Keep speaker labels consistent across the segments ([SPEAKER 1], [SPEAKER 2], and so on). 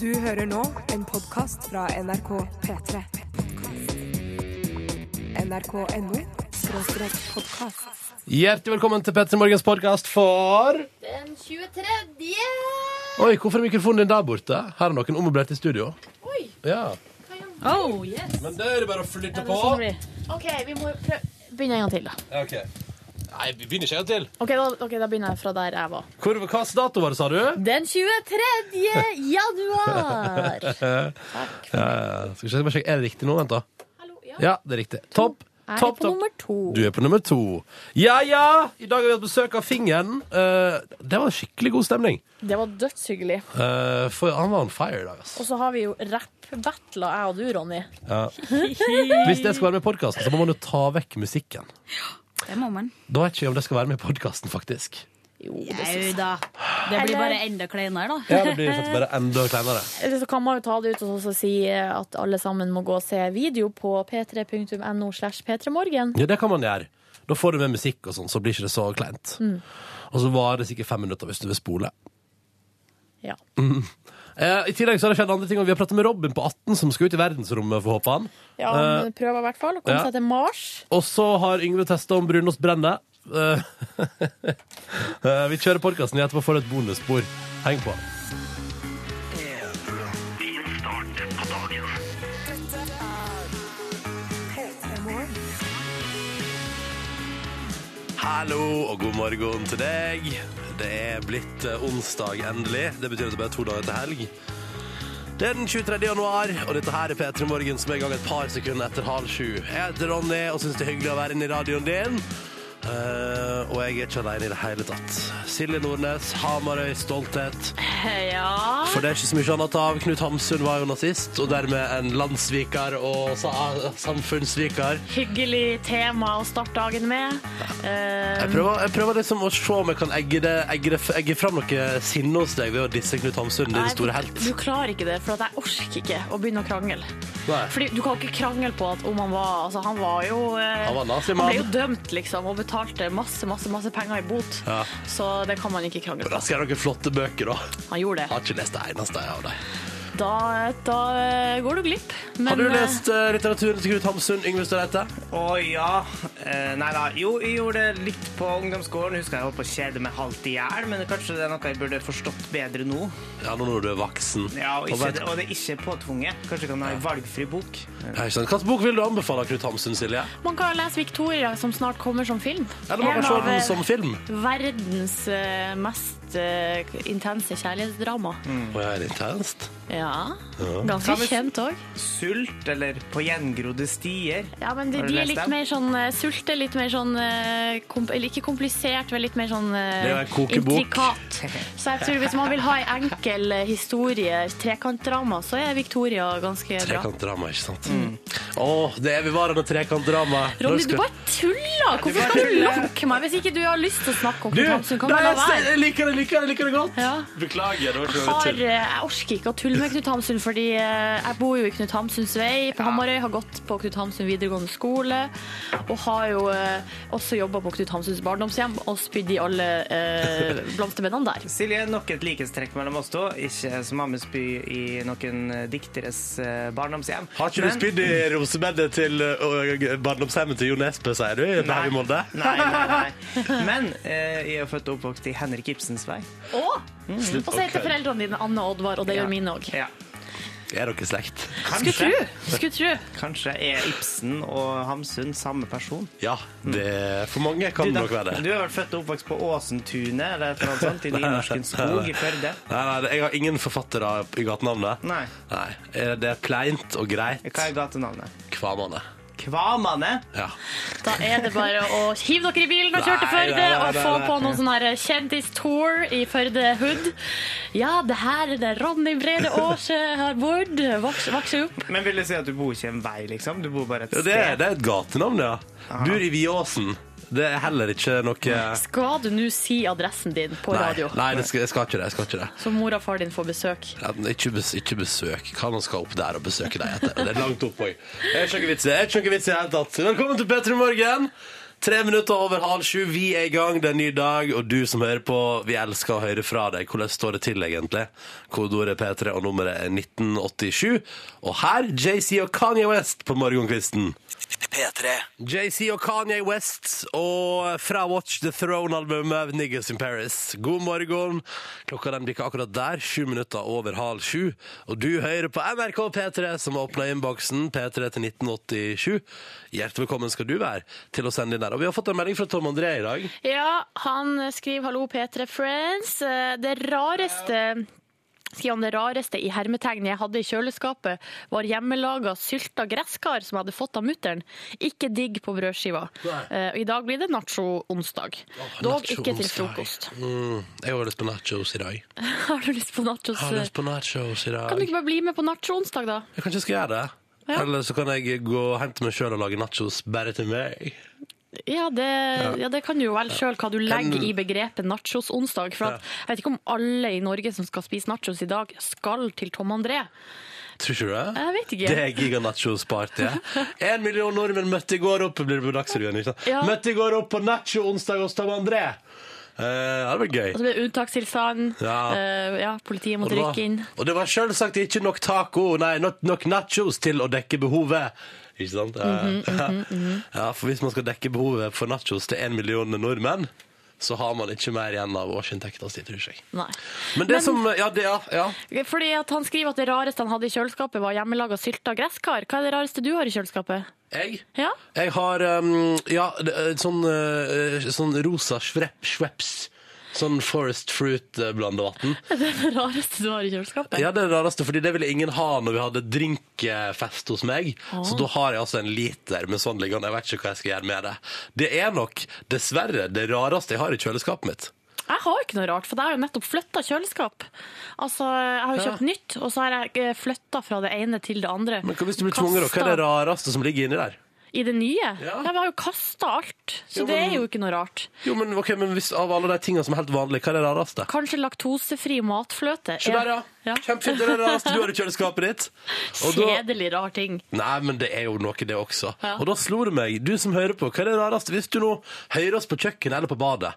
[SPEAKER 1] Du hører nå en podkast fra NRK P3. NRK.no skråstrek podkast.
[SPEAKER 2] Hjertelig velkommen til Petter Morgens podkast for
[SPEAKER 3] Den 23.
[SPEAKER 2] Oi, hvorfor er mikrofonen din der borte? Her er noen ommøblert i studio.
[SPEAKER 3] Oi.
[SPEAKER 2] Ja.
[SPEAKER 4] Oh, yes.
[SPEAKER 2] Men det er det bare å flytte på.
[SPEAKER 3] OK, vi må prøve Begynne en gang til, da.
[SPEAKER 2] Ja, ok. Nei, vi begynner ikke en gang til.
[SPEAKER 3] Ok, da, ok, da begynner jeg fra der jeg var.
[SPEAKER 2] Hvor, hva slags dato var det, sa du?
[SPEAKER 3] Den 23. januar.
[SPEAKER 2] Ja, skal vi se, bare sjekke. Er det riktig nå? Vent, da.
[SPEAKER 3] Hallo,
[SPEAKER 2] Ja, det er riktig. Topp.
[SPEAKER 3] Jeg er
[SPEAKER 2] Topp,
[SPEAKER 3] på
[SPEAKER 2] topp.
[SPEAKER 3] nummer to.
[SPEAKER 2] Du er på nummer to. Ja, ja! I dag har vi hatt besøk av Fingeren. Eh, det var skikkelig god stemning.
[SPEAKER 3] Det var dødshyggelig.
[SPEAKER 2] Eh, for han var on fire i dag, altså.
[SPEAKER 3] Og så har vi jo rapp-battla, jeg og du, Ronny.
[SPEAKER 2] Hvis det skal være med i podkasten, så må man jo ta vekk musikken.
[SPEAKER 4] Det må man.
[SPEAKER 2] Da vet jeg ikke om det skal være med i podkasten, faktisk.
[SPEAKER 4] Jau da. Det blir bare enda kleinere, da.
[SPEAKER 2] Ja, det blir faktisk bare enda kleinere.
[SPEAKER 3] Eller så kan man jo ta det ut og så si at alle sammen må gå og se video på p3.no slash p3morgen.
[SPEAKER 2] Ja, det kan man gjøre. Da får du med musikk og sånn, så blir ikke det så kleint. Og så varer det sikkert fem minutter hvis du vil spole.
[SPEAKER 3] Ja.
[SPEAKER 2] Eh, I tillegg så har det skjedd andre ting, og vi har pratet med Robin på 18, som skal ut i verdensrommet, får håpe han.
[SPEAKER 3] ja
[SPEAKER 2] Eh,
[SPEAKER 3] men prøv i hvert fall å komme
[SPEAKER 2] ja.
[SPEAKER 3] seg til Mars.
[SPEAKER 2] og så har Yngve testa om brunost brenner. Eh, eh, vi kjører podkasten i etterpå, får du et bonusspor. Heng på. Hallo og god morgen til deg. Det er blitt eh, onsdag endelig. Det betyr at det bare er to dager til helg. Det er den 23. januar, og dette her er P3 Morgen som er i gang et par sekunder etter halv sju. Jeg heter Ronny og syns det er hyggelig å være inne i radioen din. Eh, og jeg er ikke alene i det hele tatt. Silje Nordnes, Hamarøy, stolthet.
[SPEAKER 4] Ja.
[SPEAKER 2] For det er ikke så mye annet av. Knut Hamsun var jo nazist, og dermed en landssviker og sa- samfunnssviker.
[SPEAKER 3] Hyggelig tema å starte dagen med. Eh,
[SPEAKER 2] Jeg prøver, jeg prøver liksom å se om jeg kan egge, det, egge, det, egge fram noe sinne hos deg ved å disse Knut Hamsun, din
[SPEAKER 3] nei,
[SPEAKER 2] store helt.
[SPEAKER 3] Du klarer ikke det, for at jeg orker ikke å begynne å krangle.
[SPEAKER 2] Nei.
[SPEAKER 3] Fordi Du kan ikke krangle på at om han var altså Han var jo eh,
[SPEAKER 2] Han var nazimann.
[SPEAKER 3] han ble jo dømt, liksom, og betalte masse, masse masse penger i bot.
[SPEAKER 2] Ja.
[SPEAKER 3] Så det kan man ikke krangle
[SPEAKER 2] Da
[SPEAKER 3] på.
[SPEAKER 2] skal jeg ha noen flotte bøker, da.
[SPEAKER 3] Han gjorde
[SPEAKER 2] Jeg
[SPEAKER 3] det.
[SPEAKER 2] har ikke lest det eneste av dem.
[SPEAKER 3] Da, da eh, går du glipp. Men,
[SPEAKER 2] Har du
[SPEAKER 3] eh,
[SPEAKER 2] lest eh, litteraturen til Knut Hamsun, Yngve Støreite?
[SPEAKER 5] Å ja. Eh, nei da. Jo, jeg gjorde det litt på ungdomsskolen. Husker jeg holdt på å kjede meg halvt i hjel, men kanskje det er noe jeg burde forstått bedre nå.
[SPEAKER 2] Ja, nå når du er voksen.
[SPEAKER 5] Ja, og, ikke,
[SPEAKER 2] vet-
[SPEAKER 5] og det er ikke påtvunget. Kanskje jeg kan ha en valgfri bok.
[SPEAKER 2] Ja, ikke sant. Hvilken bok vil du anbefale av Knut Hamsun, Silje?
[SPEAKER 3] Man kan lese 'Victoria', som snart kommer som film.
[SPEAKER 2] Eller man
[SPEAKER 3] En
[SPEAKER 2] kan se
[SPEAKER 3] av, eh,
[SPEAKER 2] den som film?
[SPEAKER 3] Verdens eh, mest eh, intense kjærlighetsdrama.
[SPEAKER 2] Å, ja, er det intenst?
[SPEAKER 3] Ja. Ganske kjent òg.
[SPEAKER 5] Sult eller På gjengrodde stier.
[SPEAKER 3] Ja, men de,
[SPEAKER 5] Har du
[SPEAKER 3] de er
[SPEAKER 5] lest
[SPEAKER 3] litt
[SPEAKER 5] dem?
[SPEAKER 3] mer sånn eh, sulte, litt mer sånn eh, komp eller Ikke komplisert, men litt mer sånn eh,
[SPEAKER 2] Det er en kokebok.
[SPEAKER 3] intrikat. Så jeg tror hvis man vil ha ei enkel eh, historie, trekantdrama, så er Victoria ganske bra.
[SPEAKER 2] Trekantdrama, ikke sant? Å, det evigvarende trekantdrama.
[SPEAKER 3] Ronny,
[SPEAKER 2] Når
[SPEAKER 3] du
[SPEAKER 2] skal-
[SPEAKER 3] bare tuller! Hvorfor skal du lokke meg hvis ikke du har lyst til å snakke om
[SPEAKER 2] Du,
[SPEAKER 3] kompetanse? Kan man la
[SPEAKER 2] nei,
[SPEAKER 3] være?
[SPEAKER 2] jeg liker det, liker det, liker det godt.
[SPEAKER 3] Ja.
[SPEAKER 2] Beklager, det var ikke noe
[SPEAKER 3] Har,
[SPEAKER 2] tull.
[SPEAKER 3] eh, jeg orker ikke å tulle med Knut Hamsun, fordi eh, jeg bor jo i Knut Hamsuns vei på Hamarøy. Har gått på Knut Hamsun videregående skole. Og har jo eh, også jobba på Knut Hamsuns barndomshjem og spydd i alle eh, blomsterbedene der.
[SPEAKER 5] Silje, nok et likhetstrekk mellom oss to. Ikke som Ammesby i noen eh, dikteres eh, barndomshjem.
[SPEAKER 2] Har ikke du
[SPEAKER 5] Men-
[SPEAKER 2] spydd i rosebedet til ø, barndomshjemmet til Jo Nesbø, sier du? Nei. Her i Molde?
[SPEAKER 5] Nei, nei, nei. Men eh, jeg er født og oppvokst i Henrik Ibsens vei.
[SPEAKER 3] Og,
[SPEAKER 2] Slutt å
[SPEAKER 3] og så heter
[SPEAKER 2] kødde.
[SPEAKER 3] foreldrene dine Anne og Oddvar, og det
[SPEAKER 5] Ja.
[SPEAKER 3] gjør mine òg.
[SPEAKER 5] Ja.
[SPEAKER 2] Er dere slekt?
[SPEAKER 3] Skulle tru! Skulle tro.
[SPEAKER 5] Kanskje er Ibsen og Hamsun samme person?
[SPEAKER 2] Ja, det For mange kan
[SPEAKER 5] Du, da,
[SPEAKER 2] nok være
[SPEAKER 5] du
[SPEAKER 2] det.
[SPEAKER 5] er vel født og oppvokst på Åsentunet eller et eller annet sånt, i Nynorskens skog i Førde?
[SPEAKER 2] Nei, nei, jeg har ingen forfattere i gatenavnet.
[SPEAKER 5] Nei.
[SPEAKER 2] Nei, eh, Det er pleint og greit.
[SPEAKER 5] Hva er gatenavnet?
[SPEAKER 2] Kvamane.
[SPEAKER 5] Kvamane?
[SPEAKER 2] Ja.
[SPEAKER 3] Da er det bare å hive dere i bilen og kjøre til
[SPEAKER 2] Nei, nei,
[SPEAKER 3] Førde
[SPEAKER 2] nei, nei,
[SPEAKER 3] og få
[SPEAKER 2] nei.
[SPEAKER 3] på noen sånn her kjendistour i Førde Hood. Ja, det her er det Ronny Brede Aase har bodd. Vokse, vokse opp.
[SPEAKER 5] Men vil det si at du bor ikke en vei, liksom? Du bor bare et
[SPEAKER 2] Ja,
[SPEAKER 5] sted?
[SPEAKER 2] Det er, det er et gatenavn, ja. Bor i Viåsen. Det er heller ikke noe
[SPEAKER 3] Skal du nå si adressen din på
[SPEAKER 2] Nei,
[SPEAKER 3] radio,
[SPEAKER 2] nei det skal, jeg skal ikke det. Jeg skal ikke det.
[SPEAKER 3] så mor og far din får besøk?
[SPEAKER 2] Ja, men Ikke, bes, ikke besøk. Hva man skal opp der og besøke deg etter. Det er langt opp òg. Det er ikke noe vits i det. er ikke noe vits i det hele tatt. Velkommen til P3 Morgen. Tre minutter over halv sju, vi er i gang, det er en ny dag, og du som hører på, vi elsker å høre fra deg. Hvordan står det til, egentlig? Kodeordet er P3, og nummeret er 1987. Og her, JC og Kanye West på morgenkvisten. JC og Kanye West, og fra Watch the Throne-albumet Niggas in Paris. God morgen. Klokka den bikker akkurat der, sju minutter over halv sju. Og du hører på NRK P3, som har åpna innboksen P3 til 1987. Hjertelig velkommen skal du være til å sende inn der. Og vi har fått en melding fra Tom André i dag.
[SPEAKER 3] Ja, han skriver 'Hallo, P3 Friends'. Eh, Det rareste skriver han det rareste i hermetegn jeg hadde i kjøleskapet, var hjemmelaga sylta gresskar som jeg hadde fått av mutter'n. Ikke digg på brødskiva.
[SPEAKER 2] Nei.
[SPEAKER 3] Eh, og I dag blir det nacho-onsdag. Dog ikke til
[SPEAKER 2] nacho-onsdag.
[SPEAKER 3] frokost.
[SPEAKER 2] Mm, jeg har lyst på nachos i dag.
[SPEAKER 3] Har du lyst på nachos?
[SPEAKER 2] Jeg har lyst på nachos i
[SPEAKER 3] Altså, Kan du
[SPEAKER 2] dag.
[SPEAKER 3] ikke bare bli med på nacho-onsdag, da?
[SPEAKER 2] Jeg kanskje skal gjøre det.
[SPEAKER 3] Ja.
[SPEAKER 2] Eller så kan jeg gå og hente meg sjøl og lage nachos bare til meg.
[SPEAKER 3] Ja, det, ja, det kan du jo vel sjøl hva du legger i begrepet nachos-onsdag. For at, jeg vet ikke om alle i Norge som skal spise nachos i dag, skal til Tom André.
[SPEAKER 2] Tror ikke du det?
[SPEAKER 3] Jeg vet ikke.
[SPEAKER 2] Det er giganachos-partyet. En million nordmenn møtte i går opp blir det på Dagsrevyen. ikke sant?
[SPEAKER 3] Ja.
[SPEAKER 2] Møtte i går opp på nacho-onsdag hos Tom André. Eh, det var gøy.
[SPEAKER 3] Og så ble det Altså, unntakstilstand.
[SPEAKER 2] Ja.
[SPEAKER 3] Eh, ja, politiet
[SPEAKER 2] Og
[SPEAKER 3] måtte
[SPEAKER 2] det var-
[SPEAKER 3] rykke inn.
[SPEAKER 2] Og det var selvsagt ikke nok taco, nei, not, nok nachos til å dekke behovet. Ikke sant? Eh, Ja.
[SPEAKER 3] Mhm,
[SPEAKER 2] Ja, for hvis man skal dekke behovet for nachos til en million nordmenn, så har man ikke mer igjen av årsinntekta si, tror jeg.
[SPEAKER 3] Nei.
[SPEAKER 2] Men det som Ja, det, ja. ja.
[SPEAKER 3] Fordi at Han skriver at det rareste han hadde i kjøleskapet, var hjemmelaga sylta gresskar. Hva er det rareste du har i kjøleskapet?
[SPEAKER 2] Jeg
[SPEAKER 3] Ja?
[SPEAKER 2] Jeg har um, ja, det er sånn, eh, sånn rosa schwepp, schweppes. Sånn Forest Fruit-blandevann.
[SPEAKER 3] Det rareste du har i kjøleskapet?
[SPEAKER 2] Ja, det er det rareste, fordi det ville ingen ha når vi hadde drinkfest hos meg. Så da har jeg altså en liter med sånn liggende. Jeg vet ikke hva jeg skal gjøre med det. Det er nok, dessverre, det rareste jeg har i kjøleskapet mitt.
[SPEAKER 3] Jeg har jo ikke noe rart, for jeg har jo nettopp flytta kjøleskap. Altså, Jeg har jo kjøpt nytt, og så har jeg flytta fra det ene til det andre.
[SPEAKER 2] Men hva hvis du blir tvunget, da? Hva er det rareste som ligger inni der?
[SPEAKER 3] I det nye?
[SPEAKER 2] Ja.
[SPEAKER 3] Ja. Vi har jo kasta alt, så
[SPEAKER 2] Jo,
[SPEAKER 3] det
[SPEAKER 2] men-
[SPEAKER 3] er jo ikke noe rart.
[SPEAKER 2] Jo, men, ok, men hvis, Av alle de tingene som er helt vanlige, hva er det rareste?
[SPEAKER 3] Kanskje laktosefri matfløte.
[SPEAKER 2] Se der, ja.
[SPEAKER 3] ja.
[SPEAKER 2] Kjempefint. Det er det rareste du har i kjøleskapet ditt. Og da-
[SPEAKER 3] Kjedelig rar ting.
[SPEAKER 2] Nei, men det er jo noe det også.
[SPEAKER 3] Ja.
[SPEAKER 2] Og da slo det meg, du som hører på, hva er det rareste? Hvis du nå hører oss på kjøkkenet eller på badet,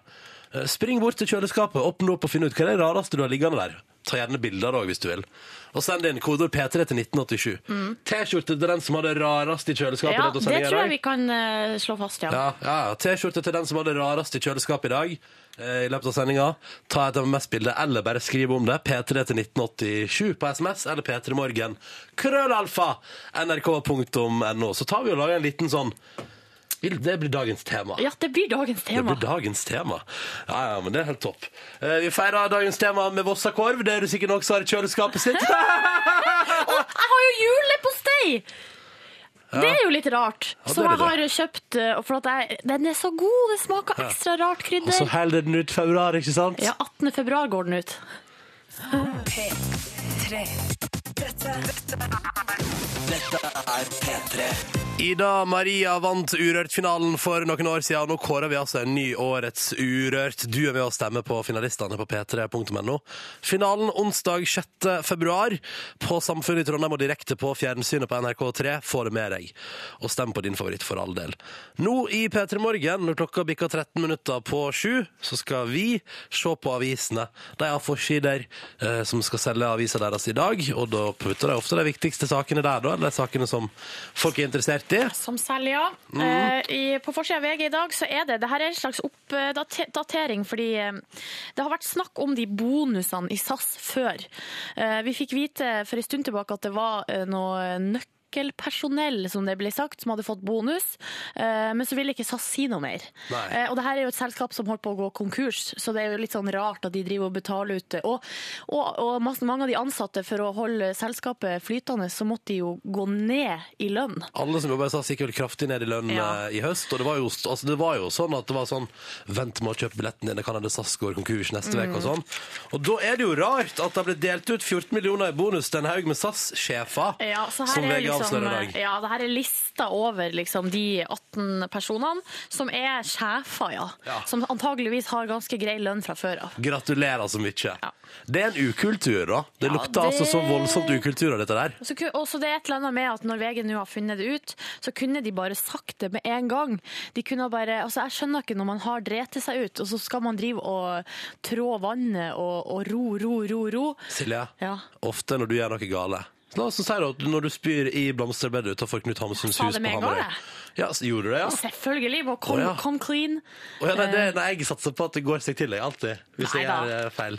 [SPEAKER 2] eh, spring bort til kjøleskapet, åpne opp og finne ut hva er det rareste du har liggende der. Ta gjerne bilder òg, hvis du vil. Og send inn kodeord P3 til 1987. T-skjorte til den som har det rareste i kjøleskapet.
[SPEAKER 3] Mm. Ja,
[SPEAKER 2] rett og slett,
[SPEAKER 3] det
[SPEAKER 2] i
[SPEAKER 3] tror
[SPEAKER 2] dag.
[SPEAKER 3] jeg vi kan eh, slå fast, ja.
[SPEAKER 2] Ja, ja, ja. T-skjorte til den som har det rareste i kjøleskapet i dag. eh, I løpet av sendinga. Ta et MMS-bilde, eller bare skriv om det. P3 til 1987 på SMS, eller P3morgen. Krøllalfa! NRK.no. Så tar vi og lager en liten sånn Det blir dagens tema.
[SPEAKER 3] Ja, det blir dagens
[SPEAKER 2] Det
[SPEAKER 3] tema.
[SPEAKER 2] blir dagens tema. Ja, ja, men det er helt topp. Eh, Vi feirer dagens tema med Vossakorv. Det er du sikkert også har i kjøleskapet sitt.
[SPEAKER 3] Jeg har jo julepostei! Det er jo litt rart.
[SPEAKER 2] det
[SPEAKER 3] som
[SPEAKER 2] er
[SPEAKER 3] jeg
[SPEAKER 2] det.
[SPEAKER 3] har kjøpt, eh, for at jeg, den er så god. Det smaker ekstra rart
[SPEAKER 2] Og så
[SPEAKER 3] krydder.
[SPEAKER 2] holder den ut februar, ikke sant?
[SPEAKER 3] Ja, 18. februar går den ut.
[SPEAKER 2] Ida Maria vant Urørt-finalen for noen år siden, og nå kårer vi altså en ny årets Urørt. Du er med å stemme på finalistene på p3.no. Finalen onsdag 6. februar på Samfunnet i Trondheim og direkte på fjernsynet på NRK3. Få det med deg. Og stem på din favoritt, for all del. Nå i P3 Morgen, når klokka bikker 13 minutter på sju, så skal vi se på avisene. De har forsider eh, som skal selge avisa deres i dag, og da putter de ofte de viktigste sakene der, da, eller de sakene som folk er interessert i.
[SPEAKER 3] Som selv, ja. Eh, i, på forsida av VG i dag så er det det her er en slags oppdatering, fordi eh, det har vært snakk om de bonusene i SAS før. Eh, vi fikk vite for en stund tilbake at det var eh, noe nøkkelpersonell, som det ble sagt, som hadde fått bonus, eh, men så ville ikke SAS si noe mer.
[SPEAKER 2] Nei.
[SPEAKER 3] Eh, og det her er jo et selskap som holdt på å gå konkurs, så det er jo litt sånn rart at de driver og betaler ut. det. Og, og, og masse- mange av de ansatte, for å holde selskapet flytende, så måtte de jo gå ned i lønn.
[SPEAKER 2] Alle som jobber i SAS gikk vel kraftig ned i lønn
[SPEAKER 3] Ja.
[SPEAKER 2] eh, i høst, og det var, jo, altså, det var jo sånn at det var sånn Vent med å kjøpe billetten din, det kan hende SAS går konkurs neste uke
[SPEAKER 3] Mm.
[SPEAKER 2] og sånn. Og da er det jo rart at det har blitt delt ut 14 millioner i bonus til en haug med SAS-sjefer,
[SPEAKER 3] Ja, så her
[SPEAKER 2] som
[SPEAKER 3] er
[SPEAKER 2] VG
[SPEAKER 3] liksom
[SPEAKER 2] Åsne Rødag.
[SPEAKER 3] ja, det her er lista over liksom, de 18 personene som er sjefer, ja.
[SPEAKER 2] Ja.
[SPEAKER 3] Som antageligvis har ganske grei lønn fra før av.
[SPEAKER 2] Gratulerer så mye.
[SPEAKER 3] Ja.
[SPEAKER 2] Det er en ukultur, da. Det lukter
[SPEAKER 3] det-
[SPEAKER 2] altså så voldsomt ukultur av dette der.
[SPEAKER 3] Så ku- Og så det er et eller annet med at når VG nå har funnet det ut, så kunne de bare sagt det med en gang. De kunne bare, altså Jeg skjønner ikke når man har dreti seg ut, og så skal man drive og trå vannet og, og ro, ro, ro, ro.
[SPEAKER 2] Silje,
[SPEAKER 3] Ja.
[SPEAKER 2] ofte når du gjør noe gale Nå, så sier du at når du spyr i blomsterbedet utenfor Knut Hamsuns
[SPEAKER 3] Sa
[SPEAKER 2] hus
[SPEAKER 3] det
[SPEAKER 2] på
[SPEAKER 3] med en gang,
[SPEAKER 2] Hamarøy ja, så Gjorde du det, ja?
[SPEAKER 3] Selvfølgelig! Må kom,
[SPEAKER 2] Å, ja.
[SPEAKER 3] kom clean.
[SPEAKER 2] Å, ja nei, det, nei, jeg satser på at det går seg til, jeg, alltid. Hvis jeg
[SPEAKER 3] Eh. Neida.
[SPEAKER 2] gjør eh, feil.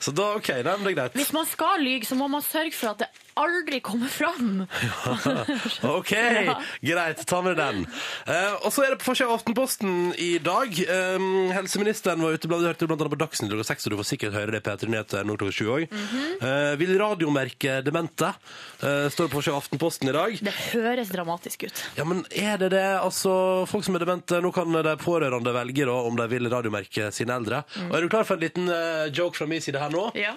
[SPEAKER 2] Så da, OK, nei, men det er greit.
[SPEAKER 3] Hvis man skal lyge, så må man sørge for at det aldri kommer fram.
[SPEAKER 2] OK, greit. Ta med den. Eh, og så er det på forsida av Aftenposten i dag. Eh, helseministeren var ute blant, du hørte det blant annet på Dagsnytt klokka seks, og du får sikkert høre det i P3 Nyheter nå klokka sju òg. Eh, vil radiomerke demente? eh, står det på forsida av Aftenposten i dag.
[SPEAKER 3] Det høres dramatisk ut.
[SPEAKER 2] Ja, men er det det? Altså, folk som er demente, nå kan de pårørende velge da, om de vil radiomerke sine eldre. Og er du klar for en liten eh, joke fra min side her nå?
[SPEAKER 3] Ja.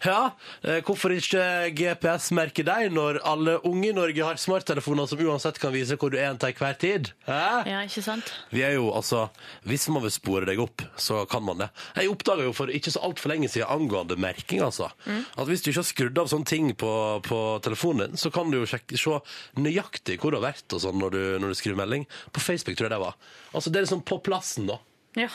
[SPEAKER 2] Ja, eh, hvorfor ikke GPS merker deg når alle unge i Norge har smarttelefoner som uansett kan vise hvor du er til hver tid? Hæ?
[SPEAKER 3] Ja, ikke sant?
[SPEAKER 2] Vi er jo, altså, Hvis man vil spore deg opp, så kan man det. Jeg oppdaga jo for ikke så altfor lenge siden angående merking, altså. At hvis du ikke har skrudd av sånne ting på, på telefonen din, så kan du jo sjekke, se nøyaktig hvor du har vært og sånn når du, når du skriver melding. På Facebook, tror jeg det var. Altså, Det er liksom på plassen, da.
[SPEAKER 3] Ja.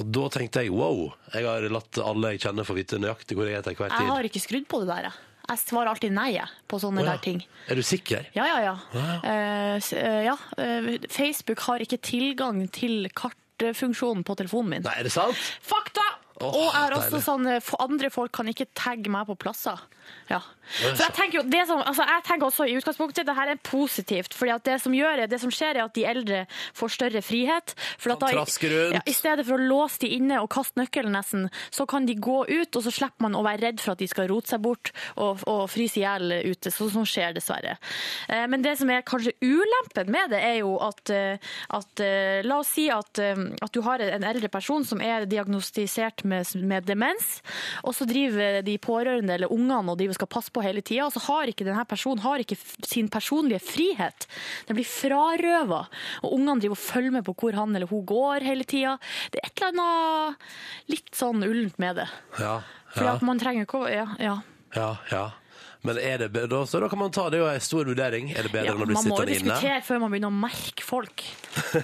[SPEAKER 2] Og da tenkte jeg wow, jeg har latt alle jeg kjenner få vite nøyaktig hvor jeg er til hver
[SPEAKER 3] Jeg
[SPEAKER 2] tid.
[SPEAKER 3] har ikke skrudd på det der. jeg. Jeg svarer alltid nei jeg, på sånne
[SPEAKER 2] Å, ja.
[SPEAKER 3] der ting.
[SPEAKER 2] Er du sikker?
[SPEAKER 3] Ja, ja, ja.
[SPEAKER 2] Wow.
[SPEAKER 3] Eh, s- eh, ja. eh, Facebook har ikke tilgang til kartfunksjonen på telefonen min.
[SPEAKER 2] Nei, er det sant?
[SPEAKER 3] Fakta!
[SPEAKER 2] Åh,
[SPEAKER 3] og jeg har også
[SPEAKER 2] deilig.
[SPEAKER 3] sånn, eh, for andre folk kan ikke tagge meg på plasser. Ja. Så jeg tenker jo, det som, altså jeg tenker også i utgangspunktet, det her er positivt. fordi at det som, gjør, er- det som skjer er at de eldre får større frihet. For at da,
[SPEAKER 2] Kan traske rundt.
[SPEAKER 3] ja, I stedet for å låse de inne og kaste nøkkelen nesten, så kan de gå ut, og så slipper man å være redd for at de skal rote seg bort og, og fryse i hjel ute. Sånn som skjer, dessverre. Eh, Men det som er kanskje ulempen med det, er jo at, eh, at eh, La oss si at, eh, at du har en eldre person som er diagnostisert med, med demens, og så driver de pårørende eller ungene og de skal passe på hele tida, og så har ikke denne personen har ikke f- sin personlige frihet. Den blir frarøva, og ungene driver og følger med på hvor han eller hun går hele tida. Det er et eller annet litt sånn ullent med det.
[SPEAKER 2] Ja,
[SPEAKER 3] For
[SPEAKER 2] ja,
[SPEAKER 3] at man trenger ikke å Ja. ja.
[SPEAKER 2] ja, ja. Men er det be- da, så da kan man ta det er jo en stor vurdering. Er det bedre
[SPEAKER 3] ja
[SPEAKER 2] enn å
[SPEAKER 3] man
[SPEAKER 2] bli
[SPEAKER 3] må jo
[SPEAKER 2] sittende inne?
[SPEAKER 3] diskutere før man begynner å merke folk,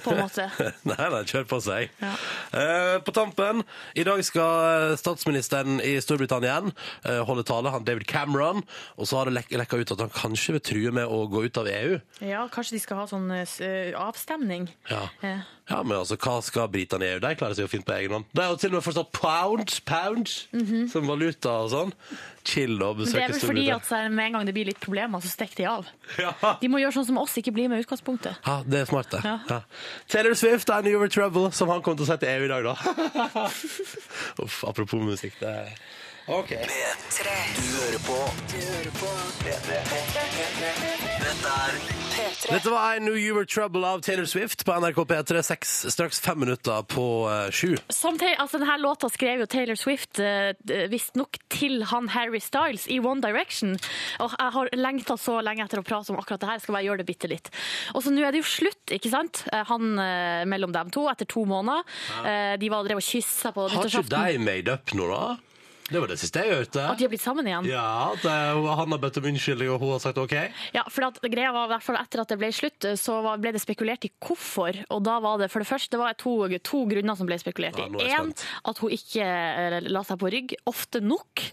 [SPEAKER 3] på en måte.
[SPEAKER 2] nei, nei, kjør på seg.
[SPEAKER 3] Ja.
[SPEAKER 2] Eh, på tampen, i dag skal eh, statsministeren i Storbritannia igjen eh, holde tale, han David Cameron, og så har det lek lekka ut at han kanskje vil true med å gå ut av E EU.
[SPEAKER 3] Ja, kanskje de skal ha sånn eh, s- eh, avstemning.
[SPEAKER 2] Ja.
[SPEAKER 3] Eh.
[SPEAKER 2] ja, men altså, hva skal britene i EU? De klarer seg jo fint på egen hånd. De har jo til og med fortsatt pound, pound, som valuta og sånn. Chill og
[SPEAKER 3] Mhm. Det er
[SPEAKER 2] besøke
[SPEAKER 3] vel fordi
[SPEAKER 2] Storbritannia.
[SPEAKER 3] at så med en gang det blir litt problemer, så stikker de av.
[SPEAKER 2] Ja.
[SPEAKER 3] De må gjøre sånn som oss, ikke bli med i utgangspunktet.
[SPEAKER 2] Ja, det er smart, det. Ja.
[SPEAKER 3] Ja.
[SPEAKER 2] Taylor Swift er New Year Trouble, som han kommer til å sette EU i dag, da. Uff, apropos musikk. Det er OK. Dette var I Knew You Were Trouble av Taylor Swift på NRK P3, seks, straks fem minutter på eh, sju.
[SPEAKER 3] Samtidig, altså Denne låta skrev jo Taylor Swift eh, visstnok til han Harry Styles i One Direction. Og jeg har lengta så lenge etter å prate om akkurat det her, skal bare gjøre det bitte litt. Og så nå er det jo slutt, ikke sant? Eh, Han eh, mellom dem to, etter to måneder. Eh, De var og drev og kyssa på
[SPEAKER 2] Har ikke
[SPEAKER 3] nyttårsaften.
[SPEAKER 2] de made up nå, da? Det var det siste jeg hørte.
[SPEAKER 3] At de har blitt sammen igjen?
[SPEAKER 2] Ja, at eh, han har bedt om unnskyldning, og hun har sagt OK.
[SPEAKER 3] Ja, for at greia var i hvert fall etter at det ble slutt, så var- ble det spekulert i hvorfor. Og da var det for det første det var to, to grunner som ble spekulert
[SPEAKER 2] Ja,
[SPEAKER 3] i.
[SPEAKER 2] nå er jeg
[SPEAKER 3] Én,
[SPEAKER 2] spent.
[SPEAKER 3] at hun ikke eh, la seg på rygg ofte nok.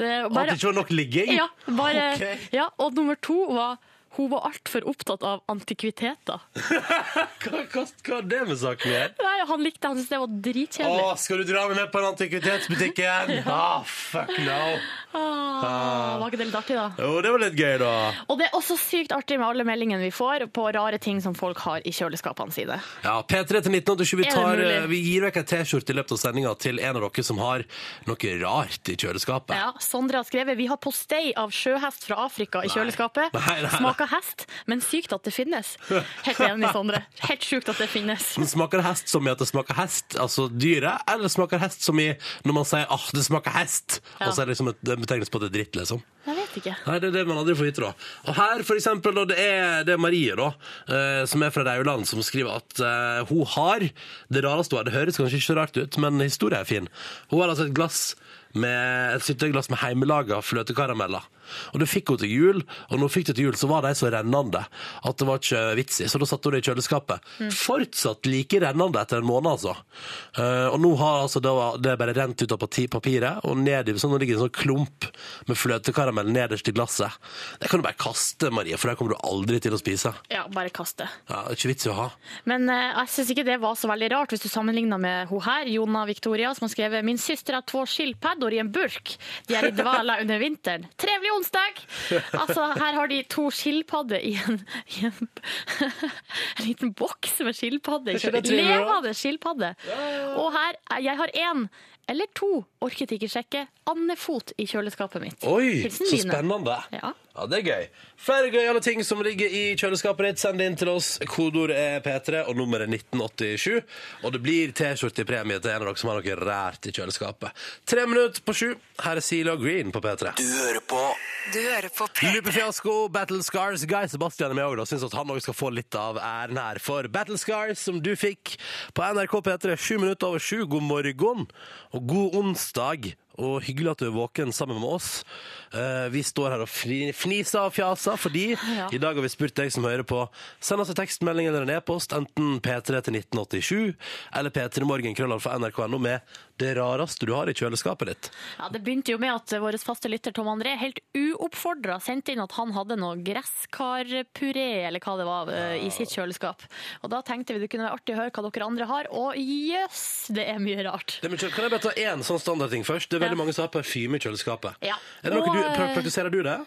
[SPEAKER 3] Eh,
[SPEAKER 2] At
[SPEAKER 3] bare-
[SPEAKER 2] det ikke var nok ligging?
[SPEAKER 3] ja, bare,
[SPEAKER 2] Ok.
[SPEAKER 3] ja, og nummer to var hun var altfor opptatt av antikviteter.
[SPEAKER 2] Hva, hva, hva har det med saken å gjøre?
[SPEAKER 3] Nei, han likte det, han syntes det var dritkjedelig.
[SPEAKER 2] Å, skal du dra meg med på en antikvitetsbutikk igjen? Ah, fuck no.
[SPEAKER 3] Ah, var ikke det litt artig, da?
[SPEAKER 2] Jo, det var litt gøy, da.
[SPEAKER 3] Og det er også sykt artig med alle meldingene vi får på rare ting som folk har i kjøleskapene sine.
[SPEAKER 2] Ja, P3 til 1987. Vi,
[SPEAKER 3] Er det
[SPEAKER 2] tar,
[SPEAKER 3] mulig?
[SPEAKER 2] eh, vi gir vekk en T-skjorte i løpet av sendinga til en av dere som har noe rart i kjøleskapet.
[SPEAKER 3] Ja, Sondre har skrevet Vi har postei av sjøhest fra Afrika i kjøleskapet.
[SPEAKER 2] Nei, nei, nei.
[SPEAKER 3] Smaker hest, men sykt at det finnes. Helt enig, Sondre. Helt sjukt at det finnes.
[SPEAKER 2] Men Smaker hest som i at det smaker hest, altså dyret, eller smaker hest som i når man sier 'ah, det smaker hest',
[SPEAKER 3] Ja.
[SPEAKER 2] og så er det liksom et det en betegnelse på at det er dritt, liksom?
[SPEAKER 3] Jeg vet ikke.
[SPEAKER 2] Nei, det er det man aldri får vite, da. Og her, for eksempel, da, det er, det er Marie, da, eh, som er fra Rauland, som skriver at eh, hun har Det rareste hun har, det høres kanskje ikke så rart ut, men historien er fin. Hun har altså et glass med et sylteglass med heimelaga fløtekarameller. Og det fikk hun til jul, og når hun fikk det til jul, så var de så rennende at det var ikke vits i. Så da satte hun det i kjøleskapet. Fortsatt like rennende etter en måned, altså. Eh, og nå har altså det, det bare rent ut av parti- papiret, og ned i, så nå ligger det en sånn klump med fløtekaramell nederst i glasset. Det kan du bare kaste, Marie, for det kommer du aldri til å spise.
[SPEAKER 3] Ja, bare kast det.
[SPEAKER 2] Ja, det er ikke vits i å ha.
[SPEAKER 3] Men eh, jeg syns ikke det var så veldig rart, hvis du sammenligner med hun her, Jona Victoria, som har skrevet 'Min søster har to skilpadder i en burk. De er i dvala under vinteren. Trevelig onsdag!' Altså, her har de to skilpadder i en, i en, en liten boks med skilpadder.
[SPEAKER 2] ikke det trivelig, da?
[SPEAKER 3] Levende skilpadde. Og her, jeg har én. Eller to, orket ikke sjekke, andefot i kjøleskapet mitt.
[SPEAKER 2] Oi,
[SPEAKER 3] Hilsen
[SPEAKER 2] så
[SPEAKER 3] Line.
[SPEAKER 2] spennende.
[SPEAKER 3] Ja.
[SPEAKER 2] Ja, det er gøy. Flere gøyale ting som ligger i kjøleskapet ditt, send det inn til oss. Kodord er P3, og nummeret er 1987. Og det blir T-skjorte i premie til en av dere som har noe rært i kjøleskapet. Tre minutter på sju. Her er Sila Green på P3.
[SPEAKER 1] Du hører på
[SPEAKER 2] Lupefiasko, Battle Scars. Guy Sebastian er med òg, og syns at han òg skal få litt av æren her. For Battle Scars, som du fikk på NRK P3 sju minutter over sju, god morgen og god onsdag. Og hyggelig at du er våken sammen med oss. Eh, vi står her og fri- fniser og fjaser fordi
[SPEAKER 3] Ja.
[SPEAKER 2] i dag har vi spurt deg som hører på. Send oss en tekstmelding eller en e-post, enten P3 til 1987 eller p3morgenkrøllalfa.nrk.no med det rareste du har i kjøleskapet ditt.
[SPEAKER 3] Ja, Det begynte jo med at vår faste lytter Tom André helt uoppfordra sendte inn at han hadde noe gresskarpuré eller hva det var, eh, i sitt kjøleskap. Og Da tenkte vi det kunne være artig å høre hva dere andre har, og jøss, det er mye rart.
[SPEAKER 2] Det er mye- kan jeg bare ta én sånn standardting først? Det er veldig
[SPEAKER 3] Ja.
[SPEAKER 2] mange som har parfyme i kjøleskapet.
[SPEAKER 3] Ja.
[SPEAKER 2] Er det noe
[SPEAKER 3] Og,
[SPEAKER 2] du, pra-
[SPEAKER 3] eh,
[SPEAKER 2] praktiserer du det?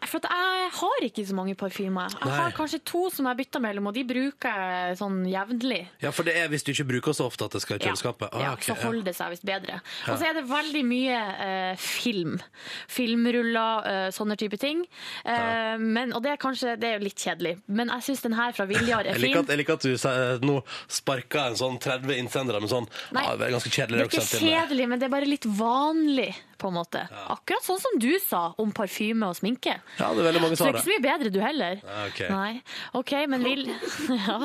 [SPEAKER 3] Nei, for at Jeg har ikke så mange parfymer. Jeg
[SPEAKER 2] Nei.
[SPEAKER 3] har kanskje to som jeg bytter mellom, og de bruker jeg sånn jevnlig.
[SPEAKER 2] Ja, for det er hvis du ikke bruker så ofte at det skal i kjøleskapet. Ah,
[SPEAKER 3] Ja,
[SPEAKER 2] ok,
[SPEAKER 3] så
[SPEAKER 2] ja.
[SPEAKER 3] holder det seg visst bedre. Og så er det veldig mye eh, film. Filmruller, eh, sånne type ting. Eh, men, og det er kanskje det er jo litt kjedelig, men jeg syns den her fra Viljar er
[SPEAKER 2] Jeg
[SPEAKER 3] fin.
[SPEAKER 2] liker, at, jeg liker at du sa- eh, nå sparka en sånn 30 innsendere med sånn
[SPEAKER 3] Nei,
[SPEAKER 2] ah, Det er ganske kjedelig.
[SPEAKER 3] Det er ikke kjedelig, men det er bare litt vanlig, på en måte. Akkurat sånn som du sa om parfyme og sminke.
[SPEAKER 2] Ja, det er veldig mange
[SPEAKER 3] Så
[SPEAKER 2] som har
[SPEAKER 3] det er
[SPEAKER 2] det.
[SPEAKER 3] ikke så mye bedre du heller.
[SPEAKER 2] Nei, ok.
[SPEAKER 3] Nei. OK, men vil Ja.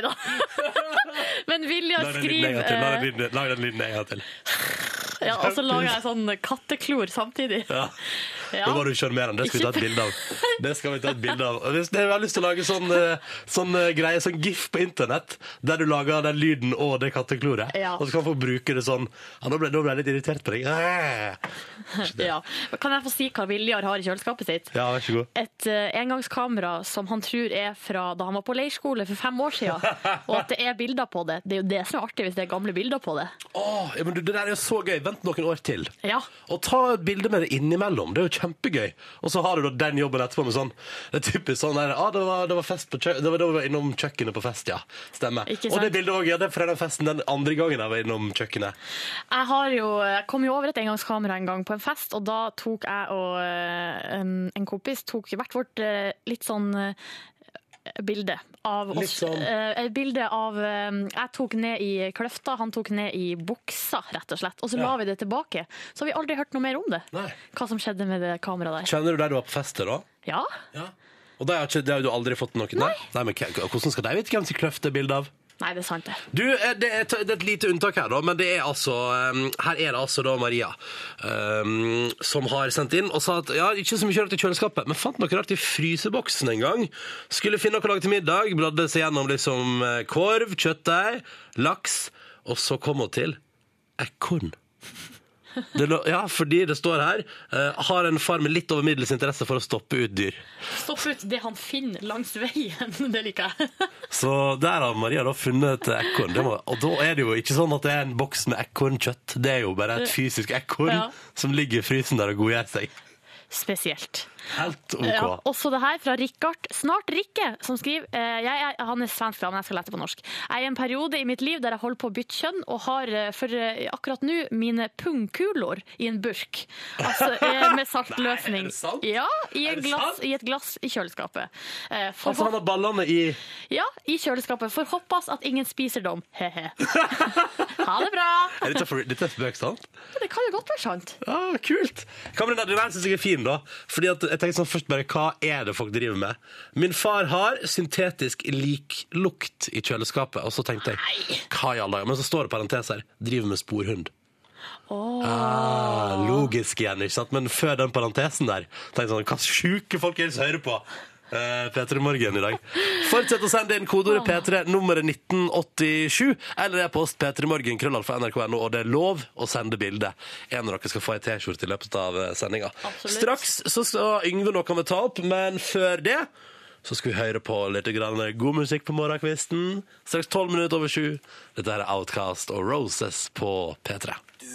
[SPEAKER 3] da. Men Viljar
[SPEAKER 2] Lag den lyden en
[SPEAKER 3] skriver
[SPEAKER 2] gang til, lag
[SPEAKER 3] eh,
[SPEAKER 2] den lyden- Lag den lyden en gang til.
[SPEAKER 3] ja, Og så lager jeg sånn katteklor samtidig.
[SPEAKER 2] Ja.
[SPEAKER 3] Ja.
[SPEAKER 2] Nå var du sjarmerende. Det skal vi ta et bilde av. Det skal vi ta et bilde av. Og hvis- Jeg har lyst til å lage sånn, eh, sånn eh, greie, sånn gif på internett, der du lager den lyden og det kattekloret.
[SPEAKER 3] Ja.
[SPEAKER 2] Og så kan folk bruke det sånn. Ja, nå ble, nå ble jeg litt irritert på deg. Eh.
[SPEAKER 3] Ja. Kan jeg få si hva Viljar har i kjøleskapet sitt?
[SPEAKER 2] Ja, vær så god.
[SPEAKER 3] Et eh, engangskamera som han tror er fra da han var på leirskole for fem år siden. Og at det er bilder på det. Det er jo det som er artig, hvis det er gamle bilder på det.
[SPEAKER 2] Åh, ja, men du, det der er jo så gøy. Vent noen år til.
[SPEAKER 3] Ja.
[SPEAKER 2] Og ta et bilde med det innimellom. Det er jo kjempegøy. Og så har du da den jobben etterpå med sånn Det er typisk sånn der ah, det, var, det var fest på kjøkkenet. Det var da vi var innom kjøkkenet på fest, ja. Stemmer.
[SPEAKER 3] Ikke
[SPEAKER 2] Og det
[SPEAKER 3] sant?
[SPEAKER 2] bildet òg. Ja, det er fra den festen den andre gangen jeg var innom kjøkkenet.
[SPEAKER 3] Jeg har jo, jeg kom jo over et engangskamera en gang på en fest, og da tok jeg og eh, en, en kompis tok hvert vårt eh, litt sånn eh, bilde av
[SPEAKER 2] Litt
[SPEAKER 3] oss.
[SPEAKER 2] sånn.
[SPEAKER 3] Eh, et bilde av eh, Jeg tok ned i kløfta, han tok ned i buksa, rett og slett. Og så la vi det tilbake. Så har vi aldri hørt noe mer om det.
[SPEAKER 2] Nei.
[SPEAKER 3] Hva som skjedde med det kameraet der.
[SPEAKER 2] Kjenner du der du var på fest, da?
[SPEAKER 3] Ja,
[SPEAKER 2] Ja. Og det har, ikke, det har du aldri fått noen Nei. Nei, men hvem- Hvordan skal de vite hvem sin kløft er bilde av?
[SPEAKER 3] Nei, det er sant, det.
[SPEAKER 2] Du, eh, det er, det er et lite unntak her, da, men det er altså, um, her er det altså da Maria um, som har sendt inn og sa at ja, ikke så mye rart i kjøleskapet, men fant noe rart i fryseboksen en gang. Skulle finne noe å lage til middag, bladde seg gjennom liksom eh, korv, kjøttdeig, laks, og så kom hun til ekorn. Det lå- Ja, fordi det står her eh, Har en far med litt over middels interesse for å stoppe ut dyr.
[SPEAKER 3] Stopp ut det han finner langs veien. Det liker jeg.
[SPEAKER 2] Så der har Maria da funnet et ekorn. Det må, og da er det jo ikke sånn at det er en boks med ekornkjøtt. Det er jo bare et fysisk ekorn
[SPEAKER 3] Ja.
[SPEAKER 2] som ligger i frysen der og godgjør seg.
[SPEAKER 3] Spesielt.
[SPEAKER 2] Helt OK.
[SPEAKER 3] Ja, også det her fra Rikard, snart Rikke, som skriver eh, jeg er, Han er svensk, da, men jeg skal lete på norsk. Jeg er i en periode i mitt liv der jeg holder på å bytte kjønn, og har eh, for eh, akkurat nå mine pungkulor i en burk. Altså eh, med
[SPEAKER 2] Nei, er
[SPEAKER 3] saltløsning.
[SPEAKER 2] det sant?
[SPEAKER 3] Ja, i,
[SPEAKER 2] Er
[SPEAKER 3] en
[SPEAKER 2] det
[SPEAKER 3] glass,
[SPEAKER 2] sant?
[SPEAKER 3] i et glass i kjøleskapet. Eh, for,
[SPEAKER 2] Altså, han har ballene i
[SPEAKER 3] ja, i kjøleskapet. For håpas at ingen spiser dem. He-he. ha det bra!
[SPEAKER 2] Er dette, for, dette er spøk, sant?
[SPEAKER 3] Det kan jo godt være sant.
[SPEAKER 2] Ah, kult! Hva med den, den her synes jeg er fin, da. Fordi at jeg tenker sånn først bare, Hva er det folk driver med? Min far har syntetisk liklukt i kjøleskapet, og så tenkte jeg hva i alle dager? Men så står det parentes her. Driver med sporhund. Ah, logisk igjen, ikke sant? Men før den parentesen der tenkte jeg sånn, Hva sjuke folk er det som hører på? Eh, P3 Morgen i dag. Fortsett å sende inn kodeordet P3, nummeret 1987, eller e-post p3morgen, krøllalfa, nrk.no, og det er lov å sende bilde. En av dere skal få ei T-skjorte i løpet av eh, sendinga.
[SPEAKER 3] Absolutt.
[SPEAKER 2] Straks så skal Yngve noe vi ta opp, men før det så skal vi høre på litt grann god musikk på morgenkvisten. Straks tolv minutter over sju. Dette her er Outcast og Roses på P3.
[SPEAKER 6] Du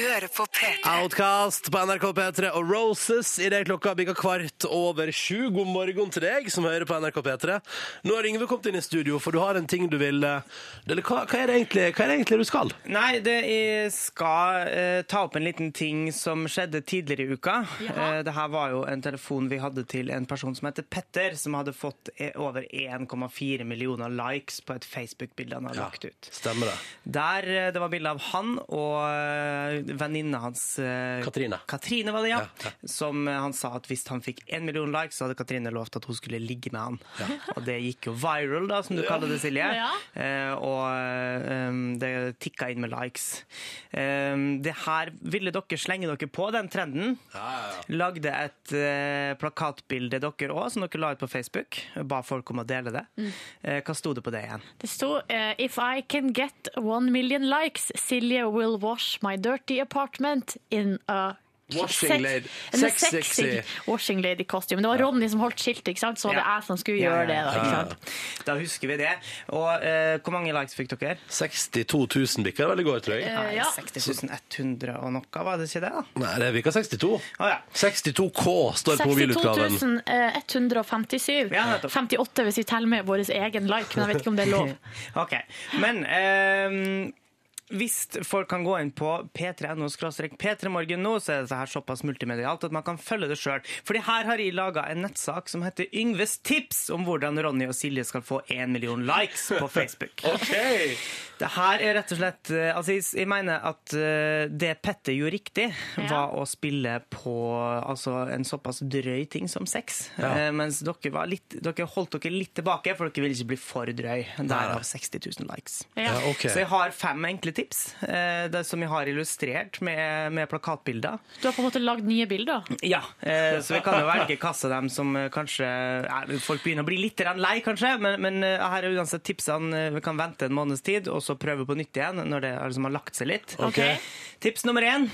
[SPEAKER 6] hører på P3.
[SPEAKER 2] Outcast på NRK P3 og Roses i det klokka bikka kvart over sju. God morgen til deg som hører på NRK P3. Nå har Yngve kommet inn i studio, for du har en ting du vil eh, Eller hva, hva, er, det egentlig, hva er det egentlig du skal?
[SPEAKER 7] Nei, det, jeg skal eh, ta opp en liten ting som skjedde tidligere i uka. Eh, det her var jo en telefon vi hadde til en person som heter Petter, som hadde fått eh, over 1,4 millioner likes på et Facebook-bilde han har lagt ut.
[SPEAKER 2] Stemmer det.
[SPEAKER 7] Der eh, det var bilde av han og eh, venninna hans eh,
[SPEAKER 2] Katrine.
[SPEAKER 7] Katrine var det, ja.
[SPEAKER 2] Ja,
[SPEAKER 7] Som eh, han sa at hvis han fikk én million likes, så hadde Katrine lovt at hun skulle ligge med han. Og det gikk jo viral, da, som du kaller det, Silje.
[SPEAKER 3] Ja.
[SPEAKER 7] Eh, og eh, um, det tikka inn med likes. Um, det her ville dere slenge dere på den trenden. Lagde et eh, plakatbilde dere òg, som dere la ut på Facebook. Ba folk om å dele det. Eh, hva sto det på det igjen?
[SPEAKER 3] Det sto eh, If I can get one million likes, Silje will wash my dirty apartment in a
[SPEAKER 2] Washing
[SPEAKER 3] sex-
[SPEAKER 2] lady.
[SPEAKER 3] in a
[SPEAKER 2] Sex sexy."
[SPEAKER 3] Washing lady costume. Det var Ronny som holdt skiltet, ikke sant? så var det
[SPEAKER 7] Ja.
[SPEAKER 3] jeg som skulle
[SPEAKER 7] Ja,
[SPEAKER 3] gjøre
[SPEAKER 7] ja,
[SPEAKER 3] det.
[SPEAKER 7] ja.
[SPEAKER 3] Da, ikke sant?
[SPEAKER 7] Da husker vi det. Og eh, hvor mange likes fikk dere?
[SPEAKER 2] Eh, 62 000 bikka vel i går, tror jeg.
[SPEAKER 3] Eh, ja.
[SPEAKER 7] 60 100 og noe, var det ikke det? da?
[SPEAKER 2] Nei, det er bikka 62.
[SPEAKER 7] Å ja.
[SPEAKER 2] 62K står det på
[SPEAKER 3] 62
[SPEAKER 2] mobilutgaven.
[SPEAKER 3] eh, 157.
[SPEAKER 7] Ja, nettopp.
[SPEAKER 3] 58 hvis vi teller med vår egen like, men jeg vet ikke om det er lov.
[SPEAKER 7] Ok. Men ehm, hvis folk kan gå inn på p3.no p3morgen nå, så er det her såpass multimedialt at man kan følge det sjøl. Fordi her har jeg laga en nettsak som heter Yngves tips om hvordan Ronny og Silje skal få én million likes på Facebook.
[SPEAKER 2] Okay.
[SPEAKER 7] Det her er rett og slett eh, Altså, jeg, jeg mener at eh, det Petter gjorde riktig, var å spille på altså, en såpass drøy ting som sex. Eh, mens dere, var litt, dere holdt dere litt tilbake, for dere ville ikke bli for drøy. Derav 60 000 likes.
[SPEAKER 3] Ja.
[SPEAKER 2] Ja, ok.
[SPEAKER 7] Så jeg har fem enkle tips eh, det som jeg har illustrert med, med plakatbilder.
[SPEAKER 3] Du har på en måte lagd nye bilder.
[SPEAKER 7] Ja, eh, så vi kan jo velge kasse dem som eh, kanskje eh, Folk begynner å bli litt grann lei, kanskje, men, men eh, her er uansett tipsene. eh, Vi kan vente en måneds tid, og så prøve på nytt igjen når det liksom har lagt seg litt.
[SPEAKER 3] Ok.
[SPEAKER 7] Tips nummer én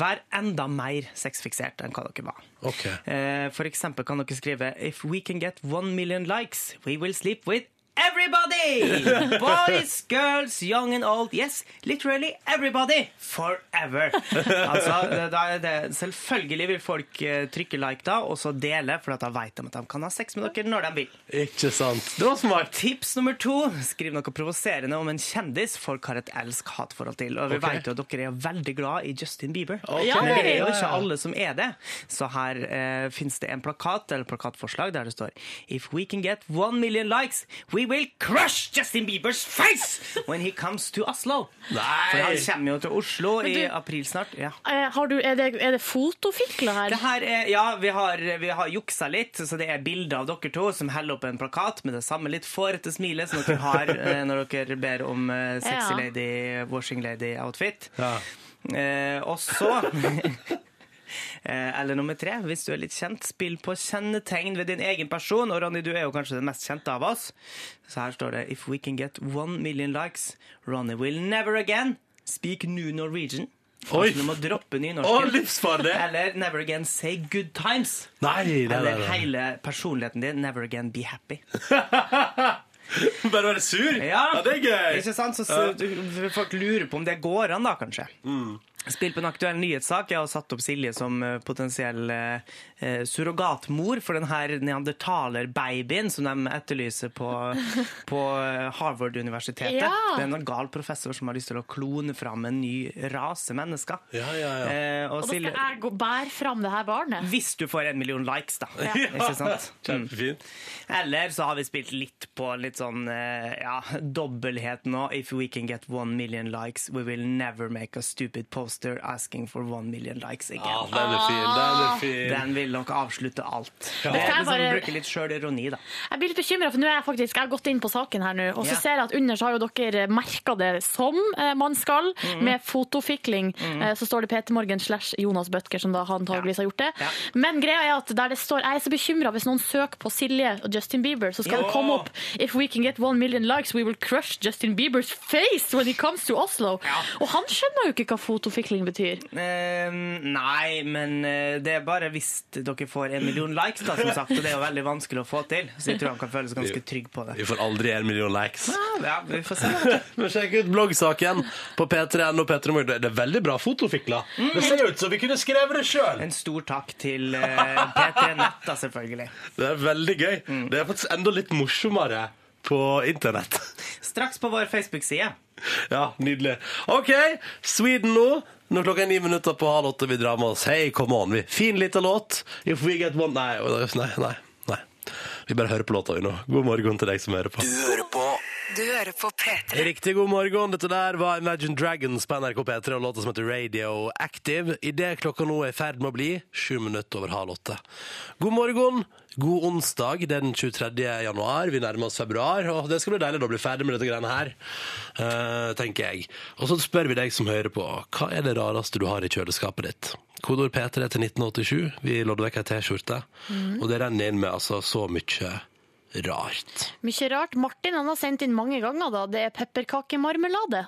[SPEAKER 7] vær enda mer sexfiksert enn hva dere var.
[SPEAKER 2] Ok.
[SPEAKER 7] Eh, For eksempel kan dere skrive If we can get one million likes, we will sleep with everybody! Boys, girls, young and old. Yes, literally everybody. Forever. Altså, det- da er det, selvfølgelig vil folk eh, trykke like da, og så dele, for at da vet de at de kan ha sex med dere når de vil.
[SPEAKER 2] Ikke sant. Det var smart.
[SPEAKER 7] Tips nummer to skriv noe provoserende om en kjendis folk har et elsk-hat-forhold til. Og vi
[SPEAKER 2] Ok.
[SPEAKER 7] vet jo at dere er veldig glad i Justin Bieber.
[SPEAKER 3] Ja,
[SPEAKER 7] Men det
[SPEAKER 3] det
[SPEAKER 7] er
[SPEAKER 3] er
[SPEAKER 7] jo
[SPEAKER 3] vi.
[SPEAKER 7] ikke alle som er det. Så her eh, fins det en plakat eller plakatforslag der det står If we can get one million likes, we will crush Justin Biebers face when he comes to Oslo. For han kommer jo til Oslo i
[SPEAKER 3] du-
[SPEAKER 7] april snart. Ja.
[SPEAKER 3] Eh, Har du, er, det, er det fotofikler her?
[SPEAKER 7] Det her er, ja, vi har, vi har juksa litt, så det er bilder av dere to som heller opp en plakat med det samme litt fårete smilet som dere har eh, når dere ber om eh, sexy
[SPEAKER 3] Ja.
[SPEAKER 7] lady, washing lady-outfit.
[SPEAKER 2] Ja.
[SPEAKER 7] Eh, og så Eh, Eller nummer tre, hvis du er litt kjent, spill på kjennetegn ved din egen person. Og Ronny, du er jo kanskje den mest kjente av oss. Så her står det If we can get one million likes, Ronny will never again speak new Norwegian.
[SPEAKER 2] Oi.
[SPEAKER 7] Altså, du må droppe
[SPEAKER 2] Å,
[SPEAKER 7] nynorsken.
[SPEAKER 2] livsfarlig!
[SPEAKER 7] Eller never again say good times.
[SPEAKER 2] Nei, nei, nei.
[SPEAKER 7] Eller
[SPEAKER 2] nei.
[SPEAKER 7] hele personligheten din. Never again be happy.
[SPEAKER 2] Bare være sur? det er gøy. Mm.
[SPEAKER 7] Ikke sant? Så, så, du- folk lurer på om det går an, da, kanskje.
[SPEAKER 5] Spill på en aktuell nyhetssak. Jeg har satt opp Silje som eh, potensiell eh, eh, surrogatmor for den her neandertalerbabyen som de etterlyser på, på eh, Harvard-universitetet.
[SPEAKER 3] Ja.
[SPEAKER 5] Det er en gal professor som har lyst til å klone fram en ny rase mennesker.
[SPEAKER 2] Ja, ja, ja.
[SPEAKER 5] Eh, og
[SPEAKER 3] Og da skal
[SPEAKER 5] Silje,
[SPEAKER 3] jeg gå, bære fram det her barnet.
[SPEAKER 5] hvis du får en million likes, da. Ikke sant? Mm.
[SPEAKER 2] Kjempefint.
[SPEAKER 5] Eller så har vi spilt litt på litt sånn eh, ja, dobbelthet nå. If we can get one million likes, we will never make a stupid poster asking for one million likes
[SPEAKER 2] Ja,
[SPEAKER 5] again.
[SPEAKER 2] Ah, den er fin. Den er fin.
[SPEAKER 5] Ah. Den vil nok avslutte alt.
[SPEAKER 2] Ja.
[SPEAKER 5] Det er
[SPEAKER 3] Jeg
[SPEAKER 5] liksom
[SPEAKER 3] bare-
[SPEAKER 5] Bruke litt sjølironi, da.
[SPEAKER 3] Jeg blir litt bekymra, for nå er jeg faktisk Jeg har gått inn på saken her nå, og så
[SPEAKER 5] Ja.
[SPEAKER 3] ser jeg at under så har jo dere merka det som eh, man skal,
[SPEAKER 5] Mhm.
[SPEAKER 3] med fotofikling. Eh, så står det Peter Morgen slash Jonas Bøttger, som da antageligvis har gjort det.
[SPEAKER 5] Ja.
[SPEAKER 3] Men greia er at der det står Jeg er så bekymra hvis noen søker på Silje og Justin Bieber, så skal
[SPEAKER 5] Ja.
[SPEAKER 3] det komme opp If we can get one million likes, we will crush Justin Biebers face when he comes to Oslo. Og han skjønner jo ikke hva fotofikling betyr.
[SPEAKER 5] Eh, nei, men eh, det er bare hvis dere får en million likes, da, som sagt. Og det er jo veldig vanskelig å få til, så jeg tror han kan føle seg ganske trygg på det.
[SPEAKER 2] Vi får aldri en million likes.
[SPEAKER 5] Ja, vi får se.
[SPEAKER 2] Men sjekk ut bloggsaken på P3N og P3 Morgen. Det er veldig bra fotofikler.
[SPEAKER 5] Mm.
[SPEAKER 2] Det ser ut som vi kunne skrevet det sjøl.
[SPEAKER 5] En stor takk til eh, P3 Nett, da, selvfølgelig.
[SPEAKER 2] Det er veldig gøy.
[SPEAKER 5] Mm.
[SPEAKER 2] Det er faktisk enda litt morsommere på internett.
[SPEAKER 5] Straks på vår Facebook-side.
[SPEAKER 2] Ja, nydelig. OK, Sweden nå. Når klokka er ni minutter på halv åtte, vi drar med oss Hey, come on, vi. Fin liten låt. If we get one Nei, nei, nei. nei. Vi bare hører på låta vi nå. God morgen til deg som hører på.
[SPEAKER 1] Du hører på P3.
[SPEAKER 2] Riktig god morgen. Dette der var Imagine Dragons på NRK P3 og låta som heter Radio Active. Idet klokka nå er i ferd med å bli sju minutter over halv åtte. God morgen, god onsdag. Det er den 23. januar. Vi nærmer oss februar, og det skal bli deilig å bli ferdig med dette greiene her, eh, tenker jeg. Og så spør vi deg som hører på, hva er det rareste du har i kjøleskapet ditt? Kodord P3 til 1987. Vi lodder vekk ei T-skjorte, og det renner inn med altså så mye rart.
[SPEAKER 3] Mye rart. Martin han har sendt inn mange ganger, da. Det er pepperkakemarmelade.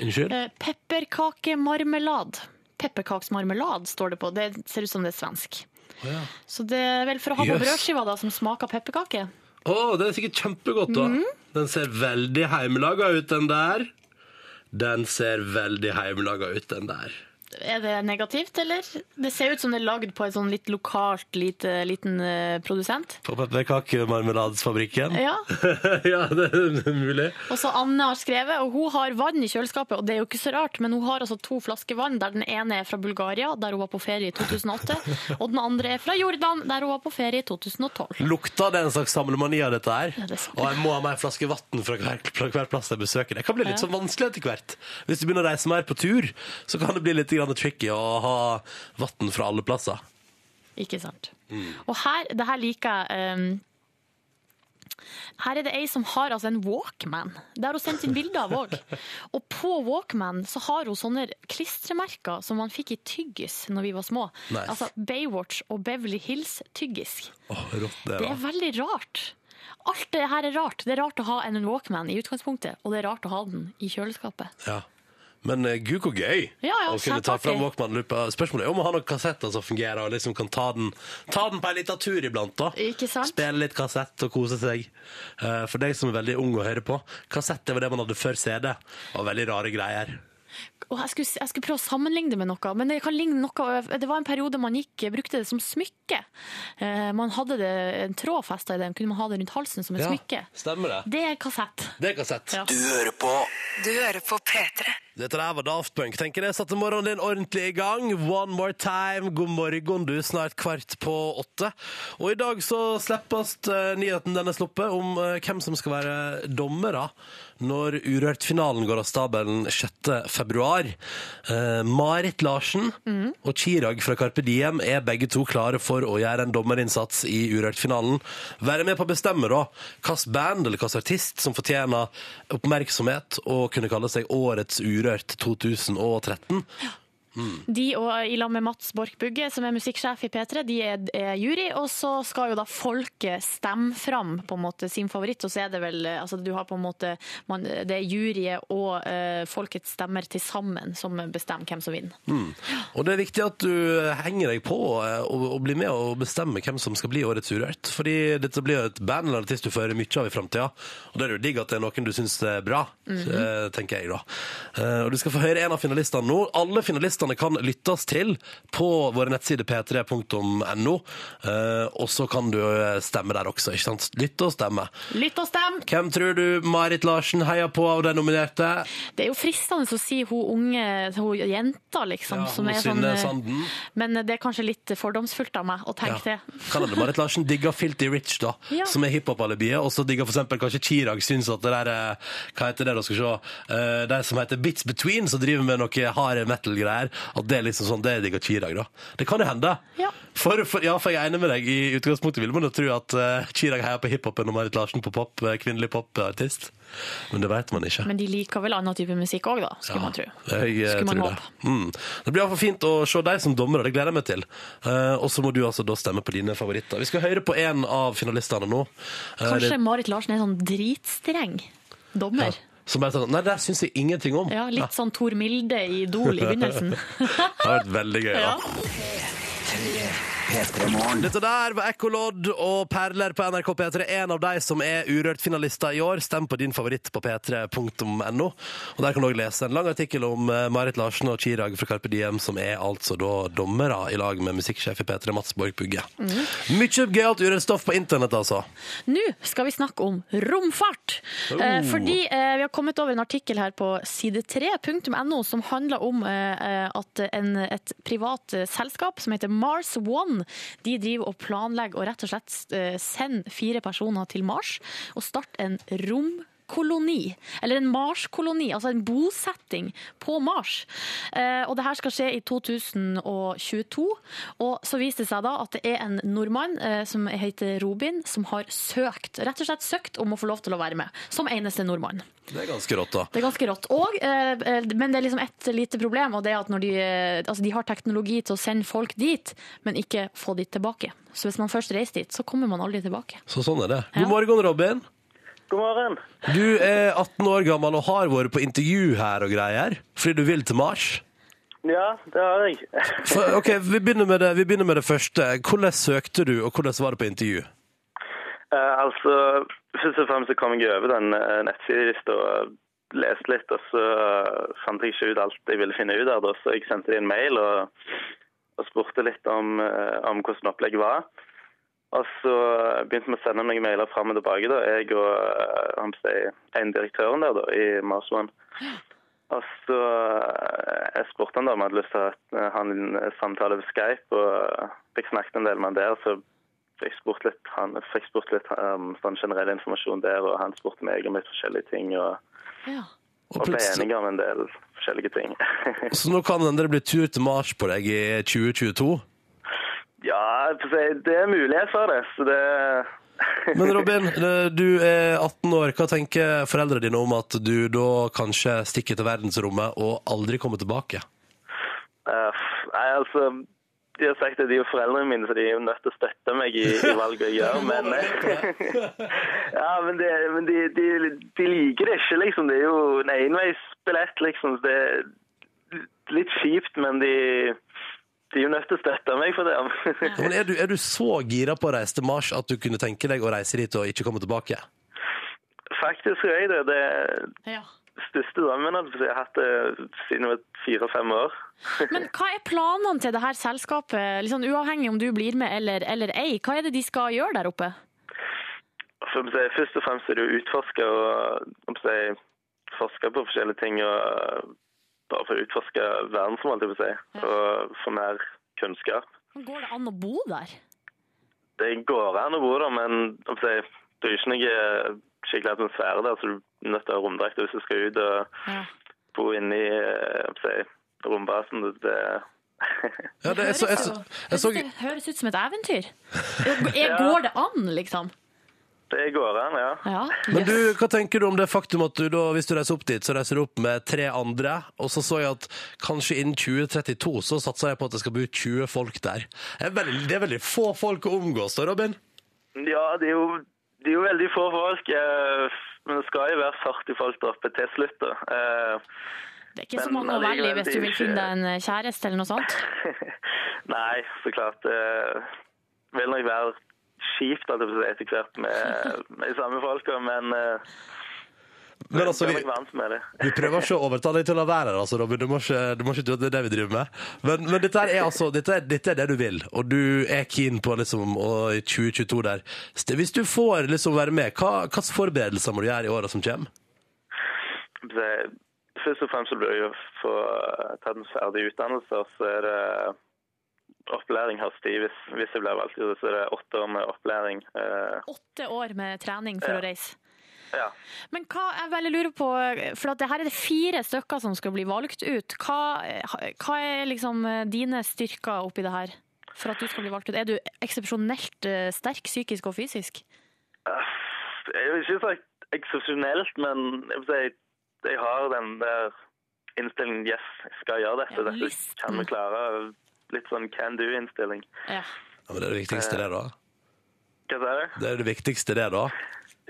[SPEAKER 2] Unnskyld?
[SPEAKER 3] Eh, Pepperkakemarmelad. Pepperkaksmarmelad står det på. Det ser ut som det er svensk.
[SPEAKER 2] ja.
[SPEAKER 3] Så det er vel for å ha på
[SPEAKER 2] Jøss.
[SPEAKER 3] brødskiva da, som smaker pepperkake.
[SPEAKER 2] Å, den er sikkert kjempegodt, da.
[SPEAKER 3] Mhm.
[SPEAKER 2] Den ser veldig heimelaga ut, den der. Den ser veldig heimelaga ut, den der.
[SPEAKER 3] Er det negativt, eller? Det ser ut som det er lagd på en sånn litt lokalt lite, liten eh, produsent.
[SPEAKER 2] På pepperkakemarmeladesfabrikken?
[SPEAKER 3] Ja.
[SPEAKER 2] ja, det er mulig.
[SPEAKER 3] Og så Anne har skrevet, og hun har vann i kjøleskapet, og det er jo ikke så rart, men hun har altså to flasker vann, der den ene er fra Bulgaria, der hun var på ferie i 2008, og den andre er fra Jordan, der hun var på ferie i 2012.
[SPEAKER 2] Lukta det en slags samlemani av dette her?
[SPEAKER 3] det er sant.
[SPEAKER 2] og jeg må ha meg en flaske vann fra hver, fra hver plass jeg besøker. Det kan bli litt sånn vanskelig etter hvert. Hvis du begynner å reise mer på tur, så kan det bli litt grann tricky å ha vann fra alle plasser.
[SPEAKER 3] Ikke sant. Og her, det her liker jeg ehm, Her er det ei som har altså en Walkman. Det har hun sendt inn bilde av òg. Og på Walkman så har hun sånne klistremerker som man fikk i tyggis når vi var små.
[SPEAKER 2] Nice.
[SPEAKER 3] Altså Baywatch og Beverly Hills tyggis.
[SPEAKER 2] Åh, rått det,
[SPEAKER 3] Det
[SPEAKER 2] da.
[SPEAKER 3] er veldig rart. Alt det her er rart. Det er rart å ha en Walkman i utgangspunktet, og det er rart å ha den i kjøleskapet.
[SPEAKER 2] Ja. Men eh, gud, hvor gøy
[SPEAKER 3] Ja, ja,
[SPEAKER 2] å kunne ta
[SPEAKER 3] kjempeartig.
[SPEAKER 2] fram Walkman-lupa. Spørsmålet er om å ha noen kassetter som fungerer, og liksom kan ta den, ta den på en liten tur iblant. da.
[SPEAKER 3] Ikke sant?
[SPEAKER 2] Spille litt kassett og kose seg. Eh, for deg som er veldig ung å høre på, kassett det var det man hadde før CD. Og veldig rare greier.
[SPEAKER 3] Og jeg, skulle, jeg skulle prøve å sammenligne det med noe, men det kan ligne noe. Det var en periode man gikk, brukte det som smykke. Eh, man hadde det, en tråd festa i den, kunne man ha det rundt halsen som et smykke.
[SPEAKER 2] stemmer det.
[SPEAKER 3] Det er kassett.
[SPEAKER 2] Det er kassett.
[SPEAKER 3] Ja.
[SPEAKER 1] Du hører på P3.
[SPEAKER 2] Dette der var Daft Punk. Tenker jeg satte morgenen din ordentlig i gang. One more time. God morgen, du. Snart kvart på åtte. Og i dag så slippes eh, nyheten den er sluppet, om eh, hvem som skal være dommere når Urørt-finalen går av stabelen 6. februar. Eh, Marit Larsen og Chirag fra Carpe Diem er begge to klare for å gjøre en dommerinnsats i Urørt-finalen. Være med på å bestemme da hvilket band eller hvilken artist som fortjener oppmerksomhet og kunne kalle seg Årets Urørt 2013.
[SPEAKER 3] De og i lag med Mats Borch Bugge, som er musikksjef i P3, de er, er jury. Og så skal jo da folket stemme fram på en måte sin favoritt, og så er det vel eh, altså du har på en måte man, Det er juryet og eh, folkets stemmer til sammen som bestemmer hvem som vinner.
[SPEAKER 2] Og det er viktig at du henger deg på eh, og, og blir med og bestemmer hvem som skal bli Årets Urørt. Fordi dette blir jo et band eller artist du får høre mye av i framtida. Og da er det jo digg at det er noen du syns er bra, eh, tenker jeg da. Eh, Og du skal få høre en av finalistene nå. Alle finalistene programmene kan lyttes til på våre nettsider p3.no. eh, Og så kan du eh, stemme der også, ikke sant? Lytte og stemme.
[SPEAKER 3] Lytt og stem!
[SPEAKER 2] Hvem tror du Marit Larsen heier på av de nominerte?
[SPEAKER 3] Det er jo fristende å si hun unge, hun jenta, liksom.
[SPEAKER 2] Ja,
[SPEAKER 3] som
[SPEAKER 2] hun
[SPEAKER 3] er sånn,
[SPEAKER 2] Synne
[SPEAKER 3] eh,
[SPEAKER 2] Sanden.
[SPEAKER 3] Men det er kanskje litt fordomsfullt av meg å tenke
[SPEAKER 2] Ja.
[SPEAKER 3] det.
[SPEAKER 2] Kan hende Marit Larsen digger Filty Rich, da,
[SPEAKER 3] Ja.
[SPEAKER 2] som er hiphop-alibiet. Og så digger for eksempel kanskje Chirag syns at det der eh, Hva heter det, da? Skal vi se. eh, De som heter Bits Between, som driver med noe hard metal-greier. At det er liksom sånn, det digger Chirag, da. Det kan jo hende.
[SPEAKER 3] Ja.
[SPEAKER 2] For, for, ja, for jeg er enig med deg. I utgangspunktet vil man jo tro at eh, Chirag heier på hiphopen og Marit Larsen på pop, eh, kvinnelig popartist. Men det vet man ikke.
[SPEAKER 3] Men de liker vel annen type musikk òg, da, skulle
[SPEAKER 2] Ja,
[SPEAKER 3] man tro.
[SPEAKER 2] Jeg, eh,
[SPEAKER 3] Skulle man
[SPEAKER 2] tror det. Mm. Det blir iallfall fint å se deg som dommer, og det gleder jeg meg til. Eh, og så må du altså da stemme på dine favoritter. Vi skal høre på en av finalistene nå. Eh,
[SPEAKER 3] Kanskje
[SPEAKER 2] det-
[SPEAKER 3] Marit Larsen er sånn dritstreng dommer.
[SPEAKER 2] Som bare sånn Nei, det syns jeg ingenting om.
[SPEAKER 3] Ja, Litt sånn Tor Milde i Idol i begynnelsen.
[SPEAKER 2] Det har vært veldig gøy.
[SPEAKER 3] Ja.
[SPEAKER 2] Ja. Dette der var Ekkolodd og Perler på NRK P3. En av de som er Urørt-finalister i år. Stem på din favoritt på p3.no. Og Der kan du òg lese en lang artikkel om eh, Marit Larsen og Chirag fra Carpe Diem, som er altså da dommere i lag med musikksjef i P3, Mats Borg Bugge. Mye gøyalt urørt stoff på internett, altså.
[SPEAKER 3] Nå skal vi snakke om romfart. Eh, fordi eh, vi har kommet over en artikkel her på side3.no som handler om eh, at en, et privat eh, selskap som heter Mars One, de driver og planlegger å rett og slett eh, sende fire personer til Mars og starte en romkoloni eller en Mars-koloni, altså en bosetting på Mars. Eh, og det her skal skje i 2022. Og så viser det seg da at det er en nordmann eh, som heter Robin, som har søkt, rett og slett søkt om å få lov til å være med, som eneste nordmann.
[SPEAKER 2] Det er ganske rått, da.
[SPEAKER 3] Det er ganske rått. Og, eh, eh, men det er liksom et lite problem, og det er at når de, eh, altså de har teknologi til å sende folk dit, men ikke få de tilbake. Så hvis man først reiser dit, så kommer man aldri tilbake.
[SPEAKER 2] Så sånn er det.
[SPEAKER 3] Ja.
[SPEAKER 2] God morgen, Robin.
[SPEAKER 8] God morgen.
[SPEAKER 2] Du er 18 år gammel og har vært på intervju her og greier fordi du vil til Mars.
[SPEAKER 8] Ja, det har jeg.
[SPEAKER 2] For, ok, vi begynner, med det, vi begynner med det første. Hvordan søkte du, og hvordan var det på intervju?
[SPEAKER 8] Eh, altså, først og fremst så kom jeg over den eh, nettsidelista og eh, leste litt, og så eh, fant jeg ikke ut alt jeg ville finne ut av det, så jeg sendte dem en mail og, og spurte litt om, eh, om hvordan opplegget var. Og så eh, begynte vi å sende meg mailer fram og tilbake, da, jeg og eh, hva skal jeg si, en direktøren der da, i Mars One. Og så eh, jeg spurte han da om han hadde lyst til å ha et- ha en eh, samtale over Skype, og eh, fikk snakket en del med han der. Så fikk spurt litt, han fikk spurt litt um, sånn generell informasjon der, og han spurte meg om litt forskjellige ting, og,
[SPEAKER 3] Ja.
[SPEAKER 2] Og
[SPEAKER 8] og ble
[SPEAKER 2] plutselig,
[SPEAKER 8] enige om en del forskjellige ting.
[SPEAKER 2] så nå kan det bli tur til Mars på deg i 2022.
[SPEAKER 8] ja, for å si, det er mulighet for det, så det
[SPEAKER 2] Men Robin, eh, du er 18 år. Hva tenker foreldrene dine om at du da kanskje stikker til verdensrommet og aldri kommer tilbake?
[SPEAKER 8] Eh, Nei, altså De har sagt at de er jo foreldrene mine, så de er jo nødt til å støtte meg i, i valget jeg gjør, men Ja, men, det, men de, de, de liker det ikke, liksom. Det er jo en enveisbillett, liksom. Så det er litt kjipt, men de, de er jo nødt til å støtte meg for det.
[SPEAKER 2] Ja, men er, du, er du så gira på å reise til Mars at du kunne tenke deg å reise dit og ikke komme tilbake?
[SPEAKER 8] Faktisk tror jeg det. Det er
[SPEAKER 3] Ja.
[SPEAKER 8] største drømmen holdt jeg på å si. jeg har hatt det siden jeg var fire-fem år.
[SPEAKER 3] Men hva er planene til det her selskapet, liksom, uavhengig om du blir med eller, eller ei? Hva er det de skal gjøre der oppe?
[SPEAKER 8] Som Altså, jeg sier, først og fremst er det å utforske og eh, om jeg sier, forske på forskjellige ting. og eh, Bare for å utforske verden, som alltid vil si. Og få mer kunnskap.
[SPEAKER 3] Går det an å bo der?
[SPEAKER 8] Det går an å bo der, men om jeg sier, det er ikke noe eh, skikkelig atmosfære der, så du er nødt til å ha romdrakt hvis du skal ut og
[SPEAKER 3] Ja.
[SPEAKER 8] bo inne i eh, om jeg sier, rombasen. Det,
[SPEAKER 2] Ja, det, jeg, så, jeg, så, jeg, så,
[SPEAKER 3] Det høres ut som et eventyr. Er- Går det an, liksom?
[SPEAKER 8] det går an, ja.
[SPEAKER 3] Ja.
[SPEAKER 2] Men du, hva tenker du om det faktum at du da, hvis du reiser opp dit, så reiser du opp med tre andre, og så så jeg at kanskje innen 2032 så satser jeg på at det skal bo 20 folk der. Det er veldig, det er veldig få folk å omgås da, Robin.
[SPEAKER 8] Ja, det er jo, det er jo veldig få folk. eh, Men det skal jo være 40 folk der oppe til slutt. da. Eh,
[SPEAKER 3] Det er ikke så
[SPEAKER 8] Men
[SPEAKER 3] mange å velge i hvis du vil
[SPEAKER 8] allikevel, det er
[SPEAKER 3] finne
[SPEAKER 8] ikke-
[SPEAKER 3] deg en kjæreste eller noe sånt.
[SPEAKER 8] Nei, så klart. Det vil nok være kjipt at det blir etter hvert med, med de samme folka, men eh,
[SPEAKER 2] Men altså,
[SPEAKER 8] Gjør
[SPEAKER 2] vi,
[SPEAKER 8] meg varmt med det.
[SPEAKER 2] vi prøver ikke å overta deg til å la være her, altså, Robin. Du må ikke, du må ikke tro at det er det vi driver med. Men, men dette, her er altså, dette, er, dette er det du vil, og du er keen på liksom, å- i 2022 der. Ste- Hvis du får liksom være med, hva hvilke forberedelser må du gjøre i åra som kommer?
[SPEAKER 8] Det- Først og fremst så blir det jo å få tatt en ferdig utdannelse, og så er det eh, opplæring hos de hvis, hvis jeg blir valgt ut. Så er det åtte år med opplæring. Eh,
[SPEAKER 3] Åtte år med trening for
[SPEAKER 8] Ja.
[SPEAKER 3] å
[SPEAKER 2] Eh,
[SPEAKER 3] reise.
[SPEAKER 8] ja.
[SPEAKER 3] Men hva jeg veldig lurer på, for at det her er det fire stykker som skal bli valgt ut. Hva, hva er liksom dine styrker oppi det her? For at du skal bli valgt ut. Er du eksepsjonelt eh, sterk psykisk og fysisk?
[SPEAKER 8] Jeg vil ikke si eksepsjonelt, men jeg, vil si, jeg har den der innstillingen yes, jeg skal gjøre dette.
[SPEAKER 3] Ja,
[SPEAKER 8] dette
[SPEAKER 3] lysten.
[SPEAKER 8] kan vi klare. Litt sånn can do-innstilling.
[SPEAKER 3] Ja.
[SPEAKER 2] Ja, men det er det viktigste, det, da.
[SPEAKER 8] Hva sier du?
[SPEAKER 2] Det er det viktigste, det, da.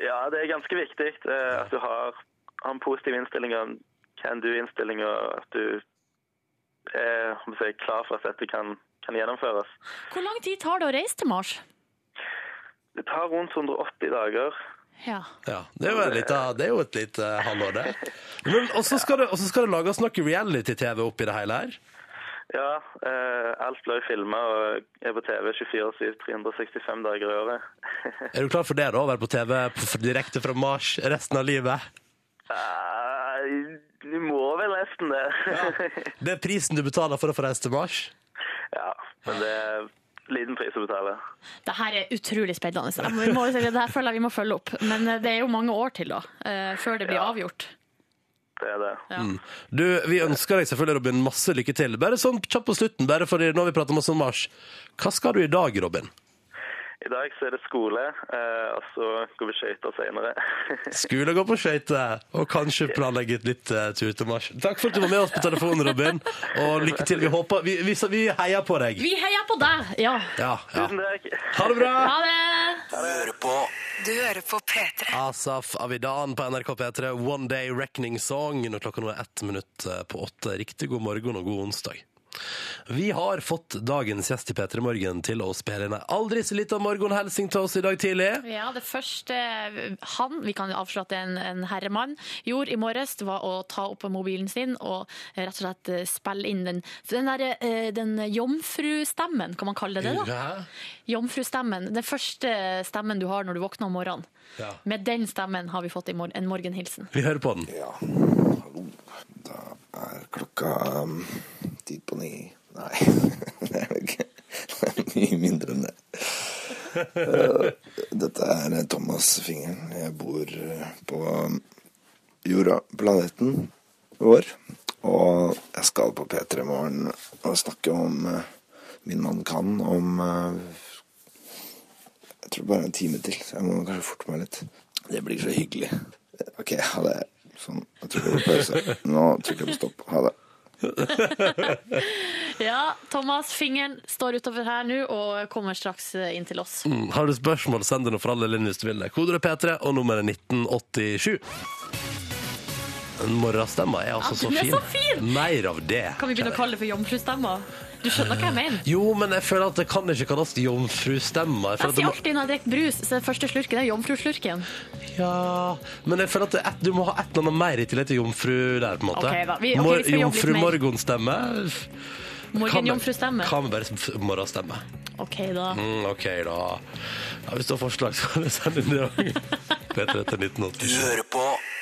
[SPEAKER 8] Ja, det er ganske viktig eh, at du har, har en positiv innstilling og en can do-innstilling, og at du er om jeg sier, klar for at dette kan, kan gjennomføres.
[SPEAKER 3] Hvor lang tid tar det å reise til Mars?
[SPEAKER 8] Det tar rundt 180 dager.
[SPEAKER 3] Ja.
[SPEAKER 2] Ja, det er jo, en liten- det er jo et lite halvår, det. Men, og så skal, det- og så skal det lages noe reality-TV oppi det hele her.
[SPEAKER 8] Ja, eh, alt ble filma og er på TV 24-7 365 dager i året.
[SPEAKER 2] Er du klar for det, da? Å være på TV på- direkte fra Mars resten av livet?
[SPEAKER 8] Nei, Du må vel nesten det.
[SPEAKER 2] Det er prisen du betaler for å få reise til Mars?
[SPEAKER 8] ja, men det er liten pris å betale.
[SPEAKER 3] Det her er utrolig spennende. Jeg må- Vi må, det her føler jeg vi må følge opp. Men eh, det er jo mange år til da, eh, før det blir
[SPEAKER 8] Ja.
[SPEAKER 3] avgjort.
[SPEAKER 8] Det er det.
[SPEAKER 3] Ja.
[SPEAKER 2] Du, Vi ønsker deg selvfølgelig Robin, masse lykke til. Bare sånn kjapt på slutten, bare fordi nå har vi pratet masse om Mars. Hva skal du i dag, Robin?
[SPEAKER 8] I dag så er det skole, eh, og så går vi skøyter senere.
[SPEAKER 2] Skole går på skøyter, og kanskje planlegge et litt eh, tur til Mars. Takk for at du var med oss på telefonen, Robin, og lykke til. Vi håper, vi, vi, vi heier på deg.
[SPEAKER 3] Vi heier på deg! Ja.
[SPEAKER 2] Ja, ja.
[SPEAKER 8] Tusen takk.
[SPEAKER 2] Ha det bra!
[SPEAKER 3] Ha det!
[SPEAKER 1] Du hører på P3.
[SPEAKER 2] Asaf Avidan på NRK P3, One Day Reckoning Song, når klokka nå er ett minutt eh, på åtte. Riktig god morgen og god onsdag. Vi har fått dagens gjest i P3 Morgen til å spille inn ei aldri så lita morgenhilsing til oss i dag tidlig.
[SPEAKER 3] Ja, det første han, vi kan avslå at det er en, en herremann, gjorde i morges, det var å ta opp mobilen sin og rett og slett eh, spille inn den, den, der, eh, den jomfrustemmen, kan man kalle det det da?
[SPEAKER 2] Hæ?
[SPEAKER 3] Jomfrustemmen, den første stemmen du har når du våkner om morgenen.
[SPEAKER 2] Ja.
[SPEAKER 3] Med den stemmen har vi fått i mor en morgenhilsen.
[SPEAKER 2] Vi hører på den.
[SPEAKER 6] Ja, hallo. Da er klokka um, ti på ni. Nei, det er det ikke. Det er mye mindre enn det. Eh, Dette er Thomas Fingeren. Jeg bor eh, på jorda, planeten vår. Og jeg skal på P3 Morgen og snakke om eh, min mann kan om eh, jeg tror bare en time til. så Jeg må kanskje forte meg litt. Det blir så hyggelig. OK, ha det. Sånn. Jeg trykker på pause. Nå trykker jeg på stopp. Ha det.
[SPEAKER 3] Ja, Thomas, fingeren står utover her nå og kommer straks eh, inn til oss.
[SPEAKER 2] Mm, Har du spørsmål, send det nå for alle linjer hvis du vil. Kodet er P3, og nummeret er 1987. Den Morgenstemma er altså
[SPEAKER 3] Ja,
[SPEAKER 2] så
[SPEAKER 3] den er
[SPEAKER 2] fin.
[SPEAKER 3] så fin!
[SPEAKER 2] Mer av det.
[SPEAKER 3] Kan vi begynne å kalle det for jomfrustemmer? Du skjønner hva jeg mener?
[SPEAKER 2] Jo, men jeg føler at det kan ikke kalles jomfrustemma. Jeg føler
[SPEAKER 3] Jeg
[SPEAKER 2] at det
[SPEAKER 3] sier
[SPEAKER 2] må-
[SPEAKER 3] alltid når jeg drikker brus, så den første slurken er jomfruslurken.
[SPEAKER 2] Ja, men jeg føler at det er et, du må ha et eller annet mer i tillegg til jomfru der, på en måte.
[SPEAKER 3] Ok, da. Vi- ok, vi skal jobbe litt
[SPEAKER 2] jomfru
[SPEAKER 3] mer.
[SPEAKER 2] Morgenstemme.
[SPEAKER 3] Morgenjomfrustemme.
[SPEAKER 2] Kan vi bare s- morgenstemme?
[SPEAKER 3] Ok, da.
[SPEAKER 2] Mm, ok, da. Ja, hvis du har forslag, så kan du sende inn det òg. P3 til 1987.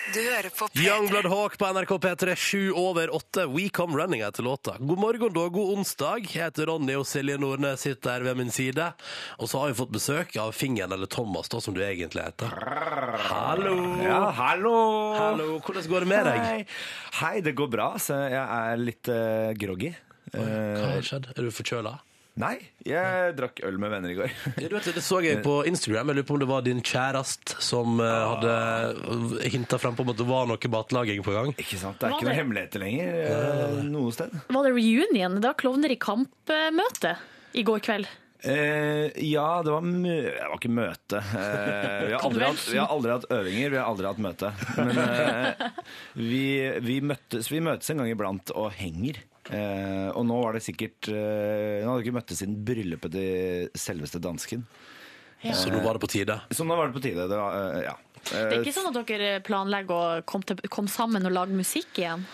[SPEAKER 1] Du hører på
[SPEAKER 2] Youngblood Hawk på NRK P3, sju over åtte. We Come Running heter låta. God morgen, da. God onsdag. Jeg heter Ronny, og Silje Nordnes sitter her ved min side. Og så har vi fått besøk av Fingeren, eller Thomas, da, som du egentlig heter. Hallo!
[SPEAKER 7] Ja, hallo!
[SPEAKER 2] Hallo, hvordan går det med deg?
[SPEAKER 7] Hei. Hei, det går bra. Så jeg er litt eh, groggy.
[SPEAKER 2] Hva
[SPEAKER 7] Eh,
[SPEAKER 2] har skjedd? Er du forkjøla?
[SPEAKER 7] nei, jeg drakk øl med venner i går.
[SPEAKER 2] Du vet, det så jeg på Instagram. Jeg lurer på om det var din kjæreste som eh, hadde hinta frem på om at det var noe matlaging på gang.
[SPEAKER 7] Ikke sant? Det er
[SPEAKER 3] Var
[SPEAKER 7] ikke noen
[SPEAKER 3] det-
[SPEAKER 7] hemmeligheter lenger eh, noe sted.
[SPEAKER 3] Var det reunion? Det var Klovner i kamp-møte i går kveld.
[SPEAKER 7] Eh, ja, det var, mø det var ikke møte. Eh, vi, har aldri hatt, vi har aldri hatt øvinger, vi har aldri hatt møte. Men eh, vi, vi, møttes, vi møtes en gang iblant og henger. Eh, og nå var det sikkert eh, Nå hadde vi ikke møttes siden bryllupet til selveste dansken.
[SPEAKER 2] Så nå var det på tide.
[SPEAKER 7] Så nå var det på tide. Det var, eh, ja.
[SPEAKER 3] Det er ikke sånn at dere planlegger å komme, til, komme sammen og lage musikk igjen?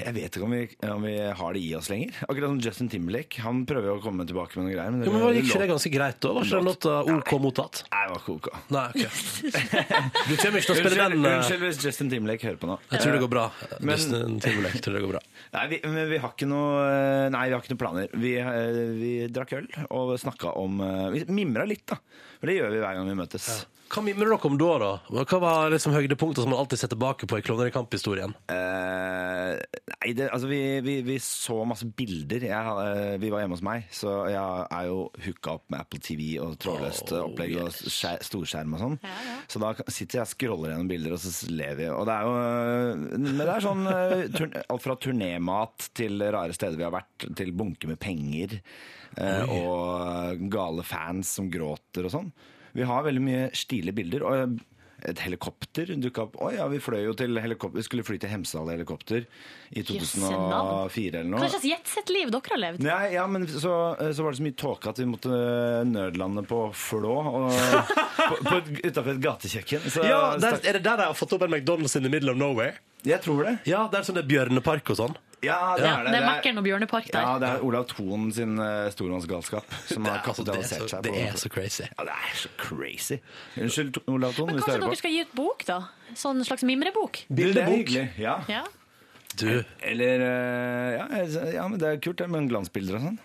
[SPEAKER 7] Jeg vet ikke om vi, om vi har det i oss lenger. Akkurat som Justin Timberlake. Han prøver jo å komme tilbake med noen greier. Men
[SPEAKER 2] Jo, men var Gikk ikke det ganske greit da? Var ikke den låta OK mottatt?
[SPEAKER 7] Nei, det var ikke ok.
[SPEAKER 2] Nei, OK. Du kommer ikke til å spille
[SPEAKER 7] Unnskyld,
[SPEAKER 2] den. eh,
[SPEAKER 7] unnskyld hvis Justin Timberlake hører på nå.
[SPEAKER 2] Jeg tror det går bra.
[SPEAKER 7] Men-
[SPEAKER 2] Justin Timberlake tror det går bra.
[SPEAKER 7] Nei, vi, men vi har ikke noe eh, Nei, vi har ikke noen planer. Vi, eh, vi drakk øl og snakka om eh, Vi mimra litt, da. For det gjør vi hver gang vi møtes.
[SPEAKER 2] Hva mimrer dere om da, da? Hva var liksom høydepunktet som man alltid ser tilbake på i Klovner i kamp-historien?
[SPEAKER 7] Eh, nei, det, altså vi, vi, vi så masse bilder. Jeg, eh, vi var hjemme hos meg, så jeg er jo hooka opp med Apple TV og trådløst
[SPEAKER 2] Oh,
[SPEAKER 7] opplegg og
[SPEAKER 2] yes.
[SPEAKER 7] skje- storskjerm og sånn.
[SPEAKER 3] Ja, ja.
[SPEAKER 7] Så da sitter jeg og scroller gjennom bilder, og så ler vi. Og det er jo eh, Men det er sånn eh, turn, alt fra turnémat til rare steder vi har vært, til bunker med penger eh,
[SPEAKER 2] Oi.
[SPEAKER 7] og gale fans som gråter og sånn. Vi har veldig mye stilige bilder. og eh, et helikopter dukka opp. Å ja, vi fløy jo til helikopter. Vi skulle fly til Hemsedal i helikopter i
[SPEAKER 3] Jøsse
[SPEAKER 7] 2004 eller
[SPEAKER 3] Hva
[SPEAKER 7] noe.
[SPEAKER 3] slags jetset-liv dere har levd?
[SPEAKER 7] Nei, ja, men så, eh, så var det så mye tåke at vi måtte eh, nødlande på Flå og på, på et, utenfor et gatekjøkken. Så,
[SPEAKER 2] Ja, der, Er det der de har fått opp en McDonald's in the middle of nowhere?
[SPEAKER 7] jeg tror det.
[SPEAKER 2] Ja, det er sånn det er bjørnepark og sånn.
[SPEAKER 7] Ja, det
[SPEAKER 3] Ja,
[SPEAKER 7] er det.
[SPEAKER 3] det er Mækkern og Bjørnepark der.
[SPEAKER 7] Ja, det er Olav Thon sin eh, stormannsgalskap som har
[SPEAKER 2] altså, det, er
[SPEAKER 7] kapitalisert
[SPEAKER 2] så,
[SPEAKER 7] seg.
[SPEAKER 2] det
[SPEAKER 7] på-
[SPEAKER 2] er så crazy.
[SPEAKER 7] Ja, det er så crazy. Unnskyld, T- Olav Thon,
[SPEAKER 3] Men
[SPEAKER 7] hvis du
[SPEAKER 3] kanskje
[SPEAKER 7] hører
[SPEAKER 3] dere
[SPEAKER 7] på.
[SPEAKER 3] skal gi ut bok, da? Sånn slags mimrebok?
[SPEAKER 7] Du, det er
[SPEAKER 2] Bildebok.
[SPEAKER 7] hyggelig. Ja.
[SPEAKER 3] Ja.
[SPEAKER 2] Du,
[SPEAKER 7] Eller eh, ja, jeg- ja, men det er kult, det, med glansbilder og sånn.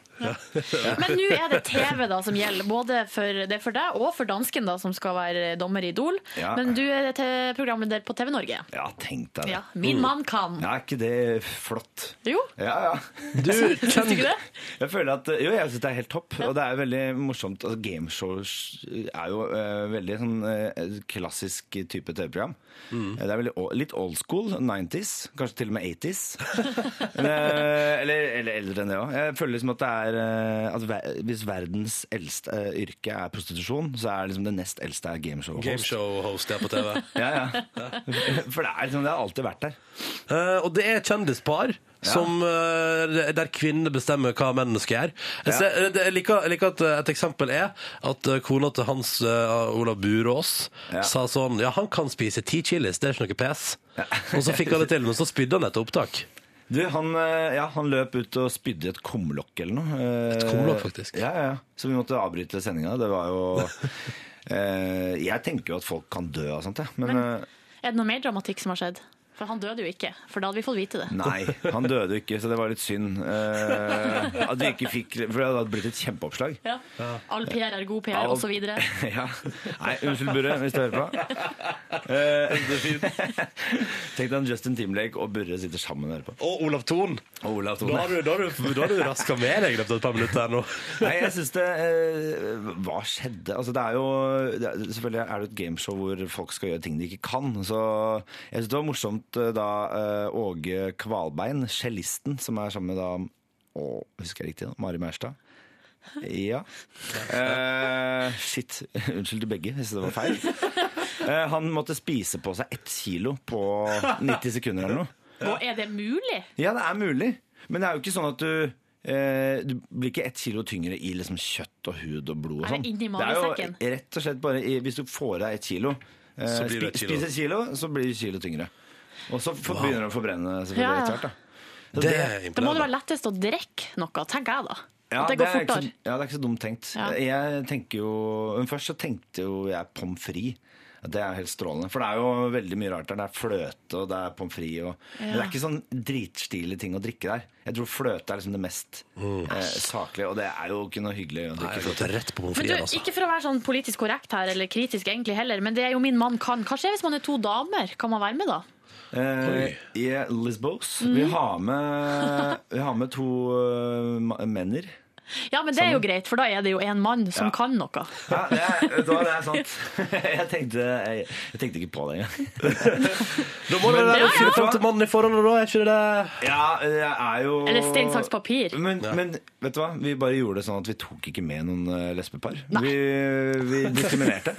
[SPEAKER 3] Men nå er det TV da som gjelder, både for, det er for deg og for dansken, da, som skal være dommer i Idol.
[SPEAKER 7] Ja.
[SPEAKER 3] Men du er te- programleder på TV Norge.
[SPEAKER 7] Ja, tenk deg det.
[SPEAKER 3] Ja, min mann kan.
[SPEAKER 7] Ja, er ikke det flott?
[SPEAKER 3] Jo,
[SPEAKER 7] Ja, ja.
[SPEAKER 2] du
[SPEAKER 3] syns du ikke det?
[SPEAKER 7] Jeg føler at, jo, jeg synes det er helt topp, og det er veldig morsomt. Altså, Gameshows er jo eh, veldig sånn eh, klassisk type TV-program. Eh, Det er veldig, o- litt old school, 90s, kanskje til og med 80s. Men, eh, eller, eller eldre enn det òg. Jeg føler liksom at det er eh, at ver Hvis verdens eldste eh, yrke er prostitusjon, så er liksom det nest eldste er gameshow.
[SPEAKER 2] gameshow-host er på TV.
[SPEAKER 7] Ja, ja. For det er liksom, det har alltid vært der.
[SPEAKER 2] Eh, og det er kjendispar som, eh, der kvinnene bestemmer hva mennene skal gjøre. Jeg, ser, eh, det- jeg, liker, jeg liker at eh, et eksempel er at eh, kona til Hans eh, Olav Burås
[SPEAKER 7] Ja.
[SPEAKER 2] sa sånn Ja, han kan spise ti chilis, det er ikke noe pes. Og så fikk han det til, men så spydde han et opptak.
[SPEAKER 7] Du, han, eh, ja, han løp ut og spydde i et kumlokk eller noe. Eh,
[SPEAKER 2] Et kumlokk, faktisk.
[SPEAKER 7] Ja, ja, ja. Så vi måtte avbryte sendinga. Det var jo eh, Jeg tenker jo at folk kan dø av sånt, jeg. Men, eh,
[SPEAKER 3] Er det noe mer dramatikk som har skjedd? For han døde jo ikke, for da hadde vi fått vite det.
[SPEAKER 7] nei, han døde jo ikke, så det var litt synd. Eh, at vi ikke fikk For det hadde blitt et kjempeoppslag.
[SPEAKER 3] Ja. All PR er god PR,
[SPEAKER 7] All-
[SPEAKER 3] osv. Men
[SPEAKER 7] ja. Nei, unnskyld, Burre, hvis du hører på. Eh, Tenk deg om Justin Timberlake og Burre sitter sammen og hører på.
[SPEAKER 2] Og Olav Thon.
[SPEAKER 7] Og Olav Thone.
[SPEAKER 2] Da har du, da har du, da har du raska med deg i løpet av et par minutter her nå.
[SPEAKER 7] Nei, jeg synes det eh, Hva skjedde? Altså, det er jo det er, Selvfølgelig er det et gameshow hvor folk skal gjøre ting de ikke kan. Så jeg synes det var morsomt eh, da eh, Åge Kvalbein, cellisten, som er sammen med da å, Husker jeg riktig? nå? Mari Maurstad. Ja. Eh, shit. Unnskyld til begge hvis det var feil. Eh, han måtte spise på seg ett kilo på 90 sekunder eller noe.
[SPEAKER 3] er det mulig?
[SPEAKER 7] Ja, det er mulig. Men det er jo ikke sånn at du eh, Du blir ikke ett kilo tyngre i liksom kjøtt og hud og blod og
[SPEAKER 3] Er
[SPEAKER 7] sånn.
[SPEAKER 3] det inni magesekken?
[SPEAKER 7] Det er jo rett og slett bare i, Hvis du får deg ett kilo, eh,
[SPEAKER 2] Så blir
[SPEAKER 7] spi,
[SPEAKER 2] det et kilo.
[SPEAKER 7] spiser et kilo, så blir kilo tyngre. Og så for,
[SPEAKER 2] Wow.
[SPEAKER 7] begynner det å forbrenne selvfølgelig
[SPEAKER 3] Ja, ja.
[SPEAKER 7] etter hvert. da. Så
[SPEAKER 2] Det er
[SPEAKER 3] Da må det
[SPEAKER 2] imponerende.
[SPEAKER 3] være lettest å drikke noe, tenker jeg da.
[SPEAKER 7] ja,
[SPEAKER 3] At det går
[SPEAKER 7] er ikke så,
[SPEAKER 3] fortere.
[SPEAKER 7] ja, det er ikke så dumt tenkt.
[SPEAKER 3] Ja.
[SPEAKER 7] Jeg tenker jo, men Først så tenkte jo jeg pommes frites. At Det er helt strålende. For det er jo veldig mye rart der. Det er fløte og det er pommes frites. og- Men det er ikke sånn dritstilige ting å drikke der. Jeg tror fløte er liksom det mest eh, saklige, og det er jo ikke noe hyggelig å
[SPEAKER 2] Nei,
[SPEAKER 7] drikke
[SPEAKER 2] jeg har
[SPEAKER 7] fløte.
[SPEAKER 2] gått rett på pommes
[SPEAKER 3] Men du,
[SPEAKER 2] frites, altså.
[SPEAKER 3] ikke for å være sånn politisk korrekt her, eller kritisk egentlig heller, men det er jo min mann kan. Hva skjer hvis man er to damer? Kan man være med da?
[SPEAKER 7] Eh, I Lisbos.
[SPEAKER 3] Mm.
[SPEAKER 7] Vi, har med, vi har med to eh, ma- menner.
[SPEAKER 3] Ja, men det er jo greit, for da er det jo en mann som
[SPEAKER 7] Ja.
[SPEAKER 3] kan noe.
[SPEAKER 7] Ja, det er, vet du hva, det er sant. Jeg tenkte, jeg, jeg tenkte ikke på det engang.
[SPEAKER 2] Da må det være å finne fram til mannen i forholdet, da. Er ikke det det?
[SPEAKER 7] Ja, det er jo
[SPEAKER 3] Eller stein, saks, papir.
[SPEAKER 7] Men, men vet du hva? Vi bare gjorde det sånn at vi tok ikke med noen eh, lesbepar. Vi, vi diskriminerte.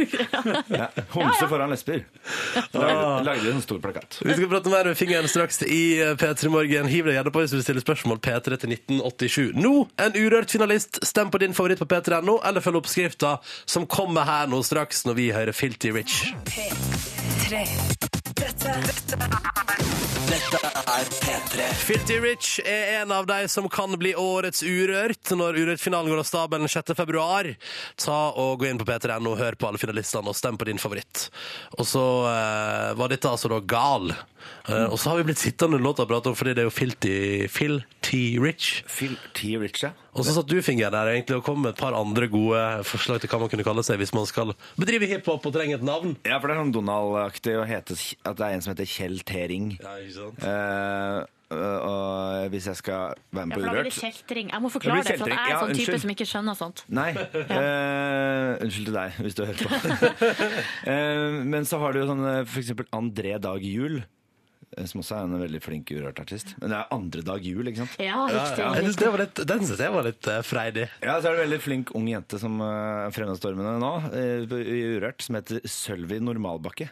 [SPEAKER 7] ja. Homse foran lesber. Da lagde vi en sånn stor plakat.
[SPEAKER 2] Vi skal prate mer med fingeren straks i P3 Morgen. Hiv deg gjerne på hvis du vil stille spørsmål P3 til 1987. Nå, en urørt finalist. Stem på din favoritt på p3.no, eller følg oppskrifta som kommer her nå straks når vi hører Filty Rich.
[SPEAKER 1] P3.
[SPEAKER 2] Filty Rich er en av de som kan bli årets Urørt når Urørt-finalen går av stabelen 6. februar. Ta og Gå inn på p3.no, hør på alle finalistene og stem på din favoritt. Og så eh, var dette altså da Gal. Eh, og så har vi blitt sittende med låta og prate om fordi det er jo Filty, Filty Rich.
[SPEAKER 7] Phil T. Rich, ja.
[SPEAKER 2] Og så satt du fingeren der egentlig og kom med et par andre gode forslag til hva man kunne kalle seg hvis man skal bedrive hiphop og trenger et navn.
[SPEAKER 7] Ja, for det er sånn Donald-aktig å hete at det er en som heter Kjell T. Ring.
[SPEAKER 2] Ja, ikke sant?
[SPEAKER 7] Eh, og hvis jeg skal være med
[SPEAKER 3] Jeg
[SPEAKER 7] på
[SPEAKER 3] blir
[SPEAKER 7] Urørt
[SPEAKER 3] kjeltring. Jeg må forklare
[SPEAKER 7] Det
[SPEAKER 3] det,
[SPEAKER 7] blir
[SPEAKER 3] for at jeg er en sånn
[SPEAKER 7] kjeltring. Ja,
[SPEAKER 3] type
[SPEAKER 7] unnskyld.
[SPEAKER 3] som ikke skjønner sånt.
[SPEAKER 7] Nei. eh, unnskyld til deg, hvis du hører på. Eh, men så har du jo sånn eh, for eksempel André Dag Juel, eh, som også er en veldig flink urørt-artist. Men det er Andre Dag Juel, ikke sant?
[SPEAKER 3] Ja, riktig.
[SPEAKER 2] Jeg synes det var litt, den synes jeg var litt eh, freidig.
[SPEAKER 7] Ja, så er det en veldig flink ung jente som eh, er fremadstormende nå, eh, på- i Urørt, som heter Sølvi Normalbakke.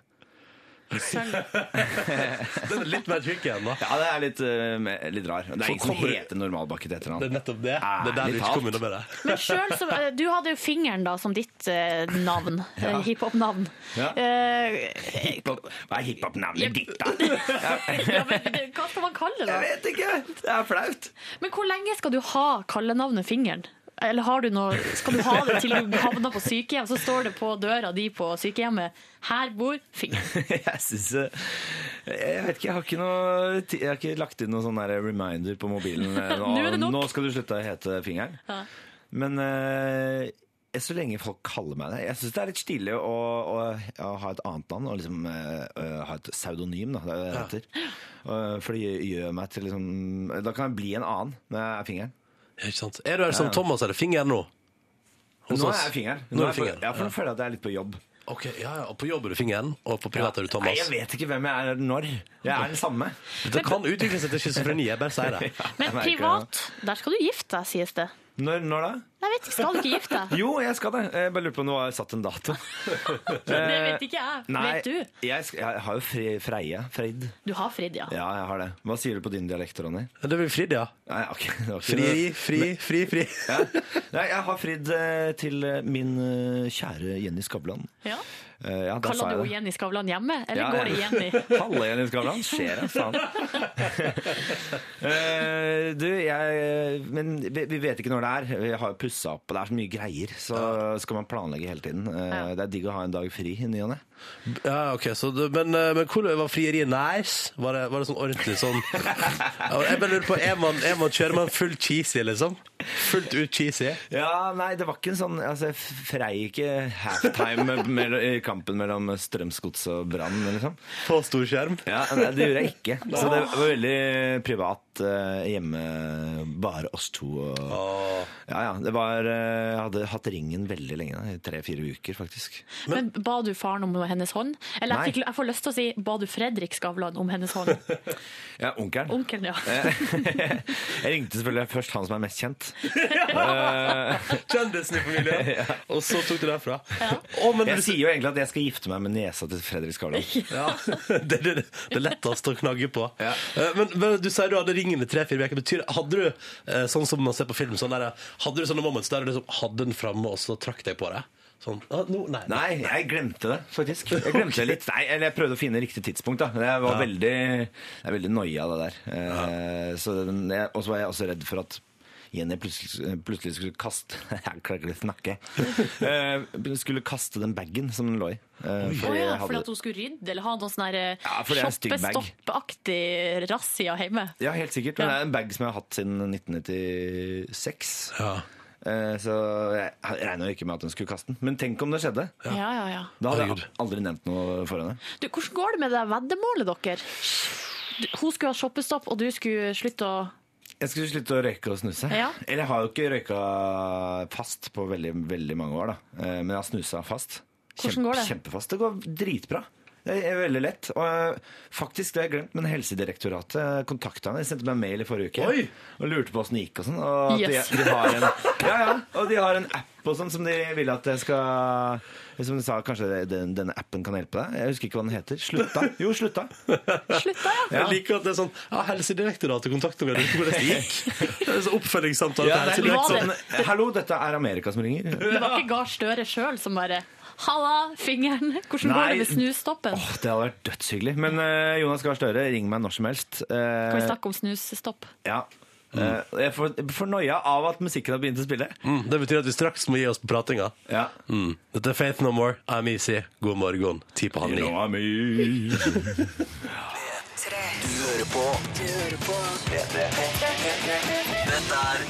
[SPEAKER 2] Den er litt mer tjukk igjen, da.
[SPEAKER 7] Ja, det er litt, eh, me- litt rar. Det
[SPEAKER 2] Så
[SPEAKER 7] er ingen som
[SPEAKER 2] kommer du-
[SPEAKER 7] heter Normalbakke til
[SPEAKER 2] Det
[SPEAKER 7] etternavn.
[SPEAKER 2] er nettopp det. Det er der
[SPEAKER 7] Ærlig
[SPEAKER 2] du ikke
[SPEAKER 7] talt.
[SPEAKER 2] kom unna med det.
[SPEAKER 3] Men selv så, eh, du hadde jo fingeren da som ditt eh, navn, eh, hiphop-navn.
[SPEAKER 7] Ja.
[SPEAKER 3] Eh,
[SPEAKER 7] Hiphop- Hva er hiphop-navnet ditt, da?
[SPEAKER 3] ja, men det- hva skal man kalle det? da?
[SPEAKER 7] vet ikke! Det er flaut.
[SPEAKER 3] Men hvor lenge skal du ha kallenavnet Fingeren? Eller har du noe, skal du ha det til du havner på sykehjem, så står det på døra di på sykehjemmet 'Her bor Fingeren'.
[SPEAKER 7] Jeg syns eh, Jeg vet ikke, jeg har ikke, noe, ti- jeg har ikke lagt inn noen sånn der reminder på mobilen. eh, Nå,
[SPEAKER 3] Nå er det nok.
[SPEAKER 7] nå skal du slutte å hete fingeren. Men eh, så lenge folk kaller meg det Jeg syns det er litt stilig å, å, å ha et annet navn, og liksom eh, eh, ha et pseudonym, da. Det er det det heter. Eh, for det gjør- gjør meg til liksom Da kan jeg bli en annen når jeg er fingeren.
[SPEAKER 2] Ikke sant? Er du her som Thomas eller Finger nå? Hos
[SPEAKER 7] Nå
[SPEAKER 2] oss?
[SPEAKER 7] er jeg fingeren.
[SPEAKER 2] Nå er
[SPEAKER 7] jeg
[SPEAKER 2] du fingeren.
[SPEAKER 7] på- Ja, for nå føler jeg at jeg er litt på jobb.
[SPEAKER 2] Ok, ja, ja. Og på jobb er du Fingeren, og på privat er du
[SPEAKER 7] Nei,
[SPEAKER 2] Thomas.
[SPEAKER 7] jeg vet ikke hvem jeg er når. Jeg er den samme.
[SPEAKER 2] Det kan utvikle seg til schizofreni, jeg bare sier det.
[SPEAKER 3] Men
[SPEAKER 7] Jeg merker
[SPEAKER 3] privat, der skal du gifte deg, sies det.
[SPEAKER 7] Når, når da?
[SPEAKER 3] Jeg vet ikke, skal du ikke gifte deg?
[SPEAKER 7] Jo, jeg skal det. Jeg bare lurer på om det var satt en dato.
[SPEAKER 3] Det vet ikke jeg.
[SPEAKER 7] Eh, Nei,
[SPEAKER 3] Vet du?
[SPEAKER 7] Jeg, sk- jeg har jo fre, Freie. Freid.
[SPEAKER 3] Du har fridd, ja.
[SPEAKER 7] Ja, jeg har det. Hva sier du på din dialekt, Ronny?
[SPEAKER 2] Det blir fridd, ja.
[SPEAKER 7] Nei, ok, det var ikke
[SPEAKER 2] Fri, fri, fri, fri.
[SPEAKER 7] Ja. Nei, jeg har fridd eh, til eh, min eh, kjære Jenny Skavlan.
[SPEAKER 3] ja.
[SPEAKER 7] Eh, ja, der
[SPEAKER 3] Kaller du
[SPEAKER 7] sa jeg
[SPEAKER 3] henne
[SPEAKER 7] det.
[SPEAKER 3] Jenny Skavlan hjemme, eller
[SPEAKER 7] Ja,
[SPEAKER 3] går det
[SPEAKER 7] ja.
[SPEAKER 3] Jenny?
[SPEAKER 7] Kalle Jenny Skavlan? Skjer det, faen. Eh, du, jeg Men vi, vi vet ikke når det er. Vi har jo pussa opp, og det er så mye greier. Så skal man planlegge hele tiden. Eh, Det er digg å ha en dag fri i ny og ne.
[SPEAKER 2] Ja, ok, så det, men, eh, men hvordan var frieriet nice? Var det, var det sånn ordentlig sånn Jeg bare lurer på, er man, er man kjører man fullt cheesy, liksom? Fullt ut cheesy?
[SPEAKER 7] Ja, nei, det var ikke en sånn altså, Jeg frei ikke halftime med- mellom- i kampen mellom Strømsgods og Brann, liksom.
[SPEAKER 2] På stor skjerm?
[SPEAKER 7] Ja, nei, det gjorde jeg ikke. Så det var veldig privat eh, hjemme, bare oss to. Og,
[SPEAKER 2] Åh.
[SPEAKER 7] ja, ja, det var, eh, jeg hadde hatt ringen veldig lenge, da, i tre-fire uker faktisk.
[SPEAKER 3] Men ba du faren om hennes hånd? Eller
[SPEAKER 7] Nei.
[SPEAKER 3] jeg, fikk, jeg får lyst til å si ba du Fredrik Skavlan om hennes hånd?
[SPEAKER 7] Ja, onkelen.
[SPEAKER 3] Onkelen, ja.
[SPEAKER 7] Eh. Jeg ringte selvfølgelig først han som er mest kjent. Eh,
[SPEAKER 2] Kjendisen i familien. Og så tok du derfra. Ja. men
[SPEAKER 7] Jeg
[SPEAKER 2] du,
[SPEAKER 7] sier jo egentlig at jeg skal gifte meg med niesa til Fredrik Skavlan.
[SPEAKER 2] Ja, det er det, det er lettest å knagge på. Eh, Men, men du sier du hadde ringen i tre-fire uker. Betyr- Hadde du eh, sånn som man ser på film, sånn der, hadde du sånne moments der du liksom hadde den framme og så trakk deg på det? Sånn, ah, no, nei,
[SPEAKER 7] Nei, jeg glemte det, faktisk. Jeg glemte det litt. Nei, eller jeg prøvde å finne riktig tidspunkt, da. Men Jeg var veldig, jeg er veldig noia av det der. Eh, Så den, jeg, og så var jeg også redd for at Jenny plutselig, plutselig skulle kaste Jeg klarer ikke å snakke. Eh, Skulle kaste den bagen som den lå i. Eh,
[SPEAKER 3] Å ja,
[SPEAKER 7] jeg
[SPEAKER 3] fordi
[SPEAKER 7] hadde-
[SPEAKER 3] at hun skulle rydde eller ha noen sånn her, eh,
[SPEAKER 7] Ja, fordi jeg er en stygg bag.
[SPEAKER 3] shoppestoppaktig razzia hjemme.
[SPEAKER 7] ja, helt sikkert. Men det er en bag som jeg har hatt siden 1996.
[SPEAKER 2] Ja.
[SPEAKER 7] Eh, Så jeg regna jo ikke med at hun skulle kaste den. Men tenk om det skjedde.
[SPEAKER 3] Ja, ja, ja.
[SPEAKER 7] Da hadde jeg
[SPEAKER 2] Herregud.
[SPEAKER 7] aldri nevnt noe for henne.
[SPEAKER 3] Du, hvordan går det med det veddemålet deres? Du- Hun skulle ha shoppestopp, og du skulle slutte å
[SPEAKER 7] Jeg skulle slutte å røyke og snuse.
[SPEAKER 3] Ja.
[SPEAKER 7] Eller jeg har jo ikke røyka fast på veldig, veldig mange år, da. Eh, Men jeg har snusa fast.
[SPEAKER 3] Hvordan går det?
[SPEAKER 7] Kjempefast. Det går dritbra. Det er veldig lett. Og eh, faktisk, det har jeg glemt, men Helsedirektoratet kontakta meg. De sendte meg en mail i forrige uke
[SPEAKER 2] Oi!
[SPEAKER 7] og lurte på åssen det gikk og sånn. Og at
[SPEAKER 3] Yes.
[SPEAKER 7] de, de har en, ja, ja, og de har en app på sånn som de vil at jeg skal Som de sa, kanskje den, denne appen kan hjelpe deg? Jeg husker ikke hva den heter. Slutta. Jo, slutta.
[SPEAKER 3] Slutta, ja.
[SPEAKER 2] Jeg liker at det er sånn ja, Helsedirektoratet kontakter meg, lurer på hvordan det gikk. Det er så Oppfølgingssamtale til
[SPEAKER 7] det er
[SPEAKER 3] litt
[SPEAKER 7] litt
[SPEAKER 2] Helsedirektoratet.
[SPEAKER 7] sånn Hallo, dette er Amerika som ringer.
[SPEAKER 3] Det var ikke Gahr Støre sjøl som bare Halla, fingeren! Hvordan
[SPEAKER 7] Nei.
[SPEAKER 3] går det med snustoppen?
[SPEAKER 7] Åh, det hadde vært dødshyggelig. Men eh, Jonas Gahr Støre, ring meg når som helst. Eh,
[SPEAKER 3] Kan vi snakke om snusstopp?
[SPEAKER 7] ja. Eh, jeg får, får noia av at musikken har begynt å spille.
[SPEAKER 2] Mm, det betyr at vi straks må gi oss på pratinga.
[SPEAKER 7] Ja.
[SPEAKER 2] Mm. Dette er Faith No More, I'm Easy, God morgen, ti på halv ni.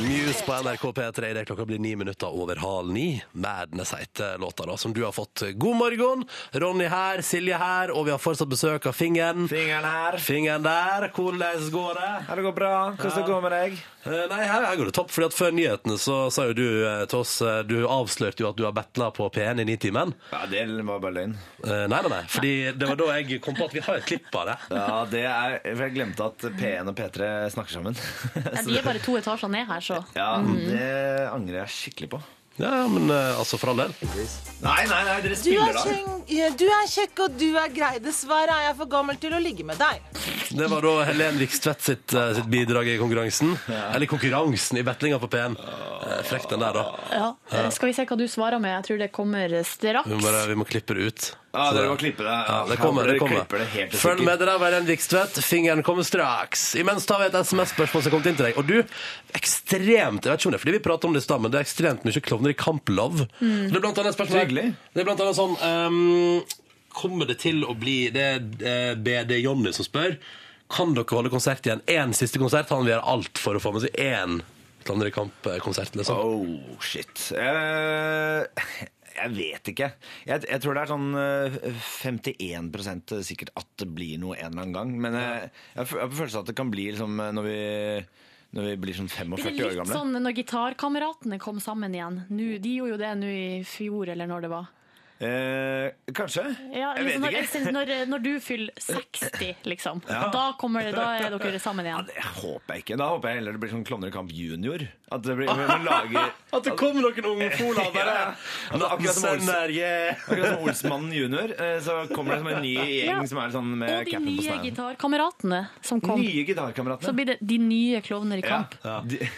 [SPEAKER 2] Muse på NRK P3 i det klokka blir ni minutter over halv ni. Madness heter låta da, som du har fått. God morgen! Ronny her, Silje her, og vi har fortsatt besøk av Fingeren.
[SPEAKER 7] Fingeren her.
[SPEAKER 2] Fingeren der, hvordan går det?
[SPEAKER 7] Ja, det går bra. Hvordan det går med deg?
[SPEAKER 2] Eh, Nei, her, her går det topp, fordi at før nyhetene så sa jo du eh, til oss, eh, du avslørte jo at du har battlet på P1 i Nitimen.
[SPEAKER 7] Ja, Det var bare løgn.
[SPEAKER 2] Eh, Nei, nei, nei, fordi det var da jeg kom på at vi har et klipp av det.
[SPEAKER 7] Ja, det er, for Jeg glemte at P1 og P3 snakker sammen.
[SPEAKER 3] Nei, De er bare to etasjer ned her, så.
[SPEAKER 7] Ja, Det angrer jeg skikkelig på.
[SPEAKER 2] Ja, ja, men eh, altså for all del.
[SPEAKER 7] Nei, nei, nei, dere spiller da.
[SPEAKER 9] du er kjekk og du er grei. Dessverre er jeg for gammel til å ligge med deg.
[SPEAKER 2] Det var da Helen Vikstvedt sitt, eh, sitt bidrag i konkurransen. Eller konkurransen i battlinga på P1. Eh, Frekk den der, da.
[SPEAKER 3] Ja. Skal vi se hva du svarer med? Jeg tror det kommer
[SPEAKER 2] Vi må,
[SPEAKER 3] straks.
[SPEAKER 2] bare, vi må klippe det ut.
[SPEAKER 7] Ja,
[SPEAKER 2] Så
[SPEAKER 7] dere
[SPEAKER 2] det-
[SPEAKER 7] må klippe det.
[SPEAKER 2] Ja, det kommer. det kommer. Følg med dere, Helen Vikstvedt. Fingeren kommer straks. Imens tar vi et SMS-spørsmål som kom inn til deg. Og du, ekstremt Jeg vet ikke om det er fordi vi prater om det i stad, men det er ekstremt mye klovner i kamplov. Det er blant annet et spørsmål
[SPEAKER 7] Hyggelig.
[SPEAKER 2] Det er blant annet sånn ehm, Kommer det til å bli Det er eh, BD Jonny som spør. Kan dere holde konsert igjen? Én siste konsert? Han vil gjøre alt for å få med seg én Klovner i kamp-konsert, liksom.
[SPEAKER 7] Oh, shit. Eh, jeg vet ikke. Jeg, jeg tror det er sånn eh, 51 sikkert at det blir noe en eller annen gang. Men eh, jeg har fø- jeg har på følelsen at det kan bli liksom eh, når vi, når vi blir sånn
[SPEAKER 3] Blir
[SPEAKER 7] 45
[SPEAKER 3] det
[SPEAKER 7] år
[SPEAKER 3] litt
[SPEAKER 7] gamle.
[SPEAKER 3] sånn når gitarkameratene kom sammen igjen? Nå, de gjorde jo det nå i fjor, eller når det var.
[SPEAKER 7] Eh, kanskje?
[SPEAKER 3] Ja,
[SPEAKER 7] jeg
[SPEAKER 3] liksom
[SPEAKER 7] vet
[SPEAKER 3] når,
[SPEAKER 7] ikke.
[SPEAKER 3] når, når du fyller 60, liksom. Da, kommer det, da er dere sammen
[SPEAKER 7] Ja,
[SPEAKER 3] igjen.
[SPEAKER 7] det håper jeg ikke. Da håper jeg heller det blir sånn Klovner i kamp junior. At det blir, man lager
[SPEAKER 2] At det kommer noen ungfoler
[SPEAKER 7] og bare,
[SPEAKER 2] Natten sønner,
[SPEAKER 3] eh,
[SPEAKER 2] yeah!
[SPEAKER 7] Akkurat som Olsmannen junior, eh, så kommer det som en ny gjeng
[SPEAKER 3] Ja.
[SPEAKER 7] som er sånn
[SPEAKER 3] Og
[SPEAKER 7] med
[SPEAKER 3] de
[SPEAKER 7] capen på
[SPEAKER 3] nye
[SPEAKER 7] snøen.
[SPEAKER 3] gitarkameratene som kom.
[SPEAKER 7] Nye
[SPEAKER 3] Så
[SPEAKER 7] gitarkameratene.
[SPEAKER 3] blir det De nye klovner i kamp.
[SPEAKER 7] Ja. De-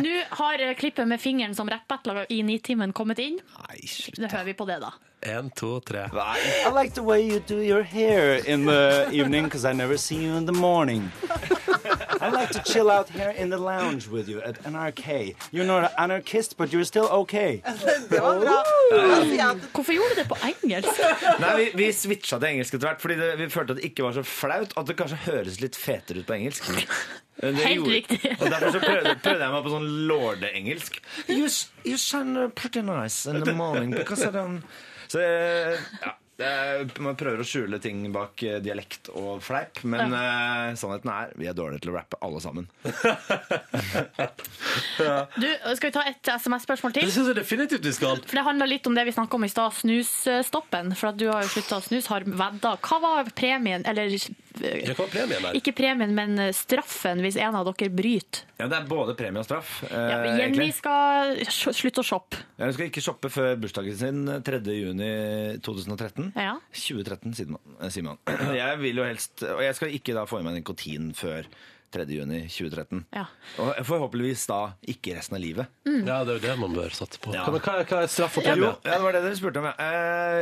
[SPEAKER 3] Nå har eh, klippet med fingeren som rappbattler i Nitimen kommet inn.
[SPEAKER 7] Nei, slutt.
[SPEAKER 3] Da hører vi på det, da.
[SPEAKER 2] En, to, tre.
[SPEAKER 10] I like the way you do your hair in the evening because I never see you in the morning. I like to chill out here in the lounge with you at NRK. You're not an anarchist, but you're still okay.
[SPEAKER 9] Det var bra. Da sier jeg at
[SPEAKER 3] Hvorfor gjorde du det på engelsk?
[SPEAKER 7] Nei, vi, vi switcha til engelsk etter hvert, fordi det, vi følte at det ikke var så flaut. At det kanskje høres litt fetere ut på engelsk. Det
[SPEAKER 3] Helt
[SPEAKER 7] gjorde-
[SPEAKER 3] riktig.
[SPEAKER 7] Og Derfor så prøvde, prøvde jeg meg på sånn lordeengelsk. You, s- you sound uh, pretty nice in the morning because I don't Så eh, ja. det er- Man prøver å skjule ting bak eh, dialekt og fleip, men eh, sannheten er vi er dårlige til å rappe, alle sammen.
[SPEAKER 3] Du, skal vi ta et SMS-spørsmål til?
[SPEAKER 2] Det syns jeg definitivt vi skal.
[SPEAKER 3] For Det handler litt om det vi snakket om i stad, snusstoppen. For at du har jo slutta å snuse, har vedda. Hva var premien, eller eh,
[SPEAKER 2] Jeg kan ha premien der.
[SPEAKER 3] ikke premien, men eh, straffen hvis en av dere bryter?
[SPEAKER 7] Ja, Det er både premie og straff. eh,
[SPEAKER 3] Ja, men Jenny
[SPEAKER 7] egentlig.
[SPEAKER 3] skal sj- slutte å shoppe.
[SPEAKER 7] Ja, Hun skal ikke shoppe før bursdagen sin eh, 3.6.2013.
[SPEAKER 3] Ja.
[SPEAKER 7] 2013, sier man. eh, sier man. Jeg vil jo helst, og jeg skal ikke da få i meg nikotin før 3.6.2013.
[SPEAKER 3] Ja.
[SPEAKER 7] Og forhåpentligvis da ikke resten av livet.
[SPEAKER 2] Ja, det er jo det man bør satse på.
[SPEAKER 7] Ja.
[SPEAKER 2] Hva, hva, hva er straff og
[SPEAKER 7] Jo,
[SPEAKER 2] premie?
[SPEAKER 7] ja, det var det dere spurte om. ja.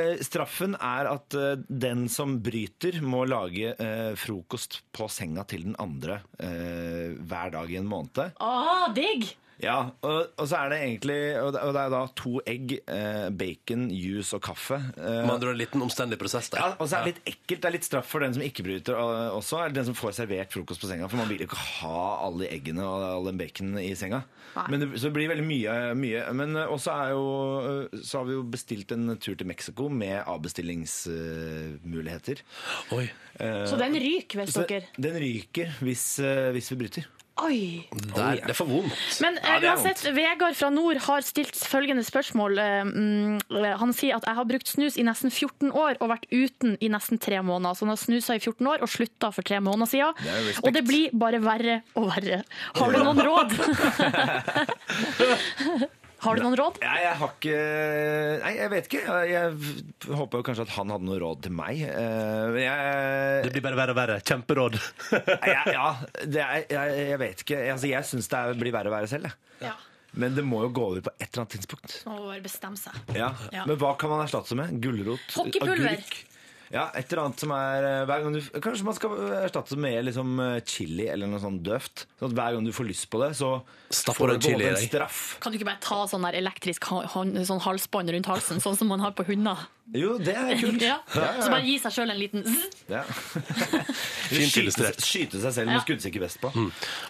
[SPEAKER 7] Eh, straffen er at eh, den som bryter, må lage eh, frokost på senga til den andre eh, hver dag i en måned.
[SPEAKER 3] Ah, digg!
[SPEAKER 7] Ja, og, og så er det egentlig Og det, og det er da to egg, eh, bacon, juice og kaffe. Eh,
[SPEAKER 2] Man drar en liten omstendig prosess der.
[SPEAKER 7] Ja, og så er det litt ekkelt. Det er litt straff for den som ikke bryter og- eh, også. Eller den som får servert frokost på senga. For man vil jo ikke ha alle de eggene og all den baconen i senga.
[SPEAKER 3] Nei.
[SPEAKER 7] Men det, så det blir veldig mye. mye. Men eh, også er jo eh, Så har vi jo bestilt en tur til Mexico med avbestillingsmuligheter.
[SPEAKER 2] Oi.
[SPEAKER 3] Så den ryker, vet
[SPEAKER 7] Eh, Så
[SPEAKER 3] dere.
[SPEAKER 7] den ryker hvis, eh, hvis vi bryter.
[SPEAKER 3] Oi!
[SPEAKER 2] Der, det er for vondt.
[SPEAKER 3] Men eh,
[SPEAKER 7] Ja, det er
[SPEAKER 3] uansett, Vegard fra Nord har stilt følgende spørsmål. Eh, mm, Han sier at jeg har brukt snus i nesten 14 år og vært uten i nesten tre måneder. Så han har snusa i 14 år og slutta for tre måneder siden.
[SPEAKER 7] Det er jo respekt.
[SPEAKER 3] og det blir bare verre og verre. Har du noen råd? Har du noen råd?
[SPEAKER 7] Nei, jeg har ikke Nei, jeg vet ikke. Jeg håper jo kanskje at han hadde noe råd til meg. Eh, men Jeg
[SPEAKER 2] Det blir bare verre og verre. Kjemperåd.
[SPEAKER 7] jeg, ja, det er, jeg, jeg vet ikke. Altså, jeg syns det er- blir verre og verre selv. Jeg.
[SPEAKER 3] Ja.
[SPEAKER 7] Men det må jo gå over på et eller annet tidspunkt.
[SPEAKER 3] Må bare bestemme seg.
[SPEAKER 7] Ja.
[SPEAKER 3] Ja.
[SPEAKER 7] Men hva kan man erstatte det med? Gulrot?
[SPEAKER 3] Hockeypulver.
[SPEAKER 7] Agurk? Ja, et eller annet som er eh, hver gang du, Kanskje man skal erstatte det med liksom, eh, chili eller noe sånt døvt. Sånn at hver gang du får lyst på det, så
[SPEAKER 2] Stapper
[SPEAKER 7] får
[SPEAKER 2] du en chili i
[SPEAKER 7] på en måte
[SPEAKER 2] deg?
[SPEAKER 7] en straff.
[SPEAKER 3] Kan du ikke bare ta sånn der elektrisk ha- hånd, sånn halsbånd rundt halsen, sånn som man har på hunder?
[SPEAKER 7] Jo, det er kult.
[SPEAKER 3] Ja.
[SPEAKER 7] ja, ja.
[SPEAKER 3] Så bare gi seg sjøl en liten zzz.
[SPEAKER 7] Ja.
[SPEAKER 2] Fint
[SPEAKER 7] skyte,
[SPEAKER 2] illustrert. Mm.
[SPEAKER 7] skyte seg selv med
[SPEAKER 3] Ja.
[SPEAKER 7] skuddsikker vest på.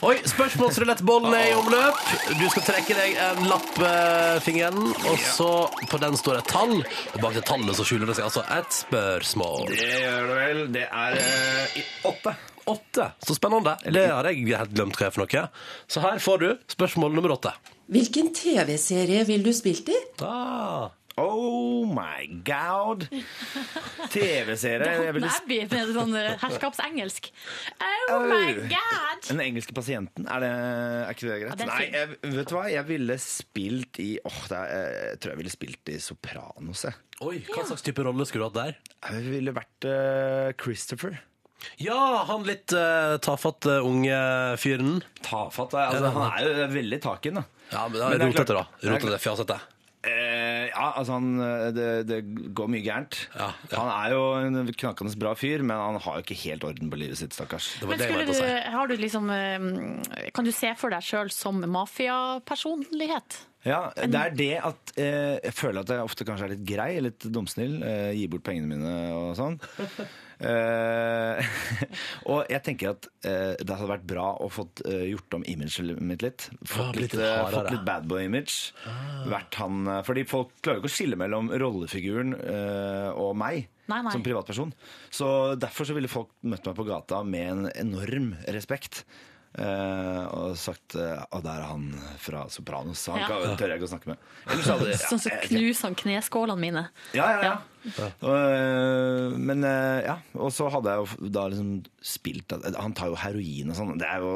[SPEAKER 2] Oi, spørsmålsrulettbollen er i omløp. Du skal trekke deg en lapp, eh, fingeren, og så på den står et tall. Og bak det tallet så skjuler det seg altså et spørsmål.
[SPEAKER 7] Det gjør det vel. Det er eh, i åtte.
[SPEAKER 2] Åtte. Så spennende. Det har jeg helt glemt hva er for noe. Så her får du spørsmål nummer åtte.
[SPEAKER 11] Hvilken TV-serie vil du spilt i?
[SPEAKER 2] Da.
[SPEAKER 7] Oh my god! TV-serie. Jeg ville
[SPEAKER 3] Abbey med sånn eh, herskapsengelsk. Oh my god!
[SPEAKER 7] Den engelske pasienten, er, det, er ikke det greit?
[SPEAKER 3] den er
[SPEAKER 7] Nei,
[SPEAKER 3] fin.
[SPEAKER 7] jeg, vet du hva? Jeg ville spilt i Åh, det er, eh, jeg tror jeg ville spilt i Sopranos, jeg.
[SPEAKER 2] Oi, hva slags type rolle skulle du hatt der?
[SPEAKER 7] Jeg ville vært eh, Christopher.
[SPEAKER 2] Ja, han litt eh, tafatt eh, unge fyren.
[SPEAKER 7] Tafatt. Altså, han er jo veldig taken, da.
[SPEAKER 2] Ja, men,
[SPEAKER 7] Men det er
[SPEAKER 2] rotete, da.
[SPEAKER 7] klart- det er
[SPEAKER 2] Rotete, fjasete.
[SPEAKER 7] Eh, ja, altså han, eh, det, det går mye gærent.
[SPEAKER 2] Ja, ja.
[SPEAKER 7] Han er jo en knakende bra fyr, men han har jo ikke helt orden på livet sitt, stakkars.
[SPEAKER 2] Det var
[SPEAKER 3] Men
[SPEAKER 2] det jeg
[SPEAKER 3] skulle
[SPEAKER 2] var på å
[SPEAKER 3] du,
[SPEAKER 2] si.
[SPEAKER 3] har du liksom, eh, kan du se for deg sjøl som mafiapersonlighet?
[SPEAKER 7] Ja, det er det at eh, jeg føler at jeg ofte kanskje er litt grei, litt dumsnill, eh, gir bort pengene mine og sånn. Eh, og jeg tenker at eh, det hadde vært bra å fått eh, gjort om imaget mitt litt.
[SPEAKER 2] Ja,
[SPEAKER 7] Fått
[SPEAKER 2] blitt
[SPEAKER 7] litt,
[SPEAKER 2] litt
[SPEAKER 7] eh,
[SPEAKER 2] hardere. Ah.
[SPEAKER 7] fått litt badboy-image. Vært han eh, Fordi folk klarer jo ikke å skille mellom rollefiguren eh, og meg.
[SPEAKER 3] Nei, nei.
[SPEAKER 7] Som privatperson. Så derfor så ville folk møtt meg på gata med en enorm respekt. eh, og sagt eh, Å, der er han fra Sopranos. Han
[SPEAKER 3] Ja.
[SPEAKER 7] kan, tør jeg ikke å snakke med. Ellers hadde
[SPEAKER 3] Sånn
[SPEAKER 5] eh,
[SPEAKER 3] som knuser han kneskålene mine.
[SPEAKER 7] ja, ja, ja. Og, men eh, ja, og så hadde jeg jo da liksom spilt at- Han tar jo heroin og sånn. Det er jo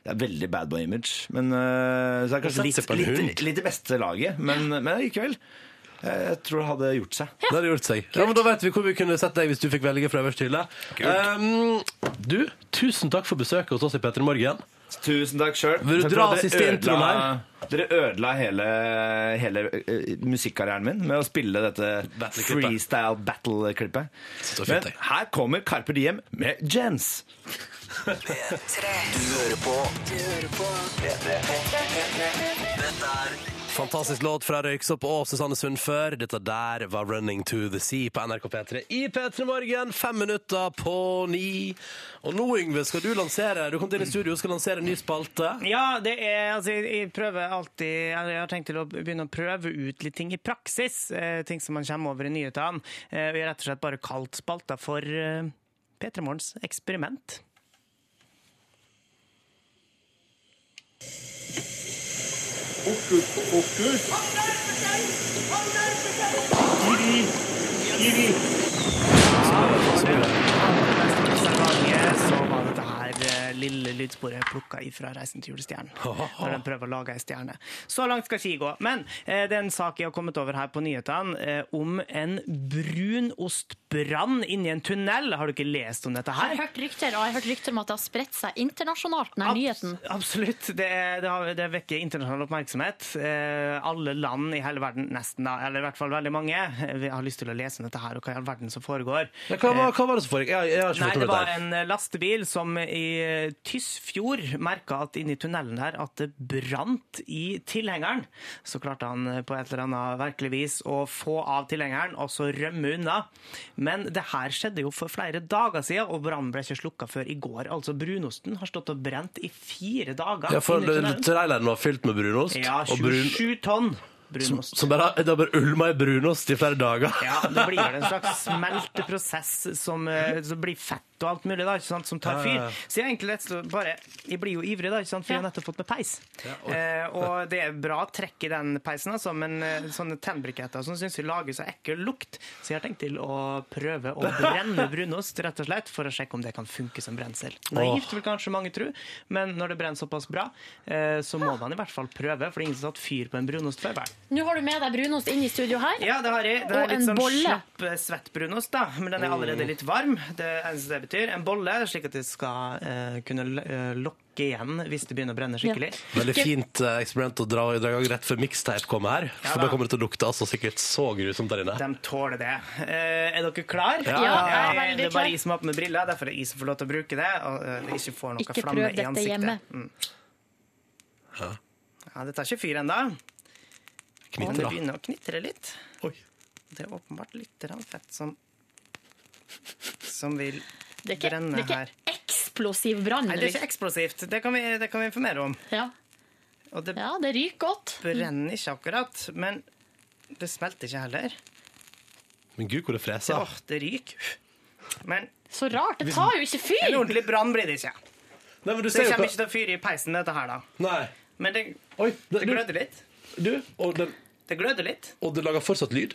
[SPEAKER 7] det er veldig bad boy image. Men, eh, så det er kanskje
[SPEAKER 2] Og sette på en
[SPEAKER 7] litt, litt,
[SPEAKER 2] hund.
[SPEAKER 7] litt i beste laget, men, men likevel. eh, Jeg tror det hadde gjort seg.
[SPEAKER 2] Det hadde gjort seg. Ja, men Da vet vi hvor vi kunne sett deg hvis du fikk velge fra øverste hylle. Um, du, tusen takk for besøket hos oss i P3 Morgen.
[SPEAKER 7] Tusen takk sjøl.
[SPEAKER 2] Vil du dra siste introen her?
[SPEAKER 7] Dere ødela hele, hele eh, musikkarrieren min med å spille dette
[SPEAKER 2] Battle-klippet.
[SPEAKER 7] freestyle battle-klippet.
[SPEAKER 2] Så fint,
[SPEAKER 7] Men
[SPEAKER 2] jeg.
[SPEAKER 7] her kommer Carpe Diem med Jens.
[SPEAKER 2] Fantastisk låt fra Røyksopp og Susanne Sund før. Dette der var 'Running to the Sea' på NRK P3 i P3 Morgen. Fem minutter på ni. Og nå, Yngve, skal du lansere Du kom til inn i studio og skal lansere en ny spalte.
[SPEAKER 5] Ja, det er, altså, jeg jeg prøver alltid eller Jeg har tenkt til å begynne å prøve ut litt ting i praksis. Eh, ting som man kommer over i nyhetene. Eh, vi har rett og slett bare kalt spalta for eh, P3 Morgens eksperiment. Stavanger så var dette her eh, lille lydsporet plukka ifra Reisen til julestjernen. Når de prøver å lage ei stjerne. Så langt skal ikke jeg gå. Men eh, det er en sak jeg har kommet over her på nyhetene eh, om en brunostbrann inni en tunnel. Har du ikke lest om dette
[SPEAKER 3] Jeg
[SPEAKER 5] her?
[SPEAKER 3] har hørt rykter, og jeg har hørt rykter om at det har spredt seg internasjonalt, den her
[SPEAKER 5] Abs-
[SPEAKER 3] nyheten.
[SPEAKER 5] Absolutt. Det, er- det, har, det vekker internasjonal oppmerksomhet. Eh, alle land i hele verden, nesten da, eller i hvert fall veldig mange, eh, vi har lyst til å lese om dette her og hva i all verden som foregår.
[SPEAKER 2] Ja, Hva, var- hva var det som foregikk? Jeg, jeg har ikke
[SPEAKER 5] Nei,
[SPEAKER 2] fått
[SPEAKER 5] det
[SPEAKER 2] med
[SPEAKER 5] var
[SPEAKER 2] meg
[SPEAKER 5] en eh, lastebil som i eh, Tysfjord merka at inni tunnelen der at det brant i tilhengeren. Så klarte han eh, på et eller annet merkelig vis å få av tilhengeren og så rømme unna. Men det her skjedde jo for flere dager siden, og brannen ble ikke slukka før i går. Altså brunosten har stått og brent i fire dager.
[SPEAKER 2] Ja, for
[SPEAKER 5] inni tunnelen.
[SPEAKER 2] traileren var fylt med brunost.
[SPEAKER 5] ja
[SPEAKER 2] eh, og brun,
[SPEAKER 5] 27 tonn brunost.
[SPEAKER 2] som bare, det har bare ulma i brunost i flere dager.
[SPEAKER 5] Ja, det blir vel en slags smelteprosess som eh, så blir fett og alt mulig da, ikke sant, som tar
[SPEAKER 7] Ja,
[SPEAKER 5] fyr.
[SPEAKER 7] ja, ja.
[SPEAKER 5] Så jeg er egentlig rett og slett bare Jeg blir jo ivrig, da, ikke sant, for jeg har nettopp fått meg peis.
[SPEAKER 7] oi.
[SPEAKER 5] Eh, og det er bra trekk i den peisen, altså, men eh, sånne tennbriketter og sånn syns vi lager så ekkel lukt. Så jeg har tenkt til å prøve å brenne brunost, rett og slett, for å sjekke om det kan funke som brensel. Naivt vil kanskje mange tro, men når det brenner såpass bra, eh, så må man i hvert fall prøve, for det er ingen som har satt fyr på en brunost før. vel?
[SPEAKER 3] Nå har du med deg brunost inn i studio her.
[SPEAKER 5] Ja, det har jeg. Det
[SPEAKER 3] og
[SPEAKER 5] er litt
[SPEAKER 3] en
[SPEAKER 5] sånn
[SPEAKER 3] bolle.
[SPEAKER 5] slapp eh, svett brunost, da. Men den er allerede litt varm. Det er eneste det betyr. En bolle, slik at det skal eh, kunne l- eh, lokke igjen hvis det begynner å brenne skikkelig.
[SPEAKER 2] Veldig fint eh, eksperiment å dra dra i gang rett før mixtape kommer her.
[SPEAKER 5] Ja
[SPEAKER 2] For
[SPEAKER 5] da.
[SPEAKER 2] da kommer det til å lukte altså sikkert så grusomt der inne.
[SPEAKER 5] De tåler det. Eh, er dere klar?
[SPEAKER 2] Ja, Ja, jeg er
[SPEAKER 5] Jeg-
[SPEAKER 2] veldig
[SPEAKER 5] det er
[SPEAKER 2] klar.
[SPEAKER 5] bare jeg som har på meg briller, derfor er det jeg som får lov til å bruke det. Og eh, det ikke får noe
[SPEAKER 3] Ikke
[SPEAKER 5] flamme
[SPEAKER 3] prøv
[SPEAKER 5] i
[SPEAKER 3] dette
[SPEAKER 5] ansiktet.
[SPEAKER 3] hjemme.
[SPEAKER 5] Mm. Ja, det tar ikke fyr ennå.
[SPEAKER 2] Knitrer,
[SPEAKER 5] Og det
[SPEAKER 2] da.
[SPEAKER 5] begynner å knitre litt. Det er åpenbart litt grann fett som som vil
[SPEAKER 3] Det er ikke,
[SPEAKER 5] brenne
[SPEAKER 3] det er
[SPEAKER 5] her.
[SPEAKER 3] ikke eksplosiv brann.
[SPEAKER 5] Nei, det er
[SPEAKER 3] liksom.
[SPEAKER 5] ikke eksplosivt. Det kan vi, det kan vi informere om.
[SPEAKER 3] Ja.
[SPEAKER 5] Og det
[SPEAKER 3] ja, det ryker godt.
[SPEAKER 5] brenner ikke akkurat, men det smelter ikke heller.
[SPEAKER 2] Men gud, hvor det freser.
[SPEAKER 5] Åh, det ryker. Men
[SPEAKER 3] Så rart. Det tar jo ikke fyr!
[SPEAKER 5] En ordentlig brann blir det ikke.
[SPEAKER 2] Nei, men du
[SPEAKER 5] Så
[SPEAKER 2] ser
[SPEAKER 5] det
[SPEAKER 2] jo
[SPEAKER 5] kommer
[SPEAKER 2] hva-
[SPEAKER 5] ikke til å fyre i peisen, dette her, da.
[SPEAKER 2] Nei.
[SPEAKER 5] Men det, det
[SPEAKER 2] du-
[SPEAKER 5] gløder litt.
[SPEAKER 2] Du, og den
[SPEAKER 5] Det gløder litt.
[SPEAKER 2] Og det lager fortsatt lyd?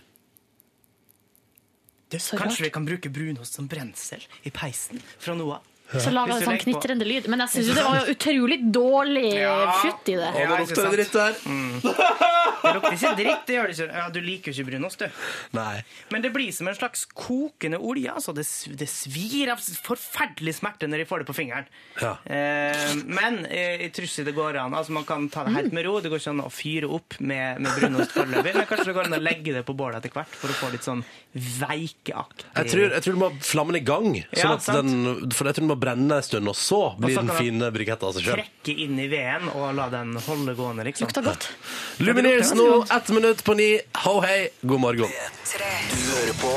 [SPEAKER 5] Kanskje vi kan bruke brunost som brensel i peisen fra nå av.
[SPEAKER 3] Så lager det
[SPEAKER 5] Hvis du
[SPEAKER 3] sånn
[SPEAKER 5] legger på-
[SPEAKER 3] knitrende lyd. Men jeg syns jo det var jo utrolig dårlig
[SPEAKER 5] Ja.
[SPEAKER 3] futt i det.
[SPEAKER 5] Ja, ikke sant? Mm.
[SPEAKER 2] der.
[SPEAKER 5] Det lukter ikke dritt. det gjør det ikke. Ja, Du liker jo ikke brunost, du.
[SPEAKER 2] Nei.
[SPEAKER 5] Men det blir som en slags kokende olje. altså. Det, sv- det svir av forferdelig smerte når de får det på fingeren.
[SPEAKER 2] Ja.
[SPEAKER 5] Eh, men eh, jeg tror ikke det går an. Altså, Man kan ta det helt med ro. Det går ikke an å fyre opp med, med brunost foreløpig. Men kanskje det går an å legge det på bålet etter hvert for å få litt sånn veikeaktig
[SPEAKER 2] Jeg tror, jeg tror du må ha flammen i gang,
[SPEAKER 5] Ja,
[SPEAKER 2] sånn at
[SPEAKER 5] sant.
[SPEAKER 2] den, for jeg tror du må brenne en stund, og så blir
[SPEAKER 5] så
[SPEAKER 2] den
[SPEAKER 5] kan den
[SPEAKER 2] fine briketten av seg sjøl.
[SPEAKER 5] Trekke inn i veden og la den holde gående, liksom.
[SPEAKER 3] Lukter godt.
[SPEAKER 2] Lumineers nå, ett minutt på ni. Ho hei, god morgen.
[SPEAKER 12] Du hører på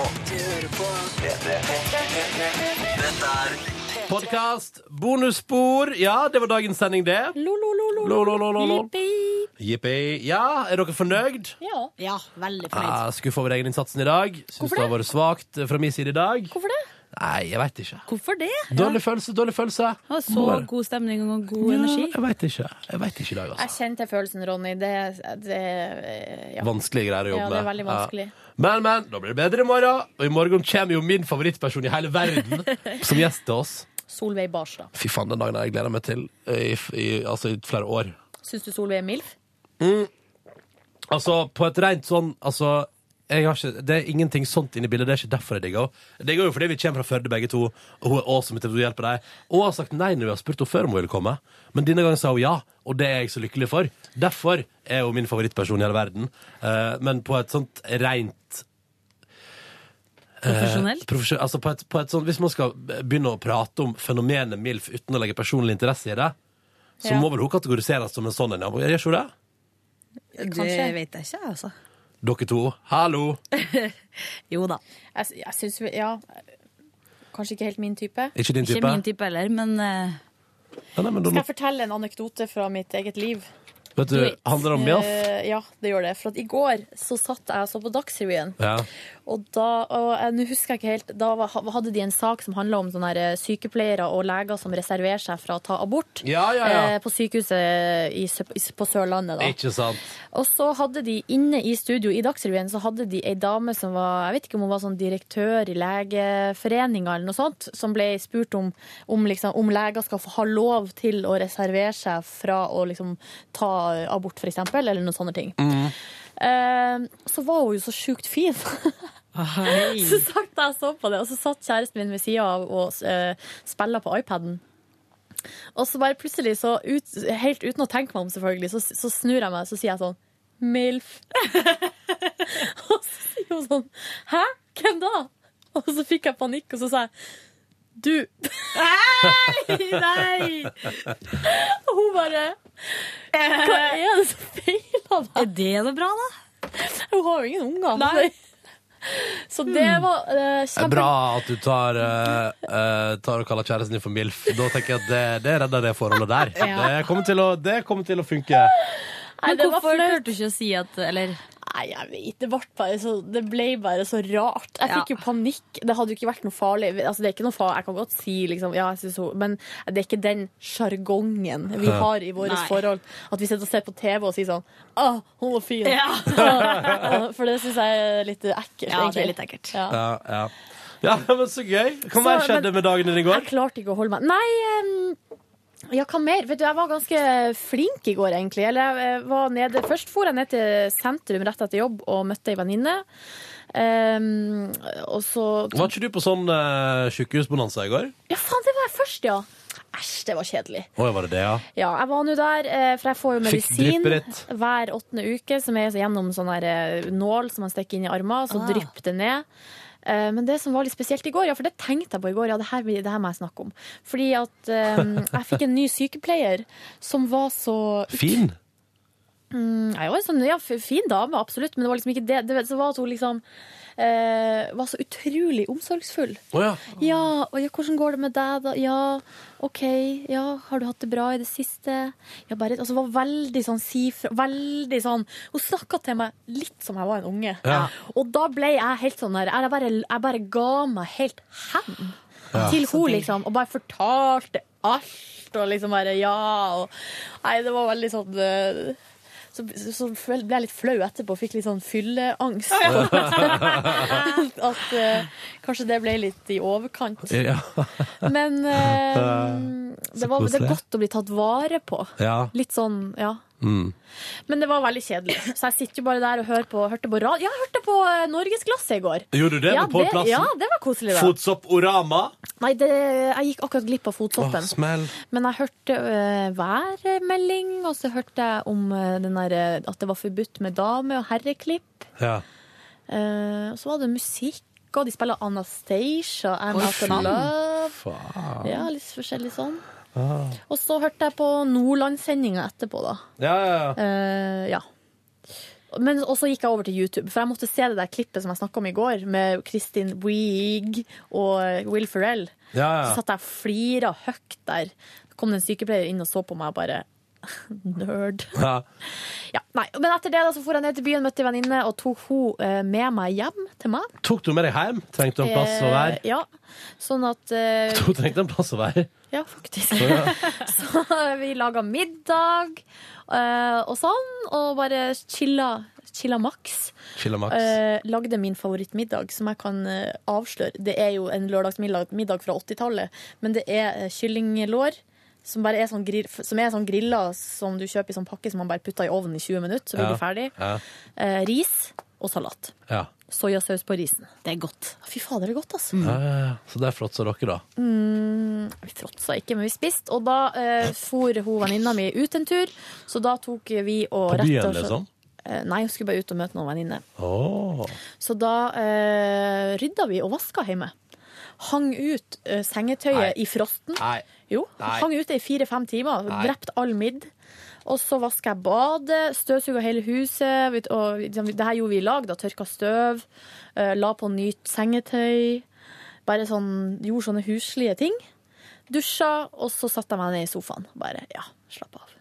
[SPEAKER 12] P3. Dette er
[SPEAKER 2] Podkast, bonusspor. Ja, det var dagens sending, det. Lo-lo-lo-lo. Jippi. Ja, er dere fornøyd?
[SPEAKER 3] Ja.
[SPEAKER 4] veldig fornøyd.
[SPEAKER 2] Jeg er Skuffa over egen innsatsen i dag. Syns det har vært svakt fra min side i dag.
[SPEAKER 4] Hvorfor det?
[SPEAKER 2] Nei, jeg veit ikke.
[SPEAKER 4] Hvorfor det?
[SPEAKER 2] Dårlig følelse, dårlig følelse.
[SPEAKER 4] Det var
[SPEAKER 2] Må
[SPEAKER 4] så
[SPEAKER 2] være.
[SPEAKER 4] god stemning og god energi.
[SPEAKER 2] Jeg veit ikke. Jeg vet ikke i dag, altså.
[SPEAKER 3] Jeg kjente følelsen, Ronny. Det, det ja.
[SPEAKER 2] Vanskelige greier å jobbe
[SPEAKER 3] Ja,
[SPEAKER 2] med.
[SPEAKER 3] det er veldig vanskelig.
[SPEAKER 2] Men, men, da blir det bedre i morgen. Og i morgen kommer jo min favorittperson i hele verden som gjest til oss.
[SPEAKER 3] Solveig Barstad.
[SPEAKER 2] Fy faen, den dagen har jeg gleda meg til i, i, altså, i flere år.
[SPEAKER 3] Syns du Solveig er MILF?
[SPEAKER 2] Mm. Altså, på et rent sånn Altså, jeg har ikke, det er ingenting sånt inne i bildet. Det er ikke derfor jeg digger henne. Det går jo fordi vi kommer fra Førde, begge to, og hun er awesome til å hjelpe deg. Og har sagt nei når vi har spurt henne før om hun ville komme. Men denne gangen sa hun ja, og det er jeg så lykkelig for. Derfor er hun min favorittperson i hele verden. Eh, men på et sånt rent
[SPEAKER 4] Profesjonelt?
[SPEAKER 2] Eh, profesjon- altså på et, på et sånt, hvis man skal begynne å prate om fenomenet MILF uten å legge personlig interesse i det, så
[SPEAKER 4] Ja.
[SPEAKER 2] må vel hun kategoriseres som en sånn en. ja. Gjør ikke hun det?
[SPEAKER 4] Det vet jeg ikke, altså.
[SPEAKER 2] Dere to, hallo!
[SPEAKER 4] Jo da.
[SPEAKER 3] Jeg, jeg syns Ja. Kanskje ikke helt min type.
[SPEAKER 2] Ikke din type?
[SPEAKER 4] Ikke min type heller, men eh,
[SPEAKER 2] Ja, nei, men da,
[SPEAKER 3] Skal jeg fortelle en anekdote fra mitt eget liv?
[SPEAKER 2] vet du, handler det om MILF?
[SPEAKER 3] Eh, ja, det gjør det. For at i går så satt jeg og så på Dagsrevyen.
[SPEAKER 2] Ja.
[SPEAKER 3] Og da, og jeg, nå husker jeg ikke helt, da var- hadde de en sak som handla om sånne her eh, sykepleiere og leger som reserverer seg fra å ta abort
[SPEAKER 2] Ja, ja, ja.
[SPEAKER 3] Eh, på sykehuset i, Sø- i, på Sørlandet. Da.
[SPEAKER 2] Ikke sant?
[SPEAKER 3] Og så hadde de inne i studio i Dagsrevyen så hadde de ei dame som var jeg vet ikke om hun var sånn direktør i Legeforeninga eller noe sånt, som ble spurt om, om, liksom, om leger skal få ha lov til å reservere seg fra å liksom, ta abort, f.eks., eller noen sånne ting. Eh, så var hun jo så sjukt fin. så satt jeg og så på det, og så satt kjæresten min ved sida av og uh, spilla på iPaden. Og så bare plutselig, så ut, helt uten å tenke meg om, selvfølgelig, så, så snur jeg meg og sier jeg sånn MILF. og så sier hun sånn Hæ? Hvem da? Og så fikk jeg panikk, og så sa jeg du. Nei! Nei! Og hun bare Hva er det som feiler deg? Er det noe bra, da? Hun har jo ingen unger. Så det var eh,
[SPEAKER 2] Det er
[SPEAKER 3] kjempe...
[SPEAKER 2] bra at du tar, eh, eh, tar og kaller kjæresten din for MILF. Da tenker jeg at det, det redder det forholdet der.
[SPEAKER 4] Ja.
[SPEAKER 2] Det, kommer til å, det kommer til å funke.
[SPEAKER 4] Men
[SPEAKER 3] det var
[SPEAKER 4] hvorfor
[SPEAKER 3] flaut.
[SPEAKER 4] turte du ikke å si at Eller
[SPEAKER 3] Nei, jeg vet det ble bare så, det ble bare så rart. Jeg fikk jo panikk. Det hadde jo ikke vært noe farlig. Altså, det er ikke noe farlig. Jeg kan godt si liksom, ja, jeg synes hun Men det er ikke den sjargongen vi
[SPEAKER 13] Ja.
[SPEAKER 3] har i vårt
[SPEAKER 13] Nei.
[SPEAKER 3] forhold. At vi sitter og ser på TV og sier sånn Å, hun var fin!
[SPEAKER 13] Ja.
[SPEAKER 3] For det syns jeg er litt
[SPEAKER 13] Ja,
[SPEAKER 3] ekkelt.
[SPEAKER 13] det er
[SPEAKER 3] egentlig.
[SPEAKER 13] litt ekkelt.
[SPEAKER 3] Ja.
[SPEAKER 2] Ja, ja. ja men så gøy. Hva mer
[SPEAKER 3] Så,
[SPEAKER 2] skjedde
[SPEAKER 3] men-
[SPEAKER 2] med dagen din i går?
[SPEAKER 3] Jeg klarte ikke å holde meg. Nei, em, ja, hva mer? Vet du, jeg var ganske flink i går, egentlig. Eller jeg var nede. Først for jeg ned til sentrum rett etter jobb og møtte ei venninne. Em, og så
[SPEAKER 2] Var ikke du på sånn uh, sjukehusbonanza i går?
[SPEAKER 3] Ja, faen, det var jeg først, ja! Æsj, det var kjedelig.
[SPEAKER 2] Å, var det det, ja?
[SPEAKER 3] Ja, jeg var nå der, eh, for jeg får jo
[SPEAKER 2] Fikk
[SPEAKER 3] medisin
[SPEAKER 2] drypperitt.
[SPEAKER 3] hver åttende uke, som er gjennom sånn her eh, nål som man stikker inn i armen, så
[SPEAKER 13] Ah.
[SPEAKER 3] drypper det ned. Eh, Men det som var litt spesielt i går, ja, for det tenkte jeg på i går, ja, det her, blir- det her må jeg snakke om. Fordi at eh, jeg fikk en ny sykepleier som var så
[SPEAKER 2] Fin?
[SPEAKER 3] Mm, jeg var en sånn, ja, f- fin dame, absolutt, men det var liksom ikke det. det så var at hun liksom eh, var så utrolig omsorgsfull.
[SPEAKER 2] Å ja.
[SPEAKER 3] Ja, og ja, hvordan går det med deg da? Ja, ok, ja, har du hatt det bra i det siste? Ja, bare, altså var veldig sånn sifra, veldig sånn, hun snakket til meg litt som jeg var en unge.
[SPEAKER 13] Ja.
[SPEAKER 3] Og da ble jeg helt sånn der, jeg bare, jeg bare ga meg helt hen
[SPEAKER 13] Ja.
[SPEAKER 3] til
[SPEAKER 13] Så
[SPEAKER 3] hun
[SPEAKER 13] deilig.
[SPEAKER 3] liksom, og bare fortalte alt, og liksom bare ja, og nei, det var veldig sånn... eh, Så, så føl- ble jeg litt flau etterpå og fikk litt sånn fylleangst. At eh, kanskje det ble litt i overkant.
[SPEAKER 2] Ja.
[SPEAKER 3] Men eh,
[SPEAKER 2] Så
[SPEAKER 3] det, var, det
[SPEAKER 2] koselig.
[SPEAKER 3] er godt å bli tatt vare på.
[SPEAKER 2] Ja.
[SPEAKER 3] Litt sånn, ja.
[SPEAKER 2] Mm.
[SPEAKER 3] Men det var veldig kjedelig. Så jeg sitter jo bare der og hører på, hørte på radio. Ja, jeg hørte på eh, Norgesglasset i går.
[SPEAKER 2] Gjorde du det
[SPEAKER 3] ja,
[SPEAKER 2] med Pål Plassen?
[SPEAKER 3] Ja, det var koselig, da.
[SPEAKER 2] Fotsopp-orama?
[SPEAKER 3] Nei, det, jeg gikk akkurat glipp av
[SPEAKER 2] Åh,
[SPEAKER 3] fotsoppen.
[SPEAKER 2] smell.
[SPEAKER 3] Men jeg hørte eh, værmelding, og så hørte jeg om eh, den der, eh, at det var forbudt med dame- og herreklipp.
[SPEAKER 2] Ja.
[SPEAKER 3] Eh, og så var det musikk, og de spiller Anastacia, I'm
[SPEAKER 13] Oi,
[SPEAKER 3] Out of
[SPEAKER 13] faen.
[SPEAKER 3] Love.
[SPEAKER 2] Faen.
[SPEAKER 3] Ja, litt forskjellig sånn.
[SPEAKER 2] Ah.
[SPEAKER 3] Og så hørte jeg på Nordlandssendinga etterpå, da.
[SPEAKER 2] Ja, ja, ja.
[SPEAKER 3] Eh, ja. Men og så gikk jeg over til YouTube, for jeg måtte se det der klippet som jeg snakka om i går, med Kristin Wiig og eh, Will Ferrell.
[SPEAKER 2] Ja, ja.
[SPEAKER 3] Så satt jeg og flira høyt der. Så kom det en sykepleier inn og så på meg og bare Nerd.
[SPEAKER 2] ja.
[SPEAKER 3] Ja, nei. Men etter det da, så for jeg ned til byen, møtte en venninne og tok hun eh, med meg hjem til meg.
[SPEAKER 2] Tok du med deg hjem? Trengte du en plass å være?
[SPEAKER 3] Eh, ja. Sånn at eh,
[SPEAKER 2] Du trengte en plass å være?
[SPEAKER 3] Ja, faktisk.
[SPEAKER 2] Å, ja.
[SPEAKER 3] Så vi laga middag eh, og sånn, og bare chilla, chilla maks.
[SPEAKER 2] Chilla maks.
[SPEAKER 3] Eh, lagde min favorittmiddag, som jeg kan eh, avsløre. Det er jo en lørdagsmiddag middag fra 80-tallet, men det er eh, kyllinglår. Som, bare er sånn grill, som er sånn grilla som du kjøper i sånn pakke som man bare putter i ovnen i 20 minutter, så blir
[SPEAKER 2] Ja.
[SPEAKER 3] du ferdig.
[SPEAKER 2] Ja.
[SPEAKER 3] Eh, ris og salat.
[SPEAKER 2] ja.
[SPEAKER 3] Soyasaus på risen. Det er godt. Fy fader, det er godt, altså.
[SPEAKER 2] Ja, ja, ja. Så der fråtsa dere, da.
[SPEAKER 3] Mm, vi fråtsa ikke, men vi spiste. Og da eh, for hun venninna mi ut en tur, så da tok vi og
[SPEAKER 2] På
[SPEAKER 3] rett
[SPEAKER 2] byen,
[SPEAKER 3] og slett-
[SPEAKER 2] liksom?
[SPEAKER 3] Eh, nei, hun skulle bare ut og møte noen venninner.
[SPEAKER 2] Åh.
[SPEAKER 3] Så da eh, rydda vi og vaska hjemme. Hang ut eh, sengetøyet i frosten.
[SPEAKER 2] Nei.
[SPEAKER 3] Jo,
[SPEAKER 2] Nei.
[SPEAKER 3] Hang ute i fire-fem timer.
[SPEAKER 2] Nei.
[SPEAKER 3] Drept all midd. Og så vaska jeg badet, støvsuga hele huset. vet- Og, liksom, det her gjorde vi i lag. da, Tørka støv. eh, La på nytt sengetøy. Bare sånn, gjorde sånne huslige ting. Dusja, og så satte jeg meg ned i sofaen. Bare, ja, slapp av.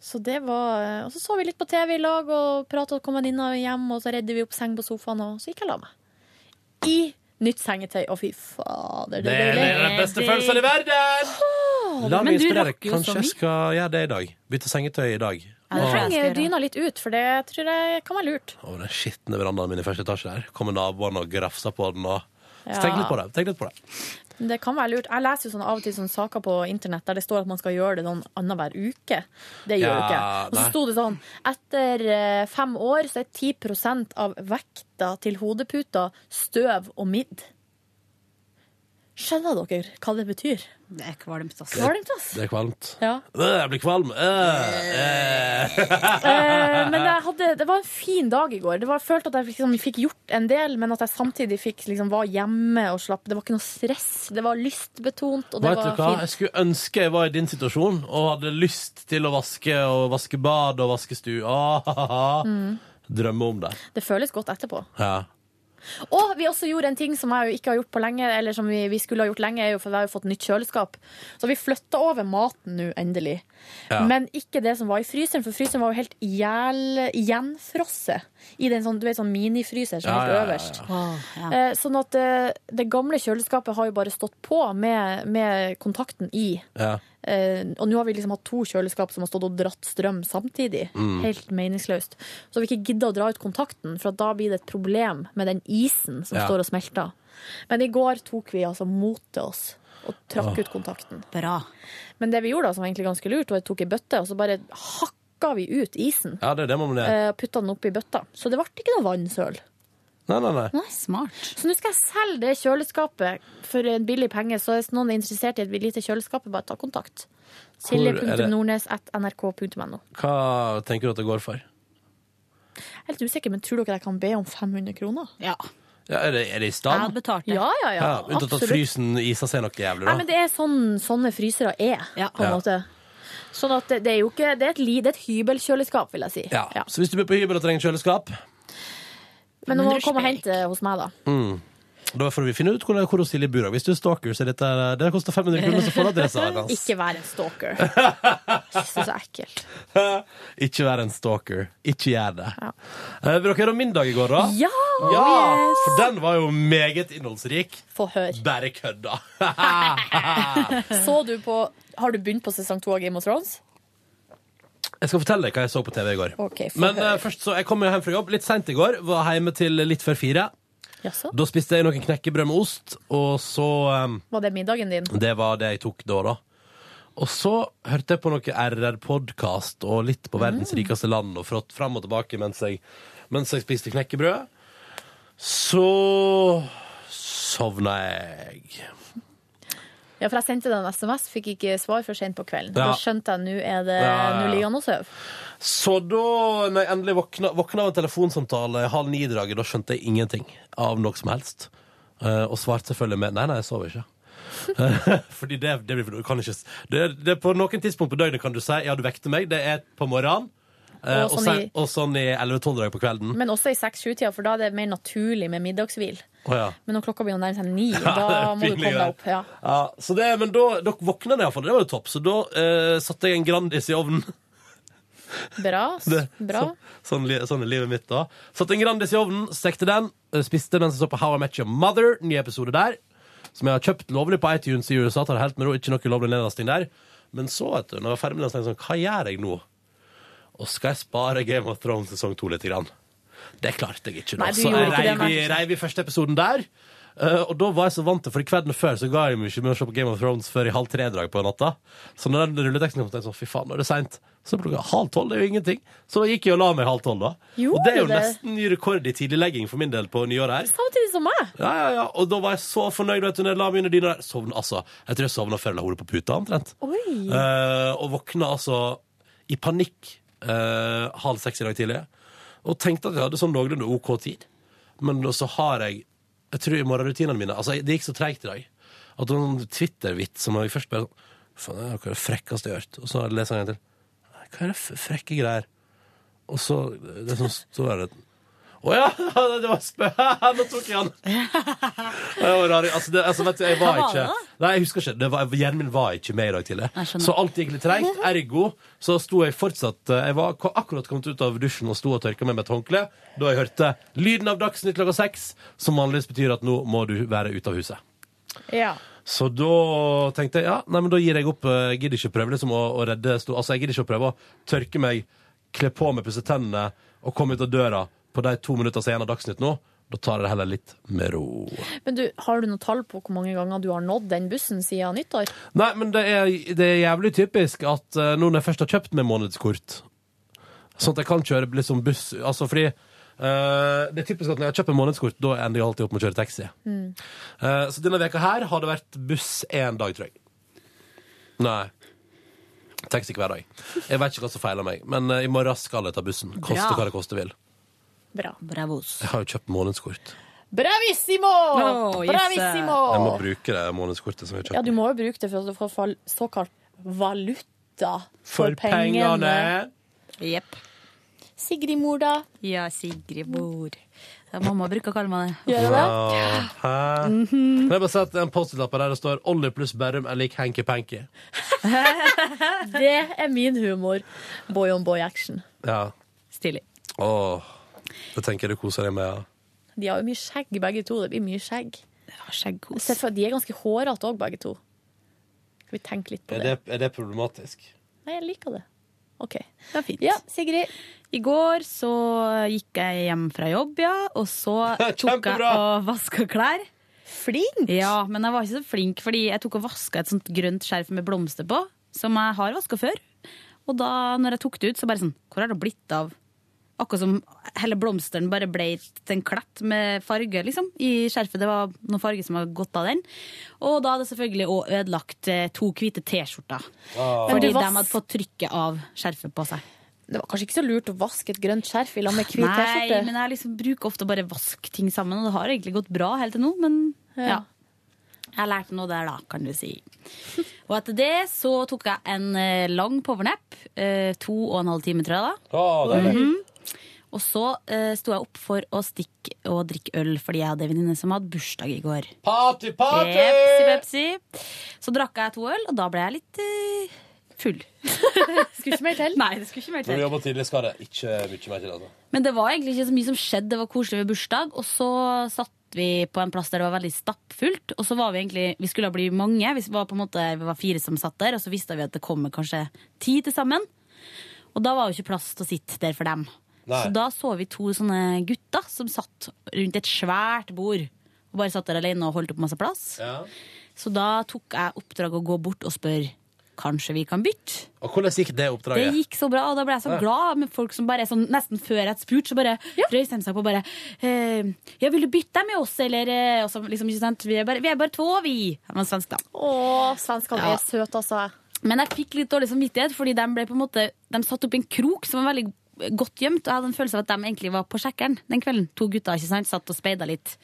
[SPEAKER 3] Så det var, eh, og så så vi litt på TV i lag og prata og kom venninna hjem, og så redde vi opp seng på sofaen, og så gikk jeg og la meg. I nytt sengetøy. Å, fy fader.
[SPEAKER 2] Det er den beste følelsen i verden! La meg inspirere. Kanskje jeg skal gjøre det i dag. Bytte sengetøy i dag.
[SPEAKER 3] Jeg
[SPEAKER 2] Åh.
[SPEAKER 3] trenger dyna litt ut, for det tror jeg kan være lurt.
[SPEAKER 2] over den skitne verandaen min i første etasje der. Kommer naboene og grafser på den. Og... Så
[SPEAKER 3] Ja.
[SPEAKER 2] tenk litt på det. Tenk litt på det.
[SPEAKER 3] Det kan være lurt. Jeg leser jo sånn av og til sånne saker på internett der det står at man skal gjøre det sånn annenhver uke. Det gjør
[SPEAKER 13] Ja,
[SPEAKER 3] du ikke. Og så
[SPEAKER 13] nei.
[SPEAKER 3] sto det sånn etter eh, fem år så er 10 av vekta til hodeputa støv og midd. Skjønner dere hva det betyr? Det er kvalmt,
[SPEAKER 4] altså.
[SPEAKER 3] ass. Kvalmt, ass.
[SPEAKER 2] Det er kvalmt.
[SPEAKER 3] Ja.
[SPEAKER 2] Øh, Jeg blir kvalm. Øh,
[SPEAKER 3] Eh, men jeg hadde, det var en fin dag i går. Det var, jeg følte at jeg liksom fikk gjort en del, men at jeg samtidig fikk, liksom, var hjemme og slapp. Det var ikke noe stress. Det var lystbetont, og det
[SPEAKER 2] Vet du
[SPEAKER 3] var
[SPEAKER 2] hva?
[SPEAKER 3] fint.
[SPEAKER 2] Jeg skulle ønske jeg var i din situasjon og hadde lyst til å vaske og vaske bad og vaske stue. Ah, ha, ha, ha.
[SPEAKER 3] Mm.
[SPEAKER 2] Drømme om det.
[SPEAKER 3] Det føles godt etterpå.
[SPEAKER 2] Ja.
[SPEAKER 3] Og vi også gjorde en ting som jeg jo ikke har gjort på lenge, eller som vi, vi skulle ha gjort lenge, er jo for vi har jo fått nytt kjøleskap. Så vi flytta over maten nå, endelig.
[SPEAKER 13] Ja.
[SPEAKER 3] Men ikke det som var i fryseren, for fryseren var jo helt ihjel, gjenfrosset. I den sånn, du vet, sånn minifryser som
[SPEAKER 13] Ja,
[SPEAKER 3] helt
[SPEAKER 13] ja, ja, ja.
[SPEAKER 3] øverst. Eh, Sånn at eh, det gamle kjøleskapet har jo bare stått på med, med kontakten i.
[SPEAKER 2] Ja.
[SPEAKER 3] Eh, og nå har vi liksom hatt to kjøleskap som har stått og dratt strøm samtidig.
[SPEAKER 13] Mm.
[SPEAKER 3] Helt meningsløst. Så har vi ikke gidda å dra ut kontakten, for at da blir det et problem med den isen som
[SPEAKER 13] Ja.
[SPEAKER 3] står og smelter. Men i går tok vi altså mot til oss og
[SPEAKER 13] Åh.
[SPEAKER 3] trakk ut kontakten. Men det vi gjorde da, som var egentlig ganske lurt, var at vi tok ei bøtte, og så bare hakka vi ut isen.
[SPEAKER 2] Ja, det er det man må gjøre.
[SPEAKER 3] Eh, og Putta den oppi bøtta. Så det ble ikke noe vannsøl.
[SPEAKER 2] Nei, nei, nei.
[SPEAKER 3] Så nå skal jeg selge det kjøleskapet for en billig penge, så hvis noen er interessert i et lite kjøleskap, bare ta kontakt.
[SPEAKER 2] Hvor er det-
[SPEAKER 3] Silje.nordnes.nrk.no.
[SPEAKER 2] Hva tenker du at det går for?
[SPEAKER 3] Jeg er litt usikker, men tror dere jeg kan be om 500 kroner? Ja.
[SPEAKER 2] Ja, er, det, er det i stand?
[SPEAKER 3] betalt det. Ja, ja, ja.
[SPEAKER 2] Unntatt at
[SPEAKER 3] Absolutt.
[SPEAKER 2] frysen isa seg noe jævlig,
[SPEAKER 3] Nei, men
[SPEAKER 2] da.
[SPEAKER 3] det er sånn sånne frysere er, på en
[SPEAKER 2] Ja.
[SPEAKER 3] måte. Sånn at det, det er jo ikke Det er et, li- det er et hybelkjøleskap, vil jeg si.
[SPEAKER 2] Ja. Så hvis du bor på hybel og trenger kjøleskap
[SPEAKER 3] Men nå må du komme og hente det hos meg, da.
[SPEAKER 2] mm. Da får vi finne ut hvordan- hvor Silje bor. Hvis du er stalker, så er dette, det koster 500 kroner, så får du adressa hennes.
[SPEAKER 3] Ikke vær en stalker. Jeg synes det er ekkelt.
[SPEAKER 2] Ikke vær en stalker. Ikke gjør det. Eh, Vil dere høre om min dag i går, da? ja
[SPEAKER 3] Ja! Oh, Yes!
[SPEAKER 2] For den var jo meget innholdsrik.
[SPEAKER 3] Få høre.
[SPEAKER 2] Bare kødda.
[SPEAKER 3] Så du på Har du begynt på sesong to av Game of Thrones?
[SPEAKER 2] Jeg skal fortelle deg hva jeg så på TV i går.
[SPEAKER 3] Ok, få
[SPEAKER 2] Men
[SPEAKER 3] høre.
[SPEAKER 2] eh, først så, jeg kom jo hjem fra jobb litt seint i går. Var hjemme til litt før fire.
[SPEAKER 3] Jaså?
[SPEAKER 2] Da spiste jeg noen knekkebrød med ost, og så eh,
[SPEAKER 3] Var det middagen din?
[SPEAKER 2] Det var det jeg tok da, da. Og så hørte jeg på noe RR-podkast og litt på verdens
[SPEAKER 3] Mm.
[SPEAKER 2] rikeste land og frått fram og tilbake mens jeg, mens jeg spiste knekkebrød. Så sovna jeg.
[SPEAKER 3] Ja, for jeg sendte deg en SMS, fikk ikke svar før sent på kvelden.
[SPEAKER 2] Ja.
[SPEAKER 3] Da skjønte jeg nå er det
[SPEAKER 2] Ja, ja, ja.
[SPEAKER 3] Nå ligger han og sover.
[SPEAKER 2] Så da når jeg endelig våkna, våkna av en telefonsamtale halv ni-draget, da skjønte jeg ingenting av noe som helst. Eh, og svarte selvfølgelig med nei, nei, jeg sover ikke. Eh, Fordi det, det blir for du kan ikke s- det, det er På noen tidspunkt på døgnet kan du si ja, du vekte meg, det er på morgenen. eh, og,
[SPEAKER 3] Og sånn
[SPEAKER 2] sånn
[SPEAKER 3] i-
[SPEAKER 2] og sånn i 11-12-draget på kvelden.
[SPEAKER 3] Men også i seks-sju-tida, for da er det mer naturlig med middagshvil.
[SPEAKER 2] Å ja.
[SPEAKER 3] Men når klokka begynner å nærme seg ni,
[SPEAKER 2] Ja, det er
[SPEAKER 3] da må du komme
[SPEAKER 2] pinlig,
[SPEAKER 3] deg opp. Ja.
[SPEAKER 2] Ja, så det, men da, da våkna jeg iallfall, det var jo topp. Så da eh, satte jeg en Grandis i ovnen.
[SPEAKER 3] Bra. s-
[SPEAKER 2] Det,
[SPEAKER 3] Bra.
[SPEAKER 2] så- sånn, li- sånn er livet mitt da. Satte en Grandis i ovnen, stekte den, eh, spiste mens jeg så på How I Met Your Mother, ny episode der. Som jeg har kjøpt lovlig på iTunes i USA, tar det helt med ro, ikke noe lovlig nedlasting der. Men så, vet du, når jeg var ferdig med den, så tenkte jeg sånn, hva gjør jeg nå? Og skal jeg spare Game of Thrones sesong 2 litt grann? Det klarte jeg ikke da.
[SPEAKER 3] Nei, du
[SPEAKER 2] så
[SPEAKER 3] gjorde
[SPEAKER 2] jeg
[SPEAKER 3] ikke det,
[SPEAKER 2] reiv i,
[SPEAKER 3] nei.
[SPEAKER 2] reiv i første episoden der. Eh, og da var jeg så vant til, for i kvelden før så ga jeg meg ikke med å se på Game of Thrones før i halv tre-drag på natta. Så når den rulleteksten kom, tenkte jeg sånn, fy faen, nå er det sent. Så ble det halv tolv, det er jo ingenting. Så da gikk jeg og la meg halv tolv da.
[SPEAKER 3] Gjorde
[SPEAKER 2] og det er jo
[SPEAKER 3] du det?
[SPEAKER 2] nesten ny rekord i tidliglegging for min del på nyåret her.
[SPEAKER 3] Samtidig som meg.
[SPEAKER 2] Ja, ja, ja. Og da var jeg så fornøyd, vet du, når jeg la meg under dyna der. Sovn, altså. Jeg tror jeg sovna før jeg la hodet på puta, omtrent.
[SPEAKER 3] Oi.
[SPEAKER 2] Eh, og våkna altså i panikk eh, halv seks i dag tidlig. Og tenkte at jeg hadde sånn noenlunde OK tid. Men så har jeg Jeg tror i morgenrutinene mine Altså, det gikk så treigt i dag. At det var en Twitter-vits som jeg først bare sånn Faen, det er noe av det frekkeste jeg har hørt. Og så leser jeg en gang til. Hva er det f- frekke greier? Og så det som står der Å ja! Det var spø... Nå tok jeg den! Det var rar. Altså, det, altså, vet du, jeg var
[SPEAKER 13] Hva var
[SPEAKER 2] ikke
[SPEAKER 13] det da?
[SPEAKER 2] Nei, jeg husker ikke. Det var, hjernen min var ikke med i dag tidlig.
[SPEAKER 13] Jeg skjønner.
[SPEAKER 2] Så alt gikk litt treigt. Ergo så sto jeg fortsatt eh, Jeg var ko- akkurat kommet ut av dusjen og sto og tørka meg med et håndkle da jeg hørte lyden av Dagsnytt klokka seks, som vanligvis betyr at nå må du være ute av huset.
[SPEAKER 3] Ja.
[SPEAKER 2] Så da tenkte jeg ja, nei, men da gir jeg opp. eh, Gidder ikke prøve liksom, å, å redde sto- Altså, jeg gidder ikke å prøve å tørke meg, kle på meg, pusse tennene og komme ut av døra på de to minutter som er igjen av Dagsnytt nå. Da tar jeg det heller litt med ro.
[SPEAKER 3] Men du, har du noe tall på hvor mange ganger du har nådd den bussen siden nyttår?
[SPEAKER 2] Nei, men det er, det er jævlig typisk at eh, nå når jeg først har kjøpt meg månedskort, sånn at jeg kan kjøre liksom buss Altså fordi eh, Det er typisk at når jeg har kjøpt meg månedskort, da ender jeg alltid opp med å kjøre taxi.
[SPEAKER 3] Mm.
[SPEAKER 2] Eh, så denne veka her har det vært buss én dag, tror jeg. Nei. Taxi hver dag. Jeg vet ikke hva som feiler meg, men eh, i morgen skal jeg ta bussen. Koste
[SPEAKER 3] Bra.
[SPEAKER 2] hva det koste vil.
[SPEAKER 3] Bra.
[SPEAKER 4] Bravos.
[SPEAKER 2] Jeg har jo kjøpt månedskort.
[SPEAKER 3] Bravissimo!
[SPEAKER 4] Å, jøsse.
[SPEAKER 3] Bravissimo!
[SPEAKER 2] Jeg må bruke det månedskortet som jeg har
[SPEAKER 3] Ja,
[SPEAKER 2] kjøpt.
[SPEAKER 3] du må jo bruke det for å få fall- såkalt valuta
[SPEAKER 2] For pengene.
[SPEAKER 3] Jepp. Sigrid Mor, da?
[SPEAKER 4] Ja, Sigrid Mor. Ja, Mamma bruker å kalle meg det.
[SPEAKER 2] Wow. Hæ? Kan jeg bare si at det er en Post-It-lapp her der det står 'Ollie pluss Berrum er lik Hanky Panky'.
[SPEAKER 3] Det er min humor. Boy on boy action.
[SPEAKER 2] Ja.
[SPEAKER 4] Stilig.
[SPEAKER 2] Åh. Det tenker jeg du koser deg med. Ja.
[SPEAKER 3] De har jo mye skjegg, begge to. Det blir mye skjegg.
[SPEAKER 4] Skjeggkos.
[SPEAKER 3] Se for- De er ganske hårete òg, begge to. Skal vi tenke litt på
[SPEAKER 2] Er
[SPEAKER 3] det?
[SPEAKER 2] det, er det problematisk?
[SPEAKER 3] Nei, jeg liker det. OK.
[SPEAKER 4] Det var fint. Ja,
[SPEAKER 3] Sigrid.
[SPEAKER 4] I går så gikk jeg hjem fra jobb, ja. Og så tok jeg
[SPEAKER 3] Kjempebra.
[SPEAKER 4] og vaska klær.
[SPEAKER 3] Flink!
[SPEAKER 4] Ja, men jeg var ikke så flink, fordi jeg tok og vaska et sånt grønt skjerf med blomster på, som jeg har vaska før. Og da når jeg tok det ut, så bare sånn Hvor har det blitt av? Akkurat som hele blomsteren bare ble til en klett med farge liksom, i skjerfet. Det var noen farge som hadde gått av den. Og da hadde jeg selvfølgelig òg ødelagt eh, to hvite T-skjorter.
[SPEAKER 3] Ah. Men
[SPEAKER 4] Fordi
[SPEAKER 3] det var-
[SPEAKER 4] de hadde fått trykket av skjerfet på seg.
[SPEAKER 3] Det var kanskje ikke så lurt å vaske et grønt skjerf i lag med hvit
[SPEAKER 4] Nei,
[SPEAKER 3] T-skjorte.
[SPEAKER 4] men jeg liksom bruker ofte å bare vaske ting sammen, og det har egentlig gått bra helt til nå, men ja. Jeg lærte noe der, da, kan du si. Og etter det så tok jeg en eh, lang powernap. eh, To og en halv time, tror jeg. da.
[SPEAKER 2] deilig.
[SPEAKER 4] Mhm. Og så uh, sto jeg opp for å stikke og drikke øl, fordi jeg hadde en venninne som hadde bursdag i går.
[SPEAKER 2] Party,
[SPEAKER 12] party!
[SPEAKER 4] Pepsi, pepsi. Så drakk jeg to øl, og da ble jeg litt eh, full.
[SPEAKER 3] skulle ikke mer til.
[SPEAKER 4] Nei, det skulle ikke mer
[SPEAKER 2] Når du
[SPEAKER 4] til.
[SPEAKER 2] jobber tidlig, skal det ikke mye mer til. Altså.
[SPEAKER 4] Men det var egentlig ikke så mye som skjedde. Det var koselig ved bursdag. Og så satt vi på en plass der det var veldig stappfullt. Og så var vi egentlig Vi skulle bli mange. Vi var på en måte vi var fire som satt der, og så visste vi at det kommer kanskje ti til sammen. Og da var jo ikke plass til å sitte der for dem.
[SPEAKER 12] Nei.
[SPEAKER 4] Så da så vi to sånne gutter som satt rundt et svært bord. Og bare satt der alene og holdt opp masse plass. Så da tok jeg oppdrag å gå bort og spørre Kanskje vi kan bytte?
[SPEAKER 2] Og hvordan gikk det oppdraget?
[SPEAKER 4] Det gikk så bra, og da ble jeg så
[SPEAKER 2] Ja.
[SPEAKER 4] glad med folk som bare er sånn, nesten før jeg spurte, så bare røyste de seg på og bare eh, Ja, vil du bytte deg med oss, eller eh, og så liksom, ikke sant? Vi er bare, vi er bare to, vi. Han var svensk, da.
[SPEAKER 3] Å, svenskene
[SPEAKER 4] Ja.
[SPEAKER 3] er søte, altså.
[SPEAKER 4] Men jeg fikk litt dårlig samvittighet, fordi de ble på en måte De satt opp i en krok som var veldig godt gjemt, og jeg hadde en følelse av at de egentlig var på sjekkeren den kvelden. To gutter ikke sant, satt og speida litt.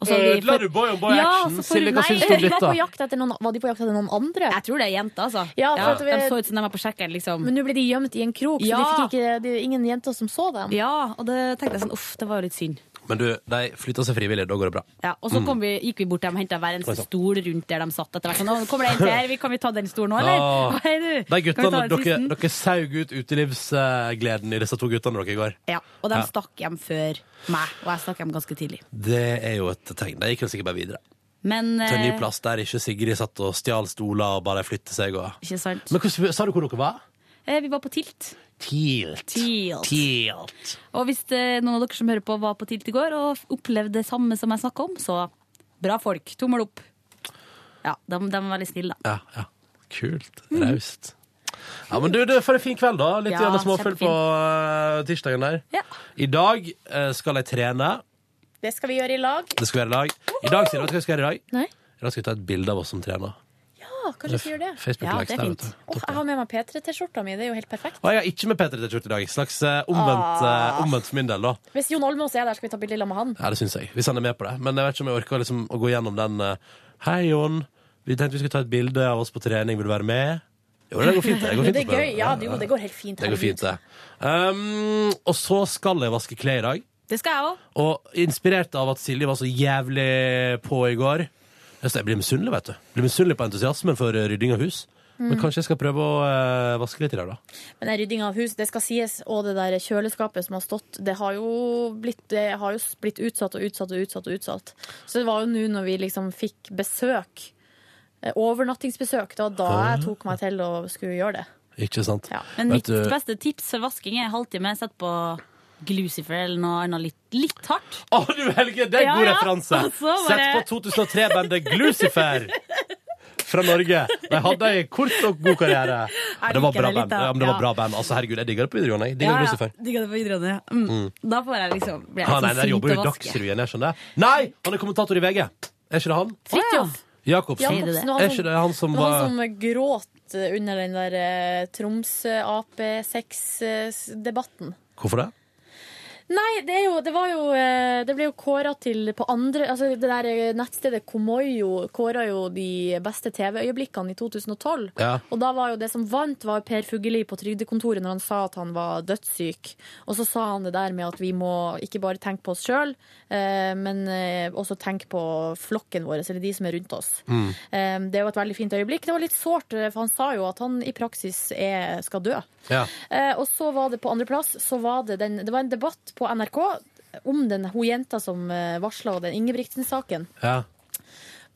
[SPEAKER 4] Og så hadde vi
[SPEAKER 2] Ødela
[SPEAKER 4] for-
[SPEAKER 2] du boy on boy action?
[SPEAKER 3] altså,
[SPEAKER 4] så for-
[SPEAKER 2] Silje, hva
[SPEAKER 4] nei,
[SPEAKER 2] syns du om
[SPEAKER 4] de var
[SPEAKER 2] dette?
[SPEAKER 4] på jakt.
[SPEAKER 3] Jakt etter noen, var de på jakt etter noen andre?
[SPEAKER 4] Jeg tror det er jenter, altså.
[SPEAKER 3] Ja,
[SPEAKER 4] Ja,
[SPEAKER 3] for at
[SPEAKER 4] de
[SPEAKER 3] vi-
[SPEAKER 4] så ut som de var på sjekkeren, liksom.
[SPEAKER 3] Men nå ble de gjemt i en krok, så de
[SPEAKER 4] Ja.
[SPEAKER 3] fikk ikke, det er jo ingen jenter som så dem.
[SPEAKER 4] Ja, og det tenkte jeg sånn, uff, det var jo litt synd.
[SPEAKER 2] Men du, de flytta seg frivillig. Da går det bra.
[SPEAKER 4] Ja, og så
[SPEAKER 2] Mm.
[SPEAKER 4] kom vi, gikk vi bort til dem og henta hver eneste
[SPEAKER 2] Oi, sant.
[SPEAKER 4] stol rundt der de satt. etter hvert. Sånn, «Å, nå kommer det en til her, vi- kan vi ta den stolen nå, eller?
[SPEAKER 2] Ah.
[SPEAKER 4] Hei, du,
[SPEAKER 2] De
[SPEAKER 4] kan vi ta
[SPEAKER 2] guttene,
[SPEAKER 4] den
[SPEAKER 2] dere,
[SPEAKER 4] sisten?»
[SPEAKER 2] dere saug ut utelivsgleden i disse to guttene dere i går.
[SPEAKER 4] Ja, og de
[SPEAKER 2] Ja.
[SPEAKER 4] stakk hjem før meg, og jeg stakk hjem ganske tidlig.
[SPEAKER 2] Det er jo et tegn. De gikk jo sikkert bare videre.
[SPEAKER 4] Men
[SPEAKER 2] Til en ny
[SPEAKER 4] eh,
[SPEAKER 2] plass der ikke Sigrid satt og stjal stoler og bare flyttet seg. Og...
[SPEAKER 4] Ikke sant.
[SPEAKER 2] Men hvordan, sa du hvor dere var?
[SPEAKER 4] eh, vi var på Tilt.
[SPEAKER 2] Tilt.
[SPEAKER 4] Tilt.
[SPEAKER 2] Tilt.
[SPEAKER 4] Og hvis eh, noen av dere som hører på, var på Tilt i går og opplevde det samme som jeg snakka om, så bra folk. Tommel opp. Ja, de, de var veldig snille, da.
[SPEAKER 2] Ja, ja. Kult.
[SPEAKER 3] Mm.
[SPEAKER 2] Raust. Ja, men du, det for en fin kveld, da. Litt
[SPEAKER 4] Ja,
[SPEAKER 2] ja, småfull på
[SPEAKER 4] kjempefin.
[SPEAKER 2] eh, tirsdagen der. I dag eh, skal jeg trene.
[SPEAKER 3] Det skal vi gjøre i lag.
[SPEAKER 2] Det skal være i dag. I dag, Silje, vet du hva jeg skal gjøre i dag?
[SPEAKER 3] Nei.
[SPEAKER 2] I dag skal vi ta et bilde av oss som trener.
[SPEAKER 3] Ja, kanskje vi skal gjøre det.
[SPEAKER 2] Facebook
[SPEAKER 3] ja,
[SPEAKER 2] likes
[SPEAKER 3] det er
[SPEAKER 2] der,
[SPEAKER 3] fint.
[SPEAKER 2] vet
[SPEAKER 3] Åh, jeg har med meg P3-T-skjorta mi, det er jo helt perfekt.
[SPEAKER 2] Og jeg har ikke med Peter T-skjorte i dag. Slags eh, omvendt,
[SPEAKER 3] Ah.
[SPEAKER 2] eh, omvendt for min del, da.
[SPEAKER 3] Hvis Jon Olmås er der, skal vi ta bilde sammen med han.
[SPEAKER 2] Ja, det syns jeg. Hvis han er med på det. Men jeg vet ikke om jeg orker liksom, å gå gjennom den eh, Hei, Jon. Vi tenkte vi skulle ta et bilde av oss på trening. Vil du være med? Jo, det går fint. Det, går
[SPEAKER 3] Men
[SPEAKER 2] fint
[SPEAKER 3] det
[SPEAKER 2] å
[SPEAKER 3] er
[SPEAKER 2] prøve.
[SPEAKER 3] gøy. Ja, jo, det går helt fint.
[SPEAKER 2] Det går fint, det. Um, og så skal jeg vaske klær i dag.
[SPEAKER 4] Det skal jeg òg.
[SPEAKER 2] Og inspirert av at Silje var så jævlig på i går Jeg jeg blir misunnelig, vet du. Jeg Blir misunnelig på entusiasmen for eh, rydding av hus. Men
[SPEAKER 3] Mm.
[SPEAKER 2] kanskje jeg skal prøve å eh, vaske litt i dag, da.
[SPEAKER 3] Men den ryddinga av hus, det skal sies, og det der kjøleskapet som har stått, det har jo blitt, det har jo blitt utsatt og utsatt og utsatt og utsatt. Så det var jo nå når vi liksom fikk besøk, eh, overnattingsbesøk, det var da jeg tok meg til å skulle gjøre det.
[SPEAKER 2] Ikke sant?
[SPEAKER 4] Men
[SPEAKER 2] Vet
[SPEAKER 4] mitt
[SPEAKER 2] du-
[SPEAKER 4] beste tips for vasking er halvtime. Sett på Glucifer eller noe annet litt, litt hardt.
[SPEAKER 2] Å, du Helge, det er
[SPEAKER 4] Ja,
[SPEAKER 2] god
[SPEAKER 4] ja.
[SPEAKER 2] referanse!
[SPEAKER 4] Og så
[SPEAKER 2] Sett
[SPEAKER 4] bare-
[SPEAKER 2] på 2003-bandet Glucifer fra Norge. De hadde en kort og god karriere. Ja, det var
[SPEAKER 4] liker
[SPEAKER 2] bra
[SPEAKER 4] det litt,
[SPEAKER 2] band.
[SPEAKER 4] da.
[SPEAKER 2] Ja, men det var
[SPEAKER 4] Ja.
[SPEAKER 2] bra band. Altså, herregud, jeg digger det på videregående. Jeg digger Glucifer.
[SPEAKER 4] digger det på videregående. ja. Mm.
[SPEAKER 2] Mm.
[SPEAKER 4] Da får jeg liksom blir jeg
[SPEAKER 2] Han
[SPEAKER 4] liksom
[SPEAKER 2] er der
[SPEAKER 4] sint
[SPEAKER 2] jobber jo
[SPEAKER 4] og
[SPEAKER 2] i
[SPEAKER 4] vaske.
[SPEAKER 2] Dagsrevyen, jeg skjønner. Nei, han er kommentator i VG. Er ikke det han?
[SPEAKER 3] Fridtjof!
[SPEAKER 2] Jacobsen.
[SPEAKER 3] Jacobsen, og
[SPEAKER 2] Er ikke det han som
[SPEAKER 3] det var
[SPEAKER 2] var
[SPEAKER 3] han som gråt under den der eh, Troms-Ap-6-debatten.
[SPEAKER 2] Hvorfor det?
[SPEAKER 3] Nei, det, er jo, det var jo eh, eh, det ble jo kåra til på andre altså Det der eh, nettstedet Komoyo kåra jo de beste TV-øyeblikkene i 2012.
[SPEAKER 2] Ja.
[SPEAKER 3] Og da var jo det som vant, var Per Fugelli på Trygdekontoret når han sa at han var dødssyk. Og så sa han det der med at vi må ikke bare tenke på oss sjøl, men eh, også tenke på flokken vår, eller de som er rundt oss.
[SPEAKER 12] Mm.
[SPEAKER 3] Eh, Det var et veldig fint øyeblikk. Det var litt sårt, eh, for han sa jo at han i praksis er, skal dø.
[SPEAKER 2] Ja.
[SPEAKER 3] Eh, og så var det på andreplass, så var det den Det var en debatt på NRK om den hun jenta som varsla den Ingebrigtsen-saken.
[SPEAKER 2] Ja.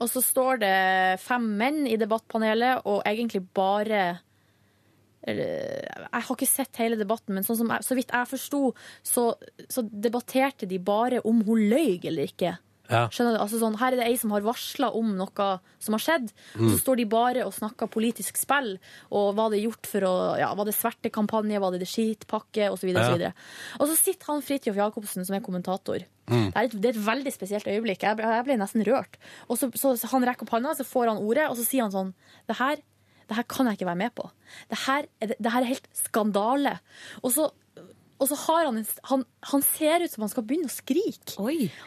[SPEAKER 3] Og så står det fem menn i debattpanelet, og egentlig bare eller, jeg har ikke sett hele debatten, men sånn som jeg, så vidt jeg forsto, så, så debatterte de bare om hun løy eller ikke.
[SPEAKER 2] Ja.
[SPEAKER 3] Skjønner du? Altså sånn, her er det ei som har varsla om noe som har skjedd, og så
[SPEAKER 12] Mm.
[SPEAKER 3] står de bare og snakker politisk spill. Og hva det er gjort for å ja, Var det svertekampanje, var det det skitpakke, osv.
[SPEAKER 12] Ja.
[SPEAKER 3] videre Og så sitter han Fridtjof Jacobsen, som er kommentator.
[SPEAKER 12] Mm.
[SPEAKER 3] Det, er et, det er et veldig spesielt øyeblikk. Jeg ble, jeg ble nesten rørt. Og så, så Han rekker opp handa, så får han ordet, og så sier han sånn Det her, det her kan jeg ikke være med på. Det her, er- det her er helt skandale. Og så og så har han, en, han, han ser ut som han skal begynne å skrike.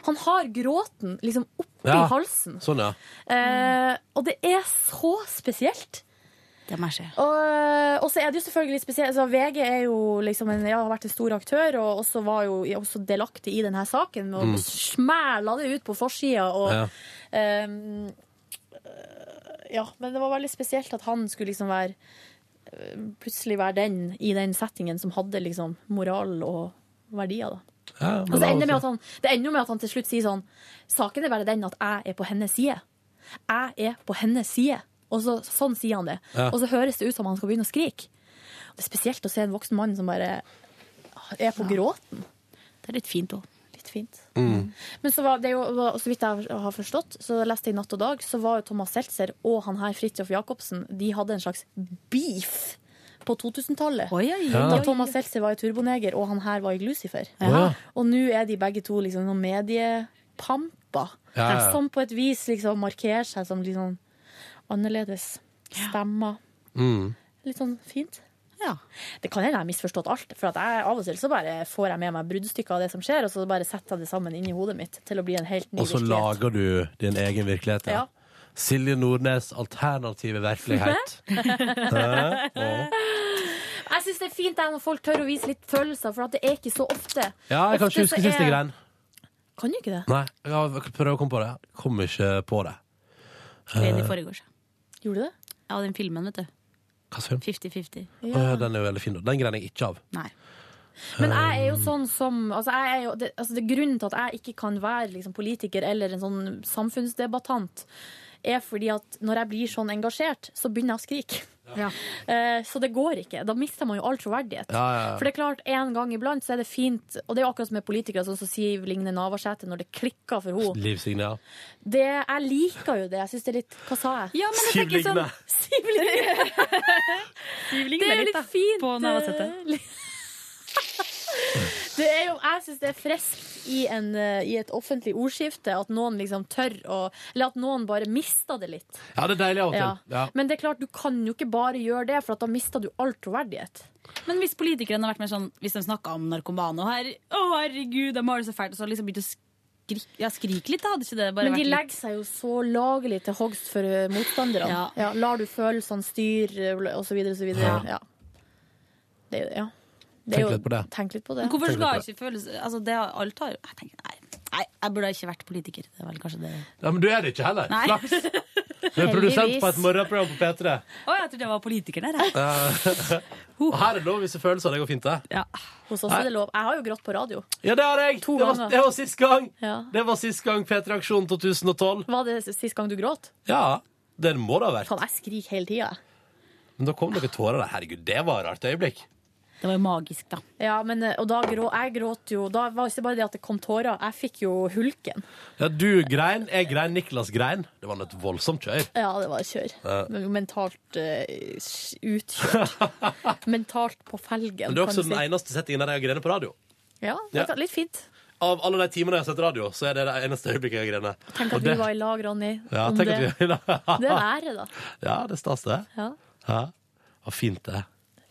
[SPEAKER 3] Han har gråten liksom oppi
[SPEAKER 2] Ja.
[SPEAKER 3] halsen.
[SPEAKER 2] Sånn, ja.
[SPEAKER 3] Eh, og det er så spesielt.
[SPEAKER 4] Det må jeg se.
[SPEAKER 3] Og, eh, og så er det jo selvfølgelig litt spesielt altså, VG er jo liksom en, ja, har vært en stor aktør og også var jo også delaktig i denne saken. Og
[SPEAKER 12] Mm.
[SPEAKER 3] smæla det ut på forsida. Og,
[SPEAKER 12] Ja.
[SPEAKER 3] ehm, øh, ja, men det var veldig spesielt at han skulle liksom være øh, Plutselig være den i den settingen som hadde liksom moral og verdier, da.
[SPEAKER 2] Ja,
[SPEAKER 3] Og så ender det med at han, det ender jo med at han til slutt sier sånn Saken er bare den at jeg er på hennes side. Jeg er på hennes side. Og så, sånn sier han det.
[SPEAKER 12] Ja.
[SPEAKER 3] Og så høres det ut som han skal begynne å skrike. Og Det er spesielt å se en voksen mann som bare er på gråten.
[SPEAKER 4] Det er litt fint òg.
[SPEAKER 3] Litt fint.
[SPEAKER 2] Mm.
[SPEAKER 3] Men så var det jo, var- så vidt jeg har forstått, så jeg leste i Natt og Dag, så var jo Thomas Seltzer og han her Fridtjof Jacobsen, de hadde en slags beef på 2000-tallet.
[SPEAKER 12] Ja.
[SPEAKER 3] Da Thomas Seltzer var i Turboneger, og han her var i Lucifer.
[SPEAKER 12] Ja.
[SPEAKER 3] Og nå er de begge to liksom noen mediepamper,
[SPEAKER 12] Ja, ja.
[SPEAKER 3] som på et vis liksom markerer seg som litt sånn annerledes stemmer.
[SPEAKER 2] Mm.
[SPEAKER 3] Litt sånn fint. Det kan hende jeg har misforstått alt. For at jeg, av og til så bare får jeg med meg bruddstykker av det som skjer, og så bare setter jeg det sammen inn i hodet mitt til å bli en helt ny
[SPEAKER 2] Og så
[SPEAKER 3] virkelighet.
[SPEAKER 2] lager du din egen virkelighet.
[SPEAKER 3] Ja.
[SPEAKER 2] Silje Nordnes' alternative virkelighet. Hæ? Å.
[SPEAKER 3] Jeg syns det er fint det når folk tør å vise litt følelser, for at det er ikke så ofte.
[SPEAKER 2] Ja, jeg kan
[SPEAKER 3] Ofte
[SPEAKER 2] ikke huske
[SPEAKER 3] så
[SPEAKER 2] siste
[SPEAKER 3] er-
[SPEAKER 2] greien.
[SPEAKER 3] Kan du ikke det?
[SPEAKER 2] Nei, jeg har prøvd å komme på det. Kom ikke på det.
[SPEAKER 4] Det er i
[SPEAKER 2] Eh,
[SPEAKER 4] forgårs.
[SPEAKER 3] Gjorde du det?
[SPEAKER 4] Ja, den filmen, vet du.
[SPEAKER 2] Hva slags film?
[SPEAKER 4] 50-50.
[SPEAKER 2] Å, Ja. den er jo veldig fin. da. Den grein jeg ikke av.
[SPEAKER 4] Nei.
[SPEAKER 3] Men jeg
[SPEAKER 12] Um,
[SPEAKER 3] er jo sånn som altså jeg er jo, det, altså det Grunnen til at jeg ikke kan være liksom, politiker eller en sånn samfunnsdebattant, er fordi at når jeg blir sånn engasjert, så begynner jeg å skrike. Eh, så det går ikke. Da mister man jo all troverdighet.
[SPEAKER 12] Ja, ja, ja.
[SPEAKER 3] For det er klart, en gang iblant så er det fint, og det er jo akkurat som med politikere, sånn som sier Ligne Navarsete når det klikker for henne.
[SPEAKER 2] Liv Signe, ja.
[SPEAKER 3] Det, jeg liker jo det. Jeg synes det er litt Hva sa jeg?
[SPEAKER 4] Ja,
[SPEAKER 2] men jeg tenker Siv Ligne. sånn-
[SPEAKER 3] Siv Ligne. det er jo litt fint. På Det er jo, jeg syns det er friskt i, en, eh, i et offentlig ordskifte at noen liksom tør å Eller at noen bare mister det litt.
[SPEAKER 2] Ja, det er deilig av og til.
[SPEAKER 3] Ja.
[SPEAKER 2] Ja.
[SPEAKER 3] Men det er klart, du kan jo ikke bare gjøre det, for at da mister du all troverdighet.
[SPEAKER 4] Men hvis politikerne har vært mer sånn Hvis de snakka om narkomane og her, Å, herregud, de har det så fælt, og så har de liksom begynt å skrike, ja, skrike litt, da hadde ikke det bare
[SPEAKER 3] Men de
[SPEAKER 4] vært litt-
[SPEAKER 3] legger seg jo så lagelig til hogst for eh, motstanderne. Ja.
[SPEAKER 4] Ja.
[SPEAKER 3] lar du følelsene styre, eh, og så videre, og så videre.
[SPEAKER 4] Ja.
[SPEAKER 3] Ja. Det, er jo- ja. Det er
[SPEAKER 2] Tenk
[SPEAKER 3] jo-
[SPEAKER 2] litt på det.
[SPEAKER 3] Tenk litt på
[SPEAKER 4] Men
[SPEAKER 3] det.
[SPEAKER 4] hvorfor
[SPEAKER 2] Tenk
[SPEAKER 4] skal
[SPEAKER 2] litt på
[SPEAKER 4] ikke føles Altså, det har alt har Jeg tenker, nei, nei, jeg burde ikke vært politiker. Det er vel kanskje det
[SPEAKER 2] Ja, men du er det ikke heller.
[SPEAKER 4] Nei.
[SPEAKER 2] Flaks. Du er produsent på et
[SPEAKER 4] Heldigvis.
[SPEAKER 2] morgenprogram på P3.
[SPEAKER 4] Å, jeg trodde jeg var politiker der, jeg.
[SPEAKER 2] Eh, og her er det lov å vise følelser. Det går fint, det.
[SPEAKER 4] Ja.
[SPEAKER 3] Hos oss er det lov. Jeg har jo grått på radio.
[SPEAKER 2] Ja, det har jeg!
[SPEAKER 3] To
[SPEAKER 2] det, var,
[SPEAKER 3] ganger.
[SPEAKER 2] det var sist gang!
[SPEAKER 3] Ja.
[SPEAKER 2] Det var sist gang P3 Aksjon 2012.
[SPEAKER 3] Var det sist gang du gråt?
[SPEAKER 2] Ja, det må det ha vært.
[SPEAKER 3] Kan jeg skrike hele tida?
[SPEAKER 2] Men da kom noen tårer der. Herregud, det var et rart øyeblikk.
[SPEAKER 4] Det var jo magisk, da.
[SPEAKER 3] Ja, men, eh, og da grå, jeg gråt jo Da var det ikke bare det at det kom tårer, jeg fikk jo hulken.
[SPEAKER 2] Ja, du grein, jeg grein, Niklas grein. Det var nå et voldsomt kjør.
[SPEAKER 3] Ja, det var kjør.
[SPEAKER 2] Ja.
[SPEAKER 3] Men Mentalt eh, utkjørt. Mentalt på felgen.
[SPEAKER 2] Men det er også
[SPEAKER 3] kan du
[SPEAKER 2] den
[SPEAKER 3] si.
[SPEAKER 2] eneste settingen der jeg har grenet på radio.
[SPEAKER 3] Ja,
[SPEAKER 2] Ja.
[SPEAKER 3] det er litt fint.
[SPEAKER 2] Av alle de timene jeg har sett radio, så er det det eneste øyeblikket jeg har grenet.
[SPEAKER 3] Tenk at
[SPEAKER 2] Og det-
[SPEAKER 3] vi var i lag, Ronny.
[SPEAKER 2] ja,
[SPEAKER 3] om
[SPEAKER 2] tenk
[SPEAKER 3] det.
[SPEAKER 2] at vi... Ah.
[SPEAKER 3] Det er en ære, da.
[SPEAKER 2] Ja, det er stas, det.
[SPEAKER 3] Ja,
[SPEAKER 2] Ja. Og fint, det.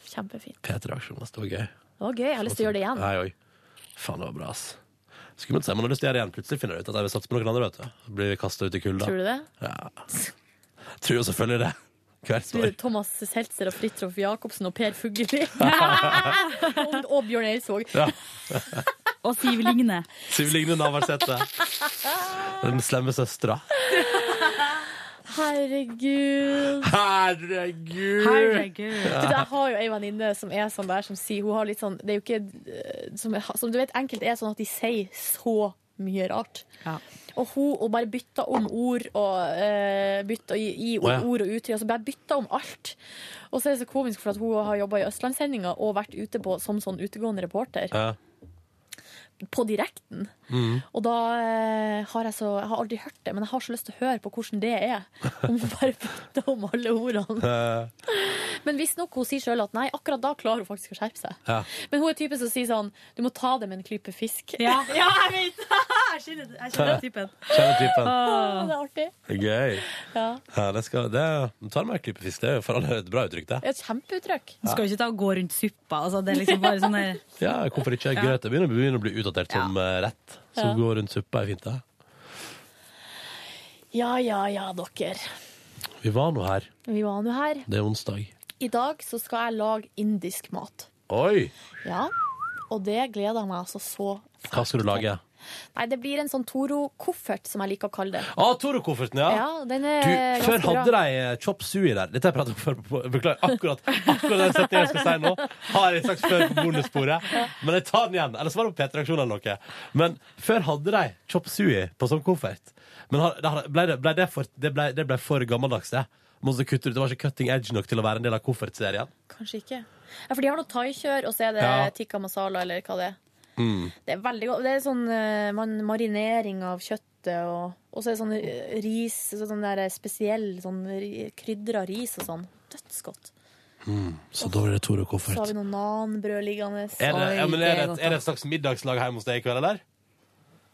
[SPEAKER 3] kjempefint.
[SPEAKER 2] P3 Aksjon, det var gøy.
[SPEAKER 3] Det var gøy. Jeg har lyst til å gjøre det igjen.
[SPEAKER 2] Nei, oi. Faen, det var bra, ass. Skummelt, sier man har lyst til å gjøre det igjen. Plutselig finner du ut at jeg vil satse på noen andre. vet du. Blir kastet ut i kulda.
[SPEAKER 3] Tror du det?
[SPEAKER 2] Ja. Tror jo selvfølgelig det. Hvert
[SPEAKER 3] Tror
[SPEAKER 2] år.
[SPEAKER 3] du Thomas Seltzer og Fridtjof Jacobsen og Per Fugelli? og, og Bjørn Eidsvåg.
[SPEAKER 2] Ja.
[SPEAKER 4] Og Siv Ligne.
[SPEAKER 2] Siv Ligne Navarsete. Den slemme søstera.
[SPEAKER 3] Herregud.
[SPEAKER 2] Herregud.
[SPEAKER 3] Herregud. Du, jeg har jo ei venninne som er sånn der, som sier Hun har litt sånn Det er jo ikke eh, Som, som du vet, enkelte er sånn at de sier så mye rart. Og hun og bare bytta om ord og eh, bytta i, i
[SPEAKER 13] Å, ja.
[SPEAKER 3] ord og uttrykk. Altså bare bytta om alt. Og så er det så komisk, for at hun har jobba i Østlandssendinga og vært ute på, som sånn utegående reporter.
[SPEAKER 2] Ja.
[SPEAKER 3] På direkten.
[SPEAKER 2] Mm.
[SPEAKER 3] Og da eh, har jeg så Jeg har aldri hørt det, men jeg har så lyst til å høre på hvordan det er. Om hun bare bytter om alle ordene.
[SPEAKER 2] Eh,
[SPEAKER 3] Men visstnok hun sier sjøl at nei, akkurat da klarer hun faktisk å skjerpe seg.
[SPEAKER 2] ja.
[SPEAKER 3] Men hun er typen som sier sånn Du må ta det med en klype fisk.
[SPEAKER 4] Ja.
[SPEAKER 3] jeg vet Jeg skjønner, jeg skjønner typen.
[SPEAKER 2] Kjenner typen.
[SPEAKER 3] Åh, det er artig.
[SPEAKER 2] Gøy.
[SPEAKER 3] Ja.
[SPEAKER 2] Ja, det skal, det, ta med en klype fisk. Det er jo for alle et bra uttrykk, det.
[SPEAKER 3] Et kjempeuttrykk.
[SPEAKER 4] Du skal jo ikke ta og gå rundt suppa. Altså, det er liksom bare sånn der
[SPEAKER 2] Ja, hvorfor ikke?
[SPEAKER 4] Ja.
[SPEAKER 2] Grøt det begynner, begynner å bli utdatert som eh, rett. Så
[SPEAKER 3] Ja.
[SPEAKER 2] gå rundt suppa er fint, det.
[SPEAKER 3] Ja, ja, ja, dere.
[SPEAKER 2] Vi var nå her.
[SPEAKER 3] Vi var nå her.
[SPEAKER 2] Det er onsdag.
[SPEAKER 3] I dag så skal jeg lage indisk mat.
[SPEAKER 2] Oi!
[SPEAKER 3] Ja. Og det gleder jeg meg altså så
[SPEAKER 2] Hva skal du lage?
[SPEAKER 3] Nei, det blir en sånn Toro-koffert, som jeg liker å kalle det.
[SPEAKER 2] Ah, Toro-kofferten, ja.
[SPEAKER 3] Ja, den er
[SPEAKER 2] du,
[SPEAKER 3] ganske
[SPEAKER 2] før hadde
[SPEAKER 3] bra.
[SPEAKER 2] de eh, chop sui der. Dette har jeg pratet om før. på- Beklager, akkurat, akkurat den setningen jeg skal si nå, har jeg sagt før på bonussporet. Men jeg tar den igjen. Eller så var det på P3-aksjonen eller noe. Men før hadde de chop sui på sånn koffert. Men har- det har- ble det, ble det, for, det, ble, det ble for gammeldags, det. Måtte kutte ut. Det var ikke cutting edge nok til å være en del av koffertserien.
[SPEAKER 3] Kanskje ikke. Ja, for de har noe thaikjør, og så er det
[SPEAKER 2] Ja.
[SPEAKER 3] tikka masala, eller hva det er.
[SPEAKER 2] Mm.
[SPEAKER 3] Det er veldig godt. Det er sånn eh, man, marinering av kjøttet, og, og så er det sånn eh, ris, sånn der spesiell sånn ri- krydra ris og sånn. Dødsgodt.
[SPEAKER 2] Mm. Så da blir det
[SPEAKER 3] Så har
[SPEAKER 2] Toro-koffert.
[SPEAKER 3] vi noe nanbrød liggende.
[SPEAKER 2] Er det, ja, men er, det, et- er det et slags middagslag hjemme hos deg i kveld, eller?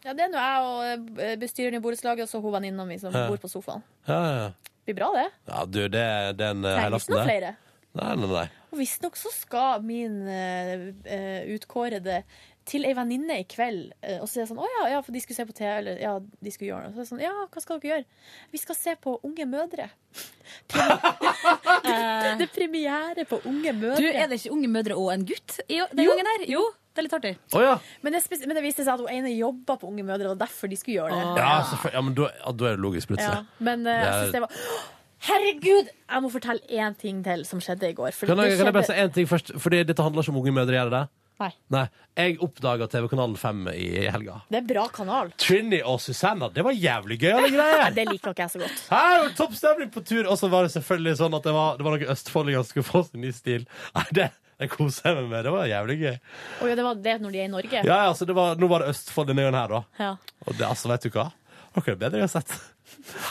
[SPEAKER 3] Ja, det er nå jeg og eh, bestyreren i borettslaget, og så hun venninna mi som
[SPEAKER 2] Ja.
[SPEAKER 3] bor på sofaen.
[SPEAKER 2] Ja, ja, ja.
[SPEAKER 3] Det blir bra, det.
[SPEAKER 2] Ja, du, det er den
[SPEAKER 3] Nei, ikke
[SPEAKER 2] helaften
[SPEAKER 3] noe
[SPEAKER 2] der.
[SPEAKER 3] flere.
[SPEAKER 2] Nei, nei, nei.
[SPEAKER 3] Og visstnok så skal min eh, eh, utkårede til ei venninne i kveld. eh, og så er det sånn Å ja, ja, for de skulle se på TV, eller ja, de skulle gjøre noe. Så er det sånn, ja, hva skal dere gjøre? Vi skal se på Unge mødre. Premi- det er premiere på Unge mødre.
[SPEAKER 4] Du, er det ikke unge mødre og en gutt i- den
[SPEAKER 3] Jo.
[SPEAKER 4] gangen her? Jo, det er litt artig.
[SPEAKER 2] Å ja.
[SPEAKER 3] men, det er spes- men det viste seg at hun ene jobba på Unge mødre, og det var derfor de skulle gjøre det.
[SPEAKER 2] Ja, selvfølgelig. Ja, men da, ja, da er det logisk, plutselig.
[SPEAKER 3] Ja, men eh, jeg
[SPEAKER 2] Det er-
[SPEAKER 3] synes det var Herregud! Jeg må fortelle én ting til som skjedde i går. for
[SPEAKER 2] Kan jeg,
[SPEAKER 3] det
[SPEAKER 2] kan jeg bare si
[SPEAKER 3] skjedde-
[SPEAKER 2] én ting først? Fordi dette handler ikke om unge mødre, gjør det det?
[SPEAKER 3] Nei.
[SPEAKER 2] Nei. Jeg oppdaga TV-kanalen 5 i helga.
[SPEAKER 3] Det er bra kanal.
[SPEAKER 2] Trini og Susanna, det var jævlig gøy. alle greier.
[SPEAKER 3] det liker ikke jeg så godt.
[SPEAKER 2] Her var det topp stemning på tur! Og så var det selvfølgelig sånn at det var, det var noen østfoldinger som skulle få sin ny stil. Nei, det, det koser jeg meg med. Det var jævlig gøy.
[SPEAKER 3] Å ja, det var det når de er i Norge?
[SPEAKER 2] Ja, ja, altså, det var, Nå var det Østfold denne gangen her, da.
[SPEAKER 3] Ja.
[SPEAKER 2] Og det, altså, vet du hva? Noe er det bedre jeg har sett.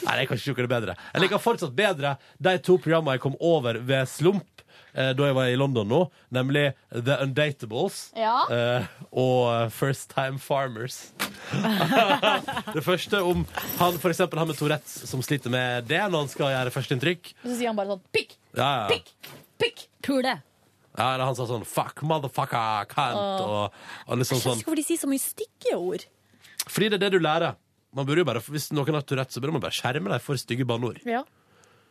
[SPEAKER 2] Nei, det er kanskje ikke noe bedre. Jeg liker fortsatt bedre de to programmene jeg kom over ved Slump eh, da jeg var i London nå, nemlig The Undateables
[SPEAKER 12] Ja.
[SPEAKER 2] eh, og First Time Farmers. det første om han, for eksempel, han med Tourettes som sliter med det når han skal gjøre førsteinntrykk.
[SPEAKER 3] Og så sier han bare sånn pikk,
[SPEAKER 2] Ja, ja.
[SPEAKER 3] pikk, pikk. Pule.
[SPEAKER 2] ja, eller han sa sånn 'fuck, motherfucker, cunt' og, og liksom
[SPEAKER 3] Jeg skjønner
[SPEAKER 2] sånn.
[SPEAKER 3] ikke hvorfor de sier så mye stygge ord.
[SPEAKER 2] Fordi det er det du lærer. Man burde jo bare, Hvis noen har Tourettes, så burde man bare skjerme dem for stygge banneord.
[SPEAKER 3] Ja.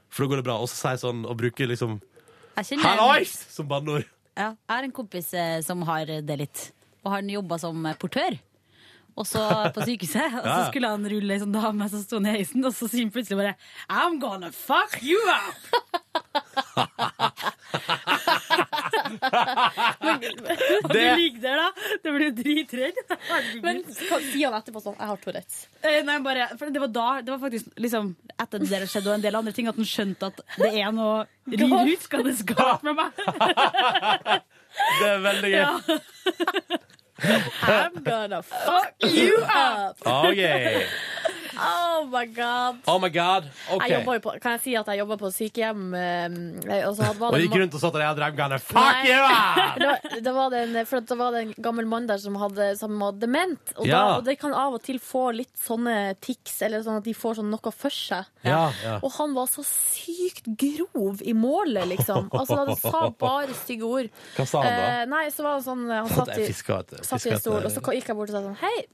[SPEAKER 2] For da går det bra. Og så sier jeg sånn og bruker liksom
[SPEAKER 4] Jeg kjenner-
[SPEAKER 2] Hallois! som banneord.
[SPEAKER 4] Ja, jeg har en kompis eh, som har det litt. Og han jobba som portør. Og så på sykehuset, og så
[SPEAKER 2] Ja.
[SPEAKER 4] skulle han rulle ei sånn dame som sto ned i heisen, og så sier han plutselig bare I'm gonna fuck you up! Og
[SPEAKER 12] Det-
[SPEAKER 4] Du ligger der, da. Du blir jo dritredd.
[SPEAKER 3] Men sier han etterpå sånn 'Jeg har Tourettes'.
[SPEAKER 4] Eh, Nei, bare, for det var da, det var faktisk liksom etter det der skjedde og en del andre ting, at han skjønte at det er noe ruskende galt med meg.
[SPEAKER 2] Det er veldig gøy.
[SPEAKER 4] Ja.
[SPEAKER 3] I'm gonna fuck you up!
[SPEAKER 2] Ok.
[SPEAKER 3] Oh my god.
[SPEAKER 2] Oh my god. OK.
[SPEAKER 3] Jeg jobber jo på, kan jeg si at jeg jobber på sykehjem? eh, Og så hadde- var
[SPEAKER 2] Og
[SPEAKER 3] det
[SPEAKER 2] de
[SPEAKER 3] en
[SPEAKER 2] gikk
[SPEAKER 3] ma-
[SPEAKER 2] rundt og sa at jeg drev gane. Fuck
[SPEAKER 3] Nei.
[SPEAKER 2] you! ah!
[SPEAKER 3] Det var- det var det en- for at det var det en gammel mann der som hadde, som var dement. Og,
[SPEAKER 2] Ja.
[SPEAKER 3] da, og det kan av og til få litt sånne tics, eller sånn at de får sånn noe for seg.
[SPEAKER 12] Ja, ja.
[SPEAKER 3] Og han var så sykt grov i målet, liksom. Altså, han sa bare stygge ord.
[SPEAKER 2] Hva sa han da?
[SPEAKER 3] Eh, nei, så var han sånn Han satt
[SPEAKER 2] Det er eh.
[SPEAKER 3] i,
[SPEAKER 2] fisker, vet du.
[SPEAKER 3] satt i
[SPEAKER 2] Fisker
[SPEAKER 3] en stol,
[SPEAKER 2] etter-
[SPEAKER 3] og så gikk jeg bort og sa sånn Hei,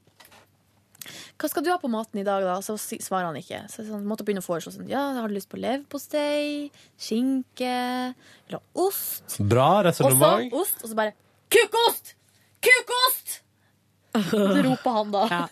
[SPEAKER 3] 'Hva skal du ha på maten i dag', da? Så si- svarer han ikke. Så sånn, måtte begynne å foreslå sånn 'Ja, har du lyst på leverpostei? Skinke? Eller ost?'
[SPEAKER 2] Bra
[SPEAKER 3] Eh, Og så
[SPEAKER 2] resonnement.
[SPEAKER 3] ost, og så bare 'Kukost! Kukost!' Så roper han da.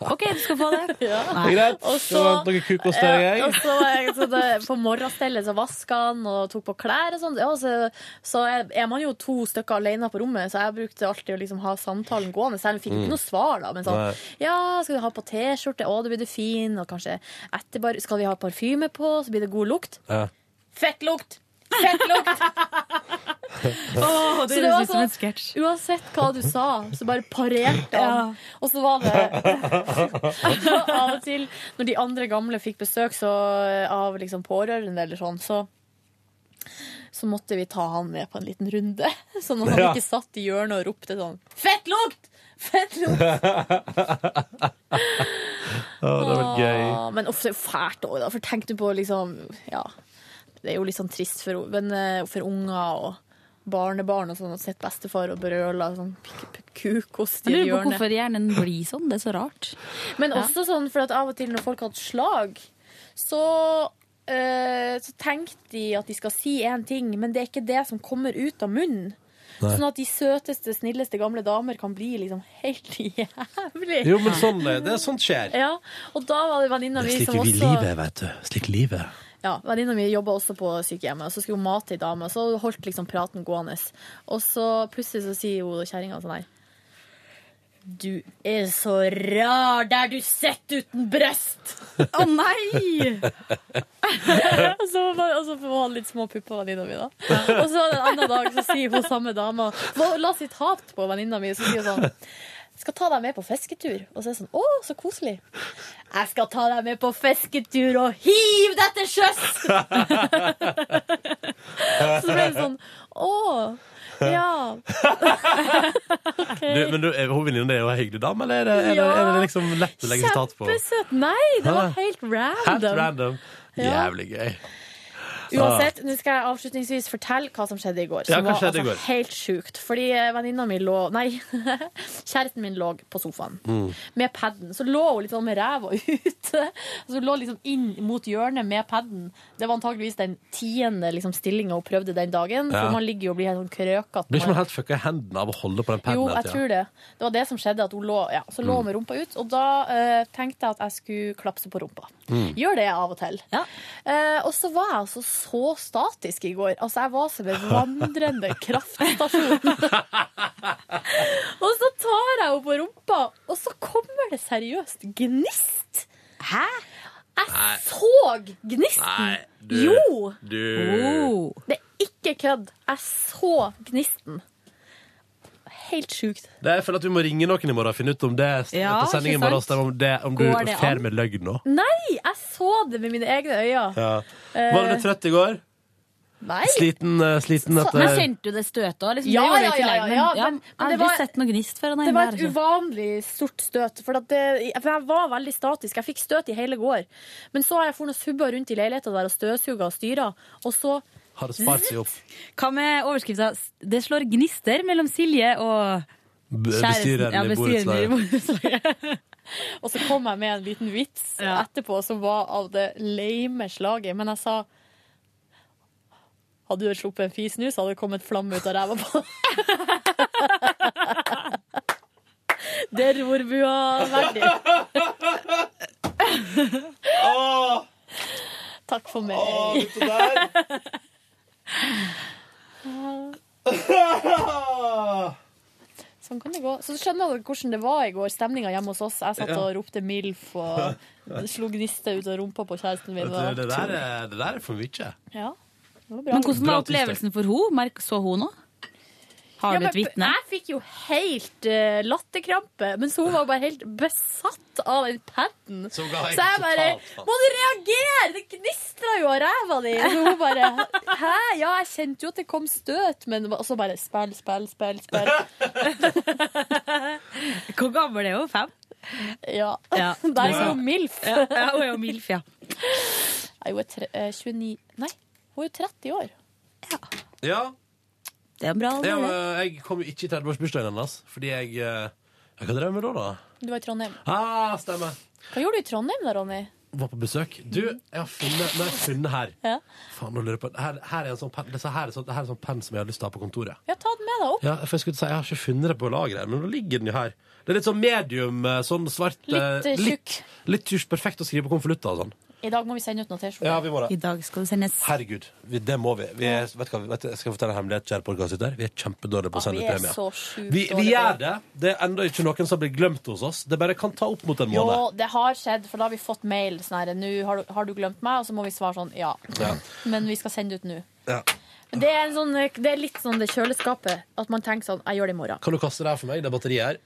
[SPEAKER 3] OK, du skal få det.
[SPEAKER 2] Det er greit.
[SPEAKER 3] Og
[SPEAKER 2] Det
[SPEAKER 3] så, eh,
[SPEAKER 2] var noe kukost der, jeg.
[SPEAKER 3] og så, var jeg- så det, på morgenstellet så vaska han og tok på klær og sånn. Ja, så så er, er man jo to stykker alene på rommet, så jeg brukte alltid å liksom ha samtalen gående. Selv om jeg fikk
[SPEAKER 13] Mm.
[SPEAKER 3] ikke noe svar, da. Men sånn
[SPEAKER 13] Nei.
[SPEAKER 3] Ja, skal du ha på T-skjorte? Å, du blir du fin. Og kanskje etterpå skal vi ha parfyme på, så blir det god lukt.
[SPEAKER 2] Ja.
[SPEAKER 3] Fettlukt! Fettlukt!
[SPEAKER 4] Åh, det
[SPEAKER 3] Så
[SPEAKER 4] høres
[SPEAKER 3] var
[SPEAKER 4] ut som en
[SPEAKER 3] sånn, Uansett hva du sa, så bare parerte han. Og så var det av og til Når de andre gamle fikk besøk så, av liksom pårørende eller sånn, så så måtte vi ta han med på en liten runde, sånn at han
[SPEAKER 2] Ja.
[SPEAKER 3] ikke satt i hjørnet og ropte sånn 'Fettlukt! Fettlukt!'
[SPEAKER 2] Å, det var
[SPEAKER 3] Åh,
[SPEAKER 2] gøy.
[SPEAKER 3] Men ofte fælt òg, da. For tenk du på liksom Ja, det er jo litt sånn trist for, men, eh, for unger og barnebarn og sånn, og sett bestefar og brøla og sånn pik- pik- kukost i
[SPEAKER 4] Jeg lurer på
[SPEAKER 3] hjørnet.
[SPEAKER 4] hvorfor hjernen blir sånn. Det er så rart.
[SPEAKER 3] Men
[SPEAKER 4] Ja.
[SPEAKER 3] også sånn, for at av og til når folk har hatt slag, så eh, så tenkte de at de skal si én ting, men det er ikke det som kommer ut av munnen.
[SPEAKER 2] Nei.
[SPEAKER 3] Sånn at de søteste, snilleste gamle damer kan bli liksom helt jævlig.
[SPEAKER 2] Jo, men sånn er det. Sånt skjer.
[SPEAKER 3] Ja, og da var det venninna
[SPEAKER 2] Det
[SPEAKER 3] mi
[SPEAKER 2] er slik
[SPEAKER 3] som
[SPEAKER 2] vi
[SPEAKER 3] også
[SPEAKER 2] livet, vet du. Slik livet.
[SPEAKER 3] Ja, Venninna mi jobba også på sykehjemmet, og så skulle hun mate ei dame. Og så holdt liksom praten gående. Og så plutselig så sier hun kjerringa sånn her Du er så rar der du sitter uten bryst! Å nei! og så bare- og så får hun litt små pupper, venninna mi, da. Og så en annen dag så sier hun samme dama la- La sitt hat på venninna mi, så sier hun sånn skal ta deg med på fisketur. Og så er det sånn, å, så koselig. Jeg skal ta deg med på fisketur og hiv deg til sjøs! så ble det sånn, å, ja. Ok.
[SPEAKER 2] Du, men du, er hun venninna di en hyggelig dame, eller er det, er det,
[SPEAKER 3] Ja.
[SPEAKER 2] er det liksom lett å legge stat på?
[SPEAKER 3] Kjempesøt. Nei, det
[SPEAKER 2] Hæ?
[SPEAKER 3] var helt random.
[SPEAKER 2] Helt random.
[SPEAKER 3] Ja.
[SPEAKER 2] Jævlig gøy.
[SPEAKER 3] Uansett, nå skal jeg avslutningsvis fortelle hva som skjedde i går.
[SPEAKER 2] Ja,
[SPEAKER 3] Som
[SPEAKER 2] hva
[SPEAKER 3] var altså
[SPEAKER 2] skjedde i går?
[SPEAKER 3] helt sjukt. Fordi eh, venninna mi lå Nei, kjæresten min lå på sofaen
[SPEAKER 13] Mm.
[SPEAKER 3] med paden. Så lå hun litt sånn med ræva ute. Så hun lå liksom inn mot hjørnet med paden. Det var antageligvis den tiende liksom, stillinga hun prøvde den dagen.
[SPEAKER 2] Ja.
[SPEAKER 3] For man ligger jo og blir helt sånn krøkete.
[SPEAKER 2] Blir ikke man helt fucka i hendene av å holde på den paden?
[SPEAKER 3] Jo,
[SPEAKER 2] hele
[SPEAKER 3] jeg
[SPEAKER 2] tiden?
[SPEAKER 3] tror det. Det var det som skjedde. At hun lå, ja, så
[SPEAKER 2] Mm.
[SPEAKER 3] lå hun med rumpa ut. Og da eh, tenkte jeg at jeg skulle klapse på rumpa.
[SPEAKER 13] Mm.
[SPEAKER 3] Gjør det av og til. Eh, og så var jeg altså så statisk i går. Altså, jeg var som en vandrende kraftstasjon. og så tar jeg henne på rumpa, og så kommer det seriøst gnist. Hæ?
[SPEAKER 2] Nei.
[SPEAKER 3] Jeg så gnisten.
[SPEAKER 2] Nei, du,
[SPEAKER 3] Jo! Oh.
[SPEAKER 2] Du.
[SPEAKER 3] Det er ikke kødd. Jeg så gnisten. Helt sjukt.
[SPEAKER 2] Det er, jeg føler at vi må ringe noen i morgen og finne ut om det
[SPEAKER 3] Ja,
[SPEAKER 2] etter sendingen i
[SPEAKER 3] ikke
[SPEAKER 2] morgen,
[SPEAKER 3] sant?
[SPEAKER 2] om, det, om du
[SPEAKER 3] Går det
[SPEAKER 2] fer
[SPEAKER 3] an?
[SPEAKER 2] med løgn nå.
[SPEAKER 3] Nei, jeg så det med mine egne øyne.
[SPEAKER 2] Ja.
[SPEAKER 3] Eh,
[SPEAKER 2] Var du trøtt i går?
[SPEAKER 3] Nei.
[SPEAKER 2] Sliten, eh, sliten
[SPEAKER 4] Så- Men
[SPEAKER 2] etter
[SPEAKER 4] kjente du det støtet òg? Liksom,
[SPEAKER 3] Ja,
[SPEAKER 4] Det
[SPEAKER 3] ja,
[SPEAKER 4] gjorde jeg i
[SPEAKER 3] ja,
[SPEAKER 4] tillegg,
[SPEAKER 3] ja,
[SPEAKER 4] men-
[SPEAKER 3] ja,
[SPEAKER 4] ja,
[SPEAKER 3] men-
[SPEAKER 4] jeg
[SPEAKER 3] men
[SPEAKER 4] har
[SPEAKER 3] det
[SPEAKER 4] aldri
[SPEAKER 3] var-
[SPEAKER 4] sett noe gnist før. Nei,
[SPEAKER 3] Det var et
[SPEAKER 4] altså.
[SPEAKER 3] uvanlig stort støt. For, at det, for jeg var veldig statisk. Jeg fikk støt i hele går. Men så har jeg fornet subba rundt i leiligheten der og støvsuga og styra, og så
[SPEAKER 2] Har det spart seg opp?
[SPEAKER 4] Hva med overskrifta 'Det slår gnister mellom Silje og
[SPEAKER 2] B-
[SPEAKER 4] kjæresten'?
[SPEAKER 2] Bestyreren
[SPEAKER 4] Ja,
[SPEAKER 2] i
[SPEAKER 4] bestyreren i
[SPEAKER 2] borettslaget.
[SPEAKER 4] borettslaget.
[SPEAKER 3] Og så kom jeg med en liten vits etterpå som var av det lame slaget. Men jeg sa Hadde du sluppet en fis nå, så hadde det kommet flamme ut av ræva på deg. Det er rorbua verdig. Takk for meg. Sånn kan det gå. Så skjønner dere hvordan det var i går, stemninga hjemme hos oss. Jeg satt
[SPEAKER 2] Ja.
[SPEAKER 3] og ropte MILF og slo gnister ut av rumpa på kjæresten min.
[SPEAKER 2] Vet du, Det der er, det der er for mye.
[SPEAKER 3] Ja, det var bra.
[SPEAKER 4] Men hvordan var
[SPEAKER 2] Bra tirsdag.
[SPEAKER 4] opplevelsen for henne? Så hun òg? Har
[SPEAKER 3] Ja,
[SPEAKER 4] du et
[SPEAKER 3] men
[SPEAKER 4] vitne?
[SPEAKER 3] Jeg fikk jo helt eh, latterkrampe, mens hun var bare helt besatt av den paden. Så,
[SPEAKER 2] ga helt
[SPEAKER 3] jeg bare
[SPEAKER 2] totalt faen.
[SPEAKER 3] Må du reagere! Det gnistrer jo av ræva di! Så hun bare Hæ? Ja, jeg kjente jo at det kom støt, men Og så bare spill, spill, spill, spill.
[SPEAKER 4] Hvor gammel er hun? Fem?
[SPEAKER 3] Ja.
[SPEAKER 4] Ja.
[SPEAKER 3] Der er hun MILF.
[SPEAKER 4] Ja, ja, hun er jo MILF, ja.
[SPEAKER 3] Nei, Hun er tre, eh, 29 Nei, hun er jo 30 år.
[SPEAKER 2] Ja.
[SPEAKER 4] Det er bra.
[SPEAKER 2] Ja, men jeg kom jo ikke i 30-årsbursdagen hennes fordi jeg eh, Hva drev vi med da, da?
[SPEAKER 3] Du var i Trondheim.
[SPEAKER 2] Ah, stemmer.
[SPEAKER 3] Hva gjorde du i Trondheim da, Ronny?
[SPEAKER 2] Var på besøk. Du, jeg har funnet, nå har jeg funnet her.
[SPEAKER 3] Ja.
[SPEAKER 2] Faen, nå lurer jeg på. Her, her er en sånn penn det her er sånn, det her er sånn penn som jeg har lyst til å ha på kontoret.
[SPEAKER 3] Ja, ta den med deg opp.
[SPEAKER 2] Ja, for Jeg skulle til å si, jeg har ikke funnet det på lageret, her, men nå ligger den jo her. Det er litt sånn medium, eh, sånn svart eh,
[SPEAKER 3] Litt, eh,
[SPEAKER 2] Litt, litt tjusj, perfekt å skrive på konvolutter og sånn.
[SPEAKER 3] I dag må vi sende ut noen T-skjorter.
[SPEAKER 2] Ja, vi må det. I
[SPEAKER 4] dag skal det sendes.
[SPEAKER 2] Herregud, vi, det må vi. vi er, vet du hva, vet, du, jeg skal fortelle en hemmelighet, kjære podkastlytter. Vi er kjempedårlige på å sende ut
[SPEAKER 3] vi er så
[SPEAKER 2] premier.
[SPEAKER 3] sjukt
[SPEAKER 2] Vi, vi
[SPEAKER 3] dårlige på
[SPEAKER 2] gjør det. Det er ennå ikke noen som blir glemt hos oss. Det bare kan ta opp mot en
[SPEAKER 3] Jo,
[SPEAKER 2] måned.
[SPEAKER 3] det har skjedd, for da har vi fått mail sånn her Nå har, du- har du glemt meg, og så må vi svare sånn ja.
[SPEAKER 2] Ja.
[SPEAKER 3] Men vi skal sende ut nå.
[SPEAKER 2] Ja.
[SPEAKER 3] Men det er, en sånn, det er litt sånn det kjøleskapet. At man tenker sånn Jeg gjør det i morgen.
[SPEAKER 2] Kan du kaste det her for meg, det batteriet her?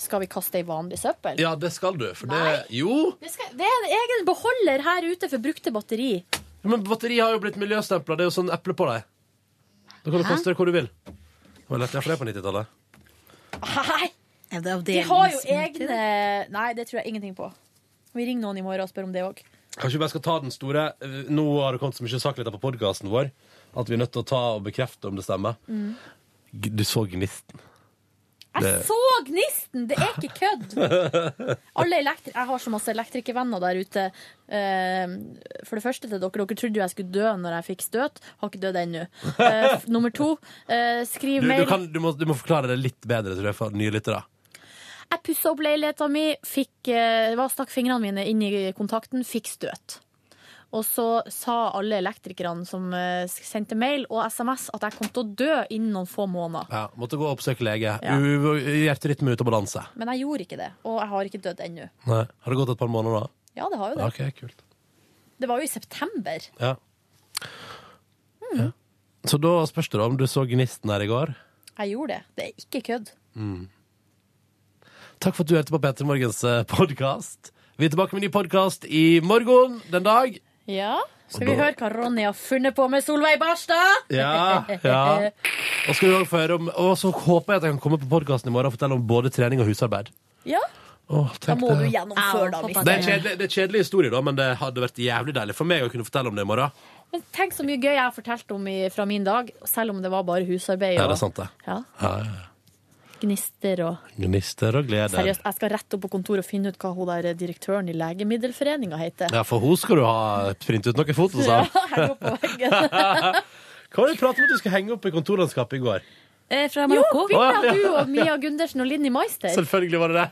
[SPEAKER 3] Skal vi kaste det i vanlig søppel?
[SPEAKER 2] Ja, det skal du. For det
[SPEAKER 3] Nei.
[SPEAKER 2] Jo!
[SPEAKER 3] Det, skal, det er en egen beholder her ute for brukte batteri.
[SPEAKER 2] Men batteri har jo blitt miljøstempla. Det er jo sånn eple på deg. Da kan du
[SPEAKER 3] Hæ?
[SPEAKER 2] kaste det hvor du vil. Det var lettere for deg på 90-tallet.
[SPEAKER 3] Nei!
[SPEAKER 4] Er det
[SPEAKER 3] De har jo
[SPEAKER 4] avdelingsmøter?
[SPEAKER 3] egne Nei, det tror jeg ingenting på. Vi ringer noen i morgen og spør om det òg.
[SPEAKER 2] Kanskje vi bare skal ta den store eh, Nå har det kommet så mye sakligheter på podkasten vår at vi er nødt til å ta og bekrefte om det stemmer. Mm. G- Du så gnisten.
[SPEAKER 3] Jeg
[SPEAKER 2] Det-
[SPEAKER 3] så gnisten! Det er ikke kødd! Alle elektri Jeg har så masse elektrikervenner der ute. Eh, For det første til dere. Dere trodde jo jeg skulle dø når jeg fikk støt. Har ikke dødd ennå. Eh, f- Nummer to. eh,
[SPEAKER 2] Du,
[SPEAKER 3] Skriv
[SPEAKER 2] du,
[SPEAKER 3] mail.
[SPEAKER 2] kan, du, må, du må forklare det litt bedre tror jeg, for nye lyttere.
[SPEAKER 3] Jeg pussa opp leiligheten min, fikk, eh, hva, stakk fingrene mine inn i kontakten, fikk støt. Og så sa alle elektrikerne som eh, sendte mail og SMS at jeg kom til å dø innen noen få måneder.
[SPEAKER 2] Ja, måtte gå og oppsøke lege.
[SPEAKER 3] Ja.
[SPEAKER 2] U- Hjerterytme ute av balanse.
[SPEAKER 3] Men jeg gjorde ikke det, og jeg har ikke dødd ennå.
[SPEAKER 2] Nei. Har det gått et par måneder, da?
[SPEAKER 3] Ja, det har jo det.
[SPEAKER 2] OK, kult.
[SPEAKER 3] Det var jo i september.
[SPEAKER 2] Ja. ja. Så da spørs det da om du så gnisten her i går.
[SPEAKER 3] Jeg gjorde det. Det er ikke kødd.
[SPEAKER 2] Mm. Takk for at du hørte på Petter Morgens podkast. Vi er tilbake med en ny podkast i morgen den dag.
[SPEAKER 3] Ja, Skal
[SPEAKER 2] Og
[SPEAKER 3] vi
[SPEAKER 2] da-
[SPEAKER 3] høre hva Ronny har funnet på med Solveig Barstad?
[SPEAKER 2] Ja, ja. Og skal vi også få høre om Og så håper jeg at jeg kan komme på podkasten i morgen og fortelle om både trening og husarbeid.
[SPEAKER 3] Ja,
[SPEAKER 2] Åh,
[SPEAKER 3] Da
[SPEAKER 2] tenk
[SPEAKER 3] må du
[SPEAKER 2] det.
[SPEAKER 3] gjennomføre, da.
[SPEAKER 2] Det er,
[SPEAKER 3] Hvis
[SPEAKER 2] kjedelig, det er kjedelig historie, da, men det hadde vært jævlig deilig for meg å kunne fortelle om det i morgen.
[SPEAKER 3] Men tenk så mye gøy jeg har fortalt om i, fra min dag, selv om det var bare husarbeid.
[SPEAKER 2] Ja,
[SPEAKER 3] og-
[SPEAKER 2] det er sant, det.
[SPEAKER 3] Ja,
[SPEAKER 2] Ja, ja.
[SPEAKER 3] Gnister og
[SPEAKER 2] Gnister og gleder.
[SPEAKER 3] Seriøst, jeg skal rett opp på kontoret og finne ut hva hun der direktøren i Legemiddelforeninga heter.
[SPEAKER 2] Ja, for hun skal du ha printet ut noen fotos
[SPEAKER 3] Ja,
[SPEAKER 2] av.
[SPEAKER 3] henge opp på veggen.
[SPEAKER 2] Hva var det du pratet om at du skulle henge opp i kontorlandskapet i går?
[SPEAKER 4] Eh, Fra
[SPEAKER 3] Jo,
[SPEAKER 4] Marokko.
[SPEAKER 3] bilde av du og Mia Gundersen og Linni Meister.
[SPEAKER 2] Selvfølgelig var det det.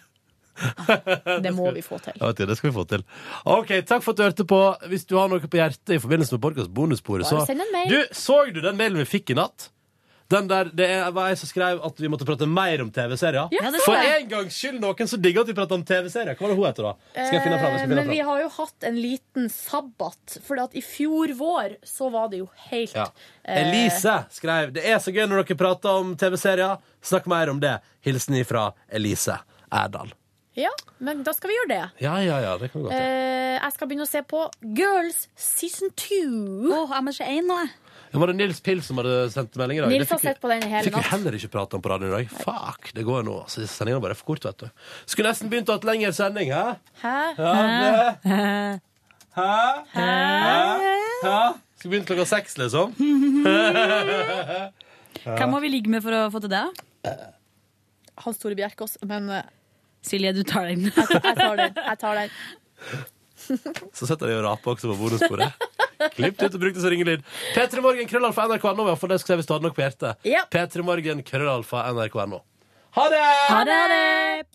[SPEAKER 3] Det må vi få til.
[SPEAKER 2] Ja, vet du, det skal vi få til. Ok, Takk for at du hørte på. Hvis du har noe på hjertet i forbindelse med podcast bonussporet, så
[SPEAKER 3] Bare send en mail.
[SPEAKER 2] Du, Så du den mailen vi fikk i natt? Den der, Det er- var jeg som skrev at vi måtte prate mer om TV-serier.
[SPEAKER 3] Ja, det
[SPEAKER 2] for
[SPEAKER 3] så jeg.
[SPEAKER 2] en gangs skyld noen som digger at vi prater om TV-serier. Hva var det hun heter, da? Skal jeg finne fram? Jeg skal finne
[SPEAKER 3] Eh, Men vi
[SPEAKER 2] fram.
[SPEAKER 3] har jo hatt en liten sabbat, for at i fjor vår så var det jo helt
[SPEAKER 2] Ja.
[SPEAKER 3] eh,
[SPEAKER 2] Elise skrev Det er så gøy når dere prater om TV-serier. Snakk mer om det. Hilsen ifra Elise Erdal.
[SPEAKER 3] Ja, men da skal vi gjøre det.
[SPEAKER 2] Ja, ja, ja. Det kan vi godt gjøre.
[SPEAKER 3] Eh, jeg skal begynne å se på Girls season 2.
[SPEAKER 4] Åh, jeg må se én nå, jeg.
[SPEAKER 2] Ja, Var det Nils Pils som hadde sendt melding i dag? Det
[SPEAKER 3] Nils har
[SPEAKER 2] fikk vi-
[SPEAKER 3] sett på den i hele
[SPEAKER 2] Fikk vi
[SPEAKER 3] natt.
[SPEAKER 2] heller ikke prate om på radioen i dag. Fuck, det går nå. Så sendingen bare er for kort, vet du. Skulle nesten begynt å ha et lengre sending, hæ?
[SPEAKER 3] Hæ?
[SPEAKER 2] Ja, det- Hæ? Hæ? Hæ? Skulle begynt klokka seks, liksom.
[SPEAKER 4] Hva må vi ligge med for å få til det?
[SPEAKER 3] Hans Tore Bjerkås, men eh,
[SPEAKER 4] Silje, du tar den.
[SPEAKER 3] jeg tar den. Jeg tar den.
[SPEAKER 2] Så setter de og raper også på bonusbordet. Klippet ut og brukte som ringelyd. P3 Morgen, krøllalfa, nrk.no. For det skal jeg hvis du hadde noe på hjertet.
[SPEAKER 3] Ja.
[SPEAKER 2] P3 Morgen, krøllalfa, nrk.no. Ha det!
[SPEAKER 4] Ha det! Ha det!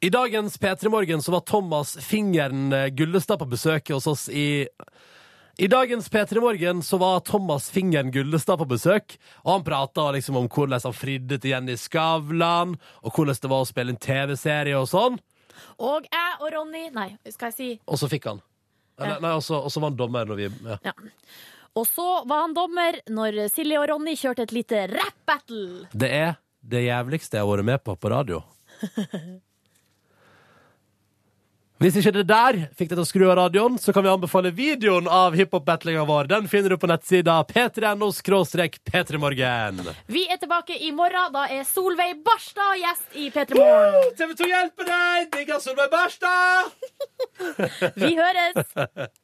[SPEAKER 2] I dagens P3 Morgen så var Thomas Fingeren eh, Gullestad på besøk hos oss i I dagens P3 Morgen så var Thomas Fingeren Gullestad på besøk, og han prata liksom om hvordan han fridde til Jenny Skavlan, og hvordan det var å spille en TV-serie og sånn.
[SPEAKER 3] Og jeg og Ronny Nei, skal jeg si
[SPEAKER 2] Og så fikk han. Nei,
[SPEAKER 3] Ja.
[SPEAKER 2] nei og så og så var han dommer når vi ja.
[SPEAKER 3] Ja. Og så var han dommer når Silje og Ronny kjørte et lite rap-battle.
[SPEAKER 2] Det er det jævligste jeg har vært med på på radio. Hvis ikke det der fikk deg til å skru av radioen, så kan vi anbefale videoen av hiphop-battlinga vår. Den finner du på nettsida p3.no p3morgen.
[SPEAKER 3] Vi er tilbake i morgen. Da er Solveig Barstad gjest i P3 Morgen.
[SPEAKER 2] TV 2 hjelper deg! Digger Solveig Barstad!
[SPEAKER 3] Vi høres!